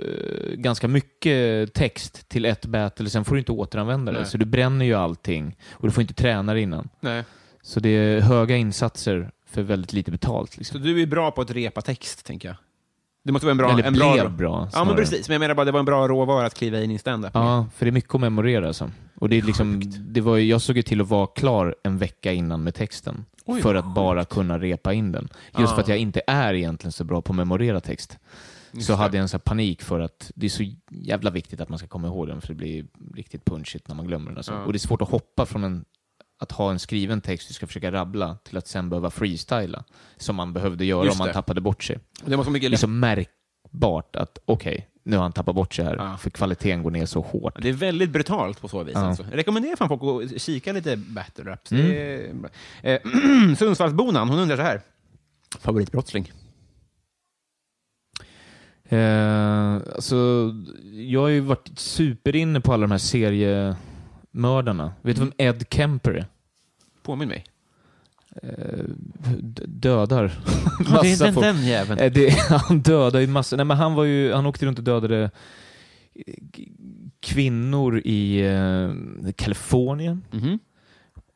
Speaker 2: eh, ganska mycket text till ett battle, sen får du inte återanvända
Speaker 1: Nej.
Speaker 2: det. Så du bränner ju allting och du får inte träna det innan.
Speaker 1: Nej.
Speaker 2: Så det är höga insatser för väldigt lite betalt.
Speaker 1: Så
Speaker 2: Liksom.
Speaker 1: du är bra på att repa text, tänker jag. Det måste vara en bra...
Speaker 2: Eller
Speaker 1: en
Speaker 2: blev
Speaker 1: bra,
Speaker 2: bra,
Speaker 1: Ja, men
Speaker 2: snarare.
Speaker 1: precis. Men jag menar bara, det var en bra råvara att kliva in i stand-up.
Speaker 2: Ja, för det är mycket att memorera. Alltså. Och det är liksom, det var ju, jag såg ju till att vara klar en vecka innan med texten.
Speaker 1: Oj,
Speaker 2: för
Speaker 1: vad
Speaker 2: att bara kunna repa in den. Just för att jag inte är egentligen så bra på att memorera text. så hade jag en sån här panik för att det är så jävla viktigt att man ska komma ihåg den, för det blir riktigt punchigt när man glömmer den. Alltså. Och det är svårt att hoppa från en, att ha en skriven text du ska försöka rabbla till att sen behöva freestyla, som man behövde göra
Speaker 1: Just
Speaker 2: om man
Speaker 1: det.
Speaker 2: tappade bort sig
Speaker 1: Det måste vara mycket
Speaker 2: det är så märkbart att okej, nu har han tappat bort sig här,
Speaker 1: Ja.
Speaker 2: för kvaliteten går ner så hårt.
Speaker 1: Det är väldigt brutalt på så vis. Alltså. Jag rekommenderar fan folk att kika lite battle raps. Det är
Speaker 2: Mm.
Speaker 1: bra. Eh, Sundsvallsbonan, hon undrar så här. Favoritbrottsling?
Speaker 2: Eh, alltså, jag har ju varit superinne på alla de här seriemördarna. Vet du vem Ed Kemper är? Eh,
Speaker 1: Påminn mig.
Speaker 2: D- dödar massa folk.
Speaker 1: jäveln.
Speaker 2: Eh, det, han dödar ju massa, nej men han var ju, han åkte runt och dödade k- kvinnor i eh, Kalifornien.
Speaker 1: Mhm.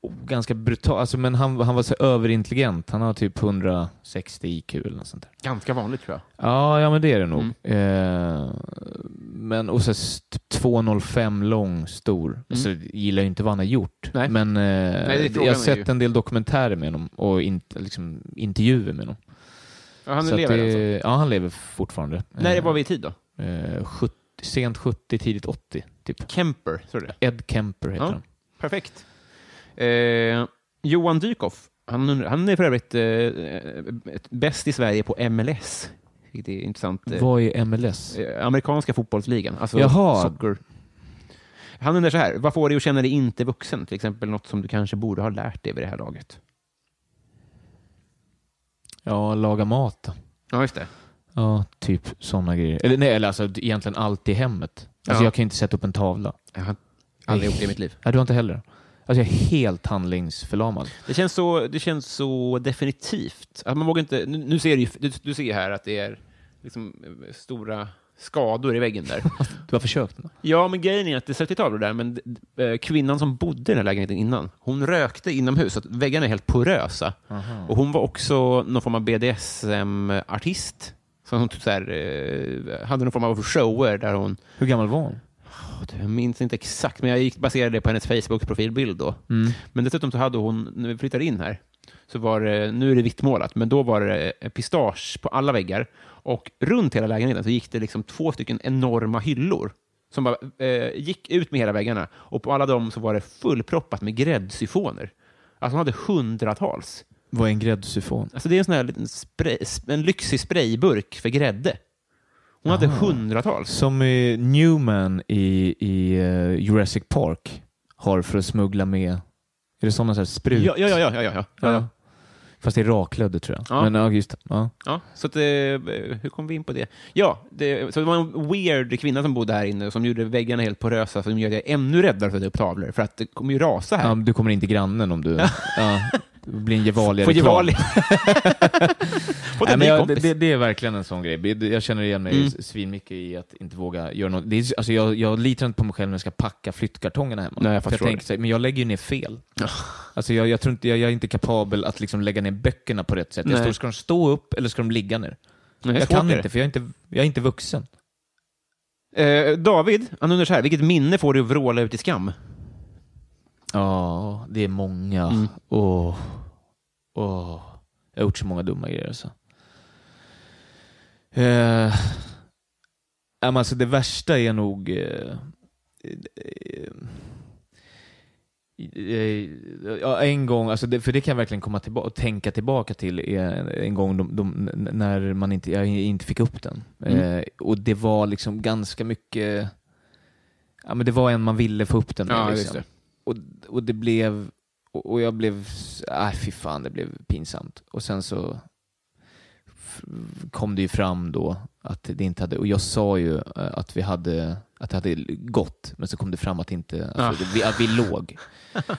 Speaker 2: Och Ganska brutal, alltså, men han, han var så överintelligent. Han har typ 160 IQ eller något sånt där.
Speaker 1: Ganska vanligt tror jag.
Speaker 2: Ja, ja men det är det nog.
Speaker 1: Mm.
Speaker 2: Eh, men, och så st- 2,05 lång, stor. Alltså, jag gillar ju inte vad han har gjort.
Speaker 1: Mm. Nej.
Speaker 2: Men eh,
Speaker 1: är frågan
Speaker 2: jag har
Speaker 1: är
Speaker 2: sett
Speaker 1: ju-
Speaker 2: en del dokumentärer med honom och in, liksom, intervjuer med honom.
Speaker 1: Ja, han
Speaker 2: Så att
Speaker 1: lever
Speaker 2: det,
Speaker 1: alltså.
Speaker 2: Ja, han lever fortfarande.
Speaker 1: När var vi i tid då?
Speaker 2: Eh, 70, sent 70, tidigt 80, typ.
Speaker 1: Kemper, tror du det?
Speaker 2: Ed Kemper heter
Speaker 1: Ja.
Speaker 2: han.
Speaker 1: Perfekt. Eh, Johan Dykhoff, han, undrar- han är för övrigt eh, eh, bäst i Sverige på MLS. Det är intressant. eh,
Speaker 2: Vad är MLS?
Speaker 1: eh, amerikanska fotbollsligan, alltså
Speaker 2: Jaha.
Speaker 1: soccer. Han undrar så här, vad får dig att känna dig inte vuxen? Till exempel något som du kanske borde ha lärt dig vid det här laget.
Speaker 2: Ja, laga mat. då.
Speaker 1: Ja, just det.
Speaker 2: Ja, typ sådana grejer. Eller nej, eller alltså egentligen allt i hemmet. Alltså
Speaker 1: Ja.
Speaker 2: jag kan ju inte sätta upp en tavla.
Speaker 1: Jag har aldrig gjort det i mitt liv.
Speaker 2: Nej, du har inte heller. Alltså jag är helt handlingsförlamad.
Speaker 1: Det känns så, det känns så definitivt. Att man vågar inte, nu, nu ser du, ju- du, du ser ju här att det är liksom eh, stora skador i väggen där.
Speaker 2: Du har försökt?
Speaker 1: ja, men grejen är att det sätter tavlor där, men eh, kvinnan som bodde i den här lägenheten innan, hon rökte inomhus, så att väggarna är helt porösa. Och hon var också någon form av BDSM-artist. Så hon typ så här, eh, hade någon form av shower där hon
Speaker 2: Hur gammal var hon?
Speaker 1: jag minns inte exakt, men jag gick, baserade det på hennes Facebook-profilbild då. Men dessutom så hade hon, när vi flyttade in här, så var det, nu är det vittmålat, men då var det eh, pistage på alla väggar. Och runt hela lägenheten så gick det liksom två stycken enorma hyllor som bara eh, gick ut med hela väggarna. Och på alla dem så var det fullproppat med gräddsyfoner. Alltså hon hade hundratals.
Speaker 2: Vad är en gräddsyfon?
Speaker 1: Alltså det är en sån här liten spray, en lyxig sprayburk för grädde. Hon hade hundratals.
Speaker 2: Som eh, Newman i, i eh, Jurassic Park har för att smuggla med... Är det sådana så här sprut?
Speaker 1: Ja, ja, ja, ja, ja, ja. ja, ja.
Speaker 2: Fast det är raklödder tror jag.
Speaker 1: Ja.
Speaker 2: Men ja, just det. Ja.
Speaker 1: Ja, så att, eh, hur kom vi in på det? Ja, det, så det var en weird kvinna som bodde här inne som gjorde väggarna helt porösa som gör att jag är ännu räddare för att ta upp tavlor för att det kommer ju rasa här.
Speaker 2: Ja, men du kommer inte grannen om du... ja. Det blir en gevalia
Speaker 1: Får Gevalia. Fått
Speaker 2: Nej,
Speaker 1: en
Speaker 2: men
Speaker 1: ny
Speaker 2: jag, det,
Speaker 1: kompis. Mm.
Speaker 2: det, det är verkligen en sån grej. Det- Jag känner igen mig svinmycket i att inte våga göra något. Det är, alltså jag, jag litar inte på mig själv när jag ska packa flyttkartongerna hemma.
Speaker 1: Nej, jag
Speaker 2: För
Speaker 1: förstår
Speaker 2: tänker
Speaker 1: det.
Speaker 2: så här, men jag lägger ju ner fel. Alltså jag, jag, tror inte, jag, jag är inte kapabel att liksom lägga ner böckerna på rätt sätt. Jag
Speaker 1: Nej.
Speaker 2: står, ska de stå upp eller ska de ligga ner?
Speaker 1: Nej,
Speaker 2: jag
Speaker 1: svårt är
Speaker 2: kan
Speaker 1: det.
Speaker 2: inte, för jag är inte, jag är inte vuxen.
Speaker 1: Eh, David, han undrar så här, vilket minne får du att vråla ut i skam?
Speaker 2: Ja, det är många.
Speaker 1: Mm.
Speaker 2: Åh, åh. Jag har gjort så många dumma grejer alltså. Eh, Ja, men alltså det värsta är nog... Eh, eh, eh, ja, en gång, alltså det, för det kan jag verkligen komma tillbaka, tänka tillbaka till, är en gång de, de, n- när man inte, jag inte fick upp den.
Speaker 1: Mm.
Speaker 2: Eh, och det var liksom ganska mycket... Ja, men det var en man ville få upp den med,
Speaker 1: Ja,
Speaker 2: liksom.
Speaker 1: just det.
Speaker 2: Och, och det blev, och och jag blev, äh, fy fan det blev pinsamt. Och sen så f- kom det ju fram då att det inte hade, och jag sa ju eh, att vi hade, att det hade gått, men så kom det fram att inte, alltså,
Speaker 1: Ah.
Speaker 2: det, vi, att vi låg.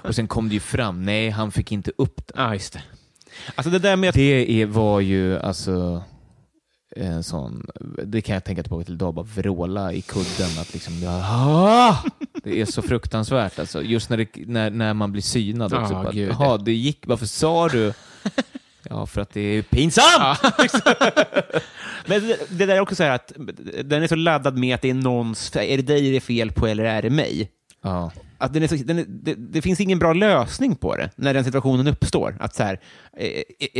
Speaker 2: Och sen kom det ju fram, nej han fick inte upp den.
Speaker 1: Ja, Ah, just det. Alltså det där med att...
Speaker 2: Det är, var ju alltså en sån, det kan jag tänka tillbaka till idag, bara vråla i kudden. Att liksom, ja, det är så fruktansvärt alltså. Just när, det, när, när man blir synad också.
Speaker 1: Ja,
Speaker 2: bara,
Speaker 1: Ah, gud.
Speaker 2: "Jaha, det gick, varför sa du? Ja, för att det är
Speaker 1: Ah.
Speaker 2: pinsamt!
Speaker 1: Men det, det där är också så här att den är så laddad med att det är någons... Är det dig det är fel på eller är det mig?
Speaker 2: Ja.
Speaker 1: Att den är så, den är, det, det finns ingen bra lösning på det när den situationen uppstår. Att så här, eh,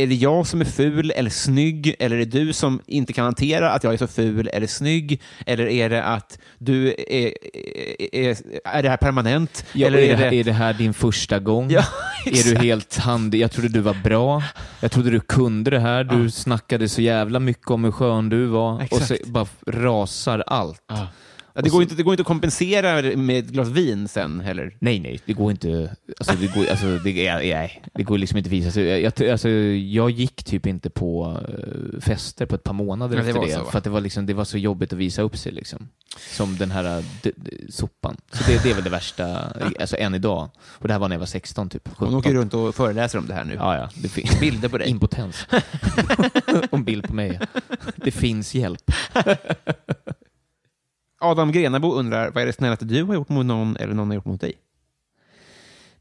Speaker 1: är det jag som är ful eller snygg? Eller är det du som inte kan hantera att jag är så ful eller snygg? Eller är det att du är... Är, är, är det här permanent? eller
Speaker 2: Eller är, det, här- är det här din första gång?
Speaker 1: Ja,
Speaker 2: är du helt hand... Jag trodde du var bra. Jag trodde du kunde det här. Du snackade så jävla mycket om hur skön du var. Och
Speaker 1: Exakt.
Speaker 2: så bara rasar allt.
Speaker 1: Ja, det, går inte, det går inte att kompensera med ett glas vin sen heller.
Speaker 2: Nej, nej, det går inte. Alltså, det går, alltså, det, ja, nej, det går liksom inte att visa sig. Jag, jag, alltså, jag gick typ inte på eh, fester på ett par månader
Speaker 1: Ja, det
Speaker 2: efter
Speaker 1: var
Speaker 2: det.
Speaker 1: så, va?
Speaker 2: för att det var, liksom, det var så jobbigt att visa upp sig. Liksom. Som den här eh, d- d- sopan. Så det, det är väl det värsta, alltså än idag. Och det här var när jag var 16, typ. 17.
Speaker 1: Hon åker runt och föreläser om det här nu.
Speaker 2: Ja, ja. Det fin-
Speaker 1: Bilder på dig.
Speaker 2: Impotens. och en bild på mig. Det finns hjälp.
Speaker 1: Adam Grenabo undrar, vad är det snällaste du har gjort mot någon eller någon har gjort mot dig?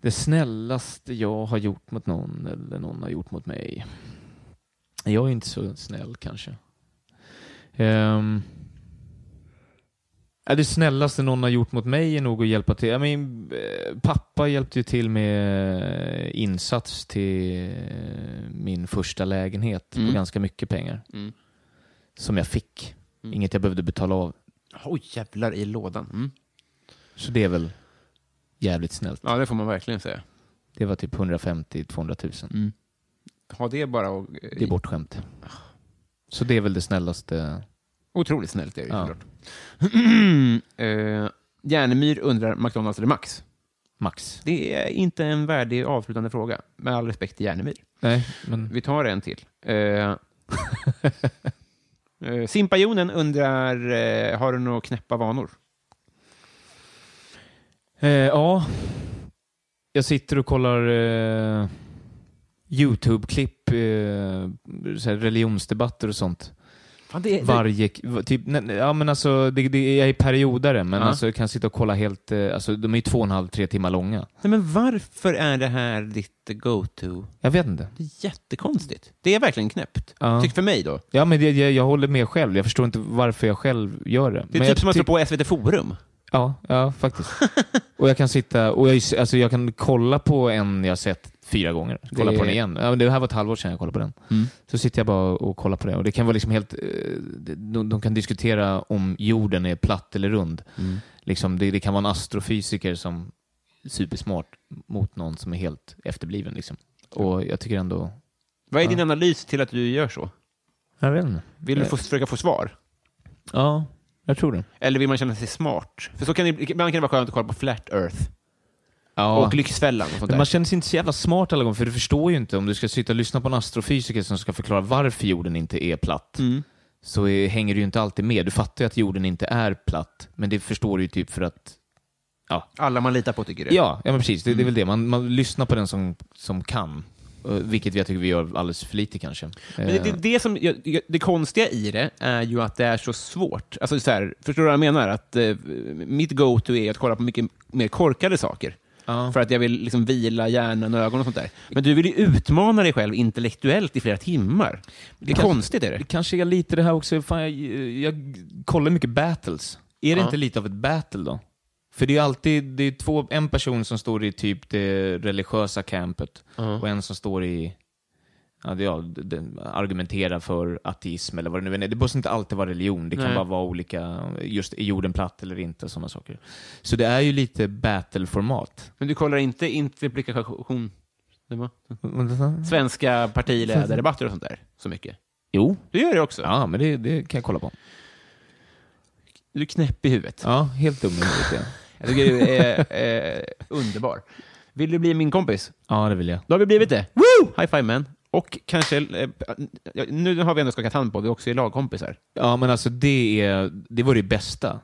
Speaker 2: Det snällaste jag har gjort mot någon eller någon har gjort mot mig. Jag är inte så snäll kanske. Ehm. Ja, det snällaste någon har gjort mot mig är nog att hjälpa till. Ja, Min eh, pappa hjälpte ju till med eh, insats till eh, min första lägenhet
Speaker 1: Mm.
Speaker 2: på ganska mycket pengar.
Speaker 1: Mm.
Speaker 2: Som jag fick.
Speaker 1: Mm.
Speaker 2: Inget jag behövde betala av.
Speaker 1: Oj, jävlar i lådan. Mm.
Speaker 2: Så det är väl jävligt snällt.
Speaker 1: Ja, det får man verkligen säga.
Speaker 2: Det var typ 150-200 000.
Speaker 1: Ha det bara och... eh,
Speaker 2: Det är bortskämt. Så det är väl det snällaste.
Speaker 1: Otroligt snällt är det ju
Speaker 2: Ja.
Speaker 1: såklart. Eh, Järnemyr undrar, McDonalds eller Max?
Speaker 2: Max.
Speaker 1: Det är inte en värdig avslutande fråga, med all respekt till Järnemyr.
Speaker 2: Nej, men...
Speaker 1: Vi tar en till. Eh, eh, Simpajonen undrar, eh, har du några knäppa vanor?
Speaker 2: Eh, ja. Jag sitter och kollar eh, YouTube-klipp, eh, så här religionsdebatter och sånt. Varje... k- Typ, nej, nej, ja, men alltså, det, det, jag är periodare, men
Speaker 1: Ja.
Speaker 2: alltså, jag kan sitta och kolla helt... eh, Alltså, de är ju två och en halv, tre timmar långa.
Speaker 1: Nej, men varför är det här ditt go-to?
Speaker 2: Jag vet inte.
Speaker 1: Det är jättekonstigt. Det är verkligen knäppt.
Speaker 2: Ja.
Speaker 1: Tycker för mig då.
Speaker 2: Ja, men det, jag, jag håller med själv. Jag förstår inte varför jag själv gör det.
Speaker 1: Det är
Speaker 2: men
Speaker 1: typ
Speaker 2: jag
Speaker 1: som att slå på
Speaker 2: tyck-
Speaker 1: SVT Forum.
Speaker 2: Ja, ja faktiskt. och jag kan sitta och jag, alltså jag kan kolla på en jag sett fyra gånger. Kolla
Speaker 1: Det-
Speaker 2: på den igen. Ja, men det här var ett halvår sedan jag kollade på den.
Speaker 1: Mm.
Speaker 2: Så sitter jag bara och kollar på den. Och det kan vara liksom helt... eh, De, de kan diskutera om jorden är platt eller rund.
Speaker 1: Mm.
Speaker 2: Liksom det, det kan vara en astrofysiker som är supersmart mot någon som är helt efterbliven. Liksom. Och jag tycker ändå...
Speaker 1: Vad är
Speaker 2: Ja.
Speaker 1: din analys till att du gör så?
Speaker 2: Jag vet inte.
Speaker 1: Vill du
Speaker 2: Eh.
Speaker 1: få, försöka få svar?
Speaker 2: Ja, jag tror det.
Speaker 1: Eller vill man känna sig smart? För så kan det, ibland kan det vara skönt att kolla på Flat Earth
Speaker 2: Ja.
Speaker 1: och Lyxfällan och sånt
Speaker 2: Men man
Speaker 1: där.
Speaker 2: känner sig inte så jävla smart alla gånger, för du förstår ju inte om du ska sitta och lyssna på en astrofysiker som ska förklara varför jorden inte är platt.
Speaker 1: Mm.
Speaker 2: Så är, hänger du ju inte alltid med. Du fattar ju att jorden inte är platt, men det förstår du ju typ för att...
Speaker 1: Alla man litar på tycker det.
Speaker 2: Ja, ja men precis.
Speaker 1: Mm.
Speaker 2: Det, det är väl det. Man, man lyssnar på den som, som kan. Eh, Vilket jag tycker vi gör alldeles för lite kanske.
Speaker 1: Men det, det, det, som, jag- jag- det konstiga i det är ju att det är så svårt. Alltså så här, förstår du vad jag menar? Att, eh, mitt go-to är att kolla på mycket mer korkade saker.
Speaker 2: Ja.
Speaker 1: För att jag vill liksom vila hjärnan och ögonen och sånt där. Men du vill ju utmana dig själv intellektuellt i flera timmar. Det är
Speaker 2: kanske-
Speaker 1: konstigt är det.
Speaker 2: Det kanske är lite det här också, fan, jag, jag kollar mycket battles. Är det
Speaker 1: Ja.
Speaker 2: inte lite av ett battle då? För det är ju alltid det är två, en person som står i typ det religiösa campet och en som står i ja, det- ja, den argumenterar för ateism eller vad det nu än är. Det behöver inte alltid vara religion, det kan
Speaker 1: Nej.
Speaker 2: bara vara olika, just är jorden platt eller inte, sådana saker. Så det är ju lite battle-format.
Speaker 1: Men du kollar inte interplikation? det var- Svenska partiledardebatter och sånt där? Så mycket?
Speaker 2: Jo.
Speaker 1: Du gör det också?
Speaker 2: Ja, men det, det kan jag kolla på.
Speaker 1: Du är knäpp i huvudet.
Speaker 2: Ja, helt dum i huvudet. ja.
Speaker 1: Jag tycker du är eh, underbar. Vill du bli min kompis?
Speaker 2: Ja, det vill jag.
Speaker 1: Då har vi blivit det. Woo! High five man. Och kanske... Eh, ja, nu har vi ändå skakat hand på, vi också är lagkompisar.
Speaker 2: Ja, men alltså det, är, det var det bästa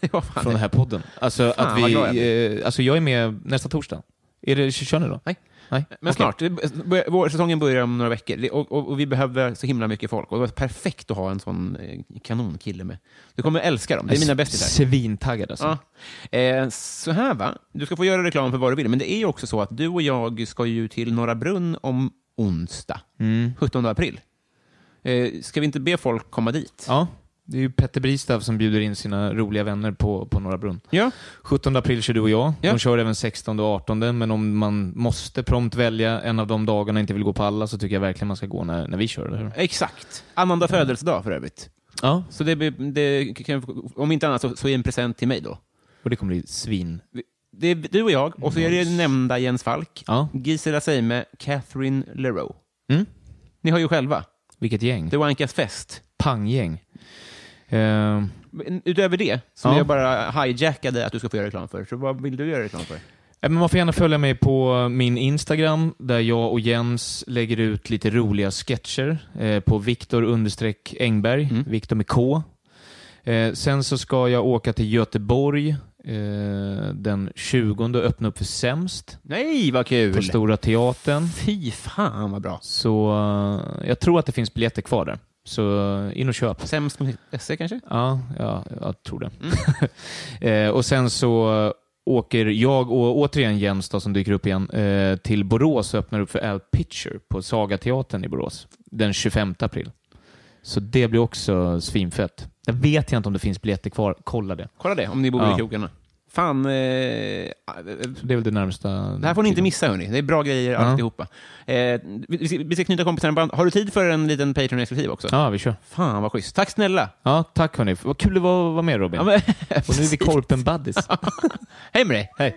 Speaker 1: ja, fan.
Speaker 2: från den här podden. Alltså,
Speaker 1: Fan,
Speaker 2: att
Speaker 1: vad
Speaker 2: vi,
Speaker 1: glad jag
Speaker 2: eh, alltså jag är med nästa torsdag. Är det, kör ni då?
Speaker 1: Nej.
Speaker 2: Nej.
Speaker 1: Men
Speaker 2: Okej.
Speaker 1: snart. Det bör- Vår säsongen börjar om några veckor Det- och, och, och vi behöver så himla mycket folk. Och det var perfekt att ha en sån eh, kanonkille med. Du kommer älska dem. Det är mina bästisar.
Speaker 2: Svintaggad alltså.
Speaker 1: Ja. Eh, så här va, du ska få göra reklam för vad du vill, men det är ju också så att du och jag ska ju till Norra Brunn om onsdag,
Speaker 2: Mm.
Speaker 1: 17 april. Eh, ska vi inte be folk komma dit?
Speaker 2: Ja, det är ju Petter Bristav som bjuder in sina roliga vänner på, på Norra Brunn.
Speaker 1: Ja.
Speaker 2: 17 april kör du och jag.
Speaker 1: Ja.
Speaker 2: De kör även 16 och 18, men om man måste prompt välja en av de dagarna och inte vill gå på alla så tycker jag verkligen man ska gå när, när vi kör. Eller? hur?
Speaker 1: Exakt. Annandag födelsedag för övrigt.
Speaker 2: Ja,
Speaker 1: Så det, blir- det, kan- om inte annat så, så är en present till mig då.
Speaker 2: och det kommer bli svin.
Speaker 1: Det är du och jag, och så är det nämnda Jens Falk,
Speaker 2: Ja.
Speaker 1: Gisela Seime, Catherine Leroux.
Speaker 2: Mm.
Speaker 1: Ni har ju själva,
Speaker 2: Vilket gäng.
Speaker 1: The Wankas Fest.
Speaker 2: Panggäng. Eh,
Speaker 1: Men Utöver det, som
Speaker 2: Ja.
Speaker 1: jag bara hijackade att du ska få göra reklam för, så vad vill du göra reklam för?
Speaker 2: Ja, Eh, Men man får gärna följa mig på min Instagram där jag och Jens lägger ut lite roliga sketcher eh, på Viktor understreck Engberg, Viktor med K. Eh, sen så ska jag åka till Göteborg eh, den 20 och öppna upp för Sämst
Speaker 1: Nej, vad kul!
Speaker 2: på Stora Teatern.
Speaker 1: Fy fan vad bra.
Speaker 2: Så eh, jag tror att det finns biljetter kvar där. Så eh, in och köp.
Speaker 1: Sämst.se E kanske?
Speaker 2: Ja, ja jag tror det.
Speaker 1: Mm.
Speaker 2: eh, och sen så åker jag och återigen Jens då, som dyker upp igen eh, till Borås och öppnar upp för Al Pitcher på Sagateatern i Borås den 25 april. Så det blir också svinfett. Jag vet inte om det finns biljetter kvar. Kolla det.
Speaker 1: Kolla det om ni bor i
Speaker 2: Ja.
Speaker 1: krokarna. Fan, eh, eh,
Speaker 2: Så det är väl det närmsta.
Speaker 1: det här får ni inte missa hörni. Det är bra grejer alltihopa. Eh, vi, vi ska- vi ska knyta kompisarna band. Har du tid för en liten Patreon-exklusiv också?
Speaker 2: Ja, vi kör.
Speaker 1: Fan vad schysst. Tack snälla!
Speaker 2: Ja, tack hörni. Vad kul det var att vara med Robin.
Speaker 1: Ja, men,
Speaker 2: och nu är vi korpen buddies.
Speaker 1: Hej med dig!
Speaker 2: Hej.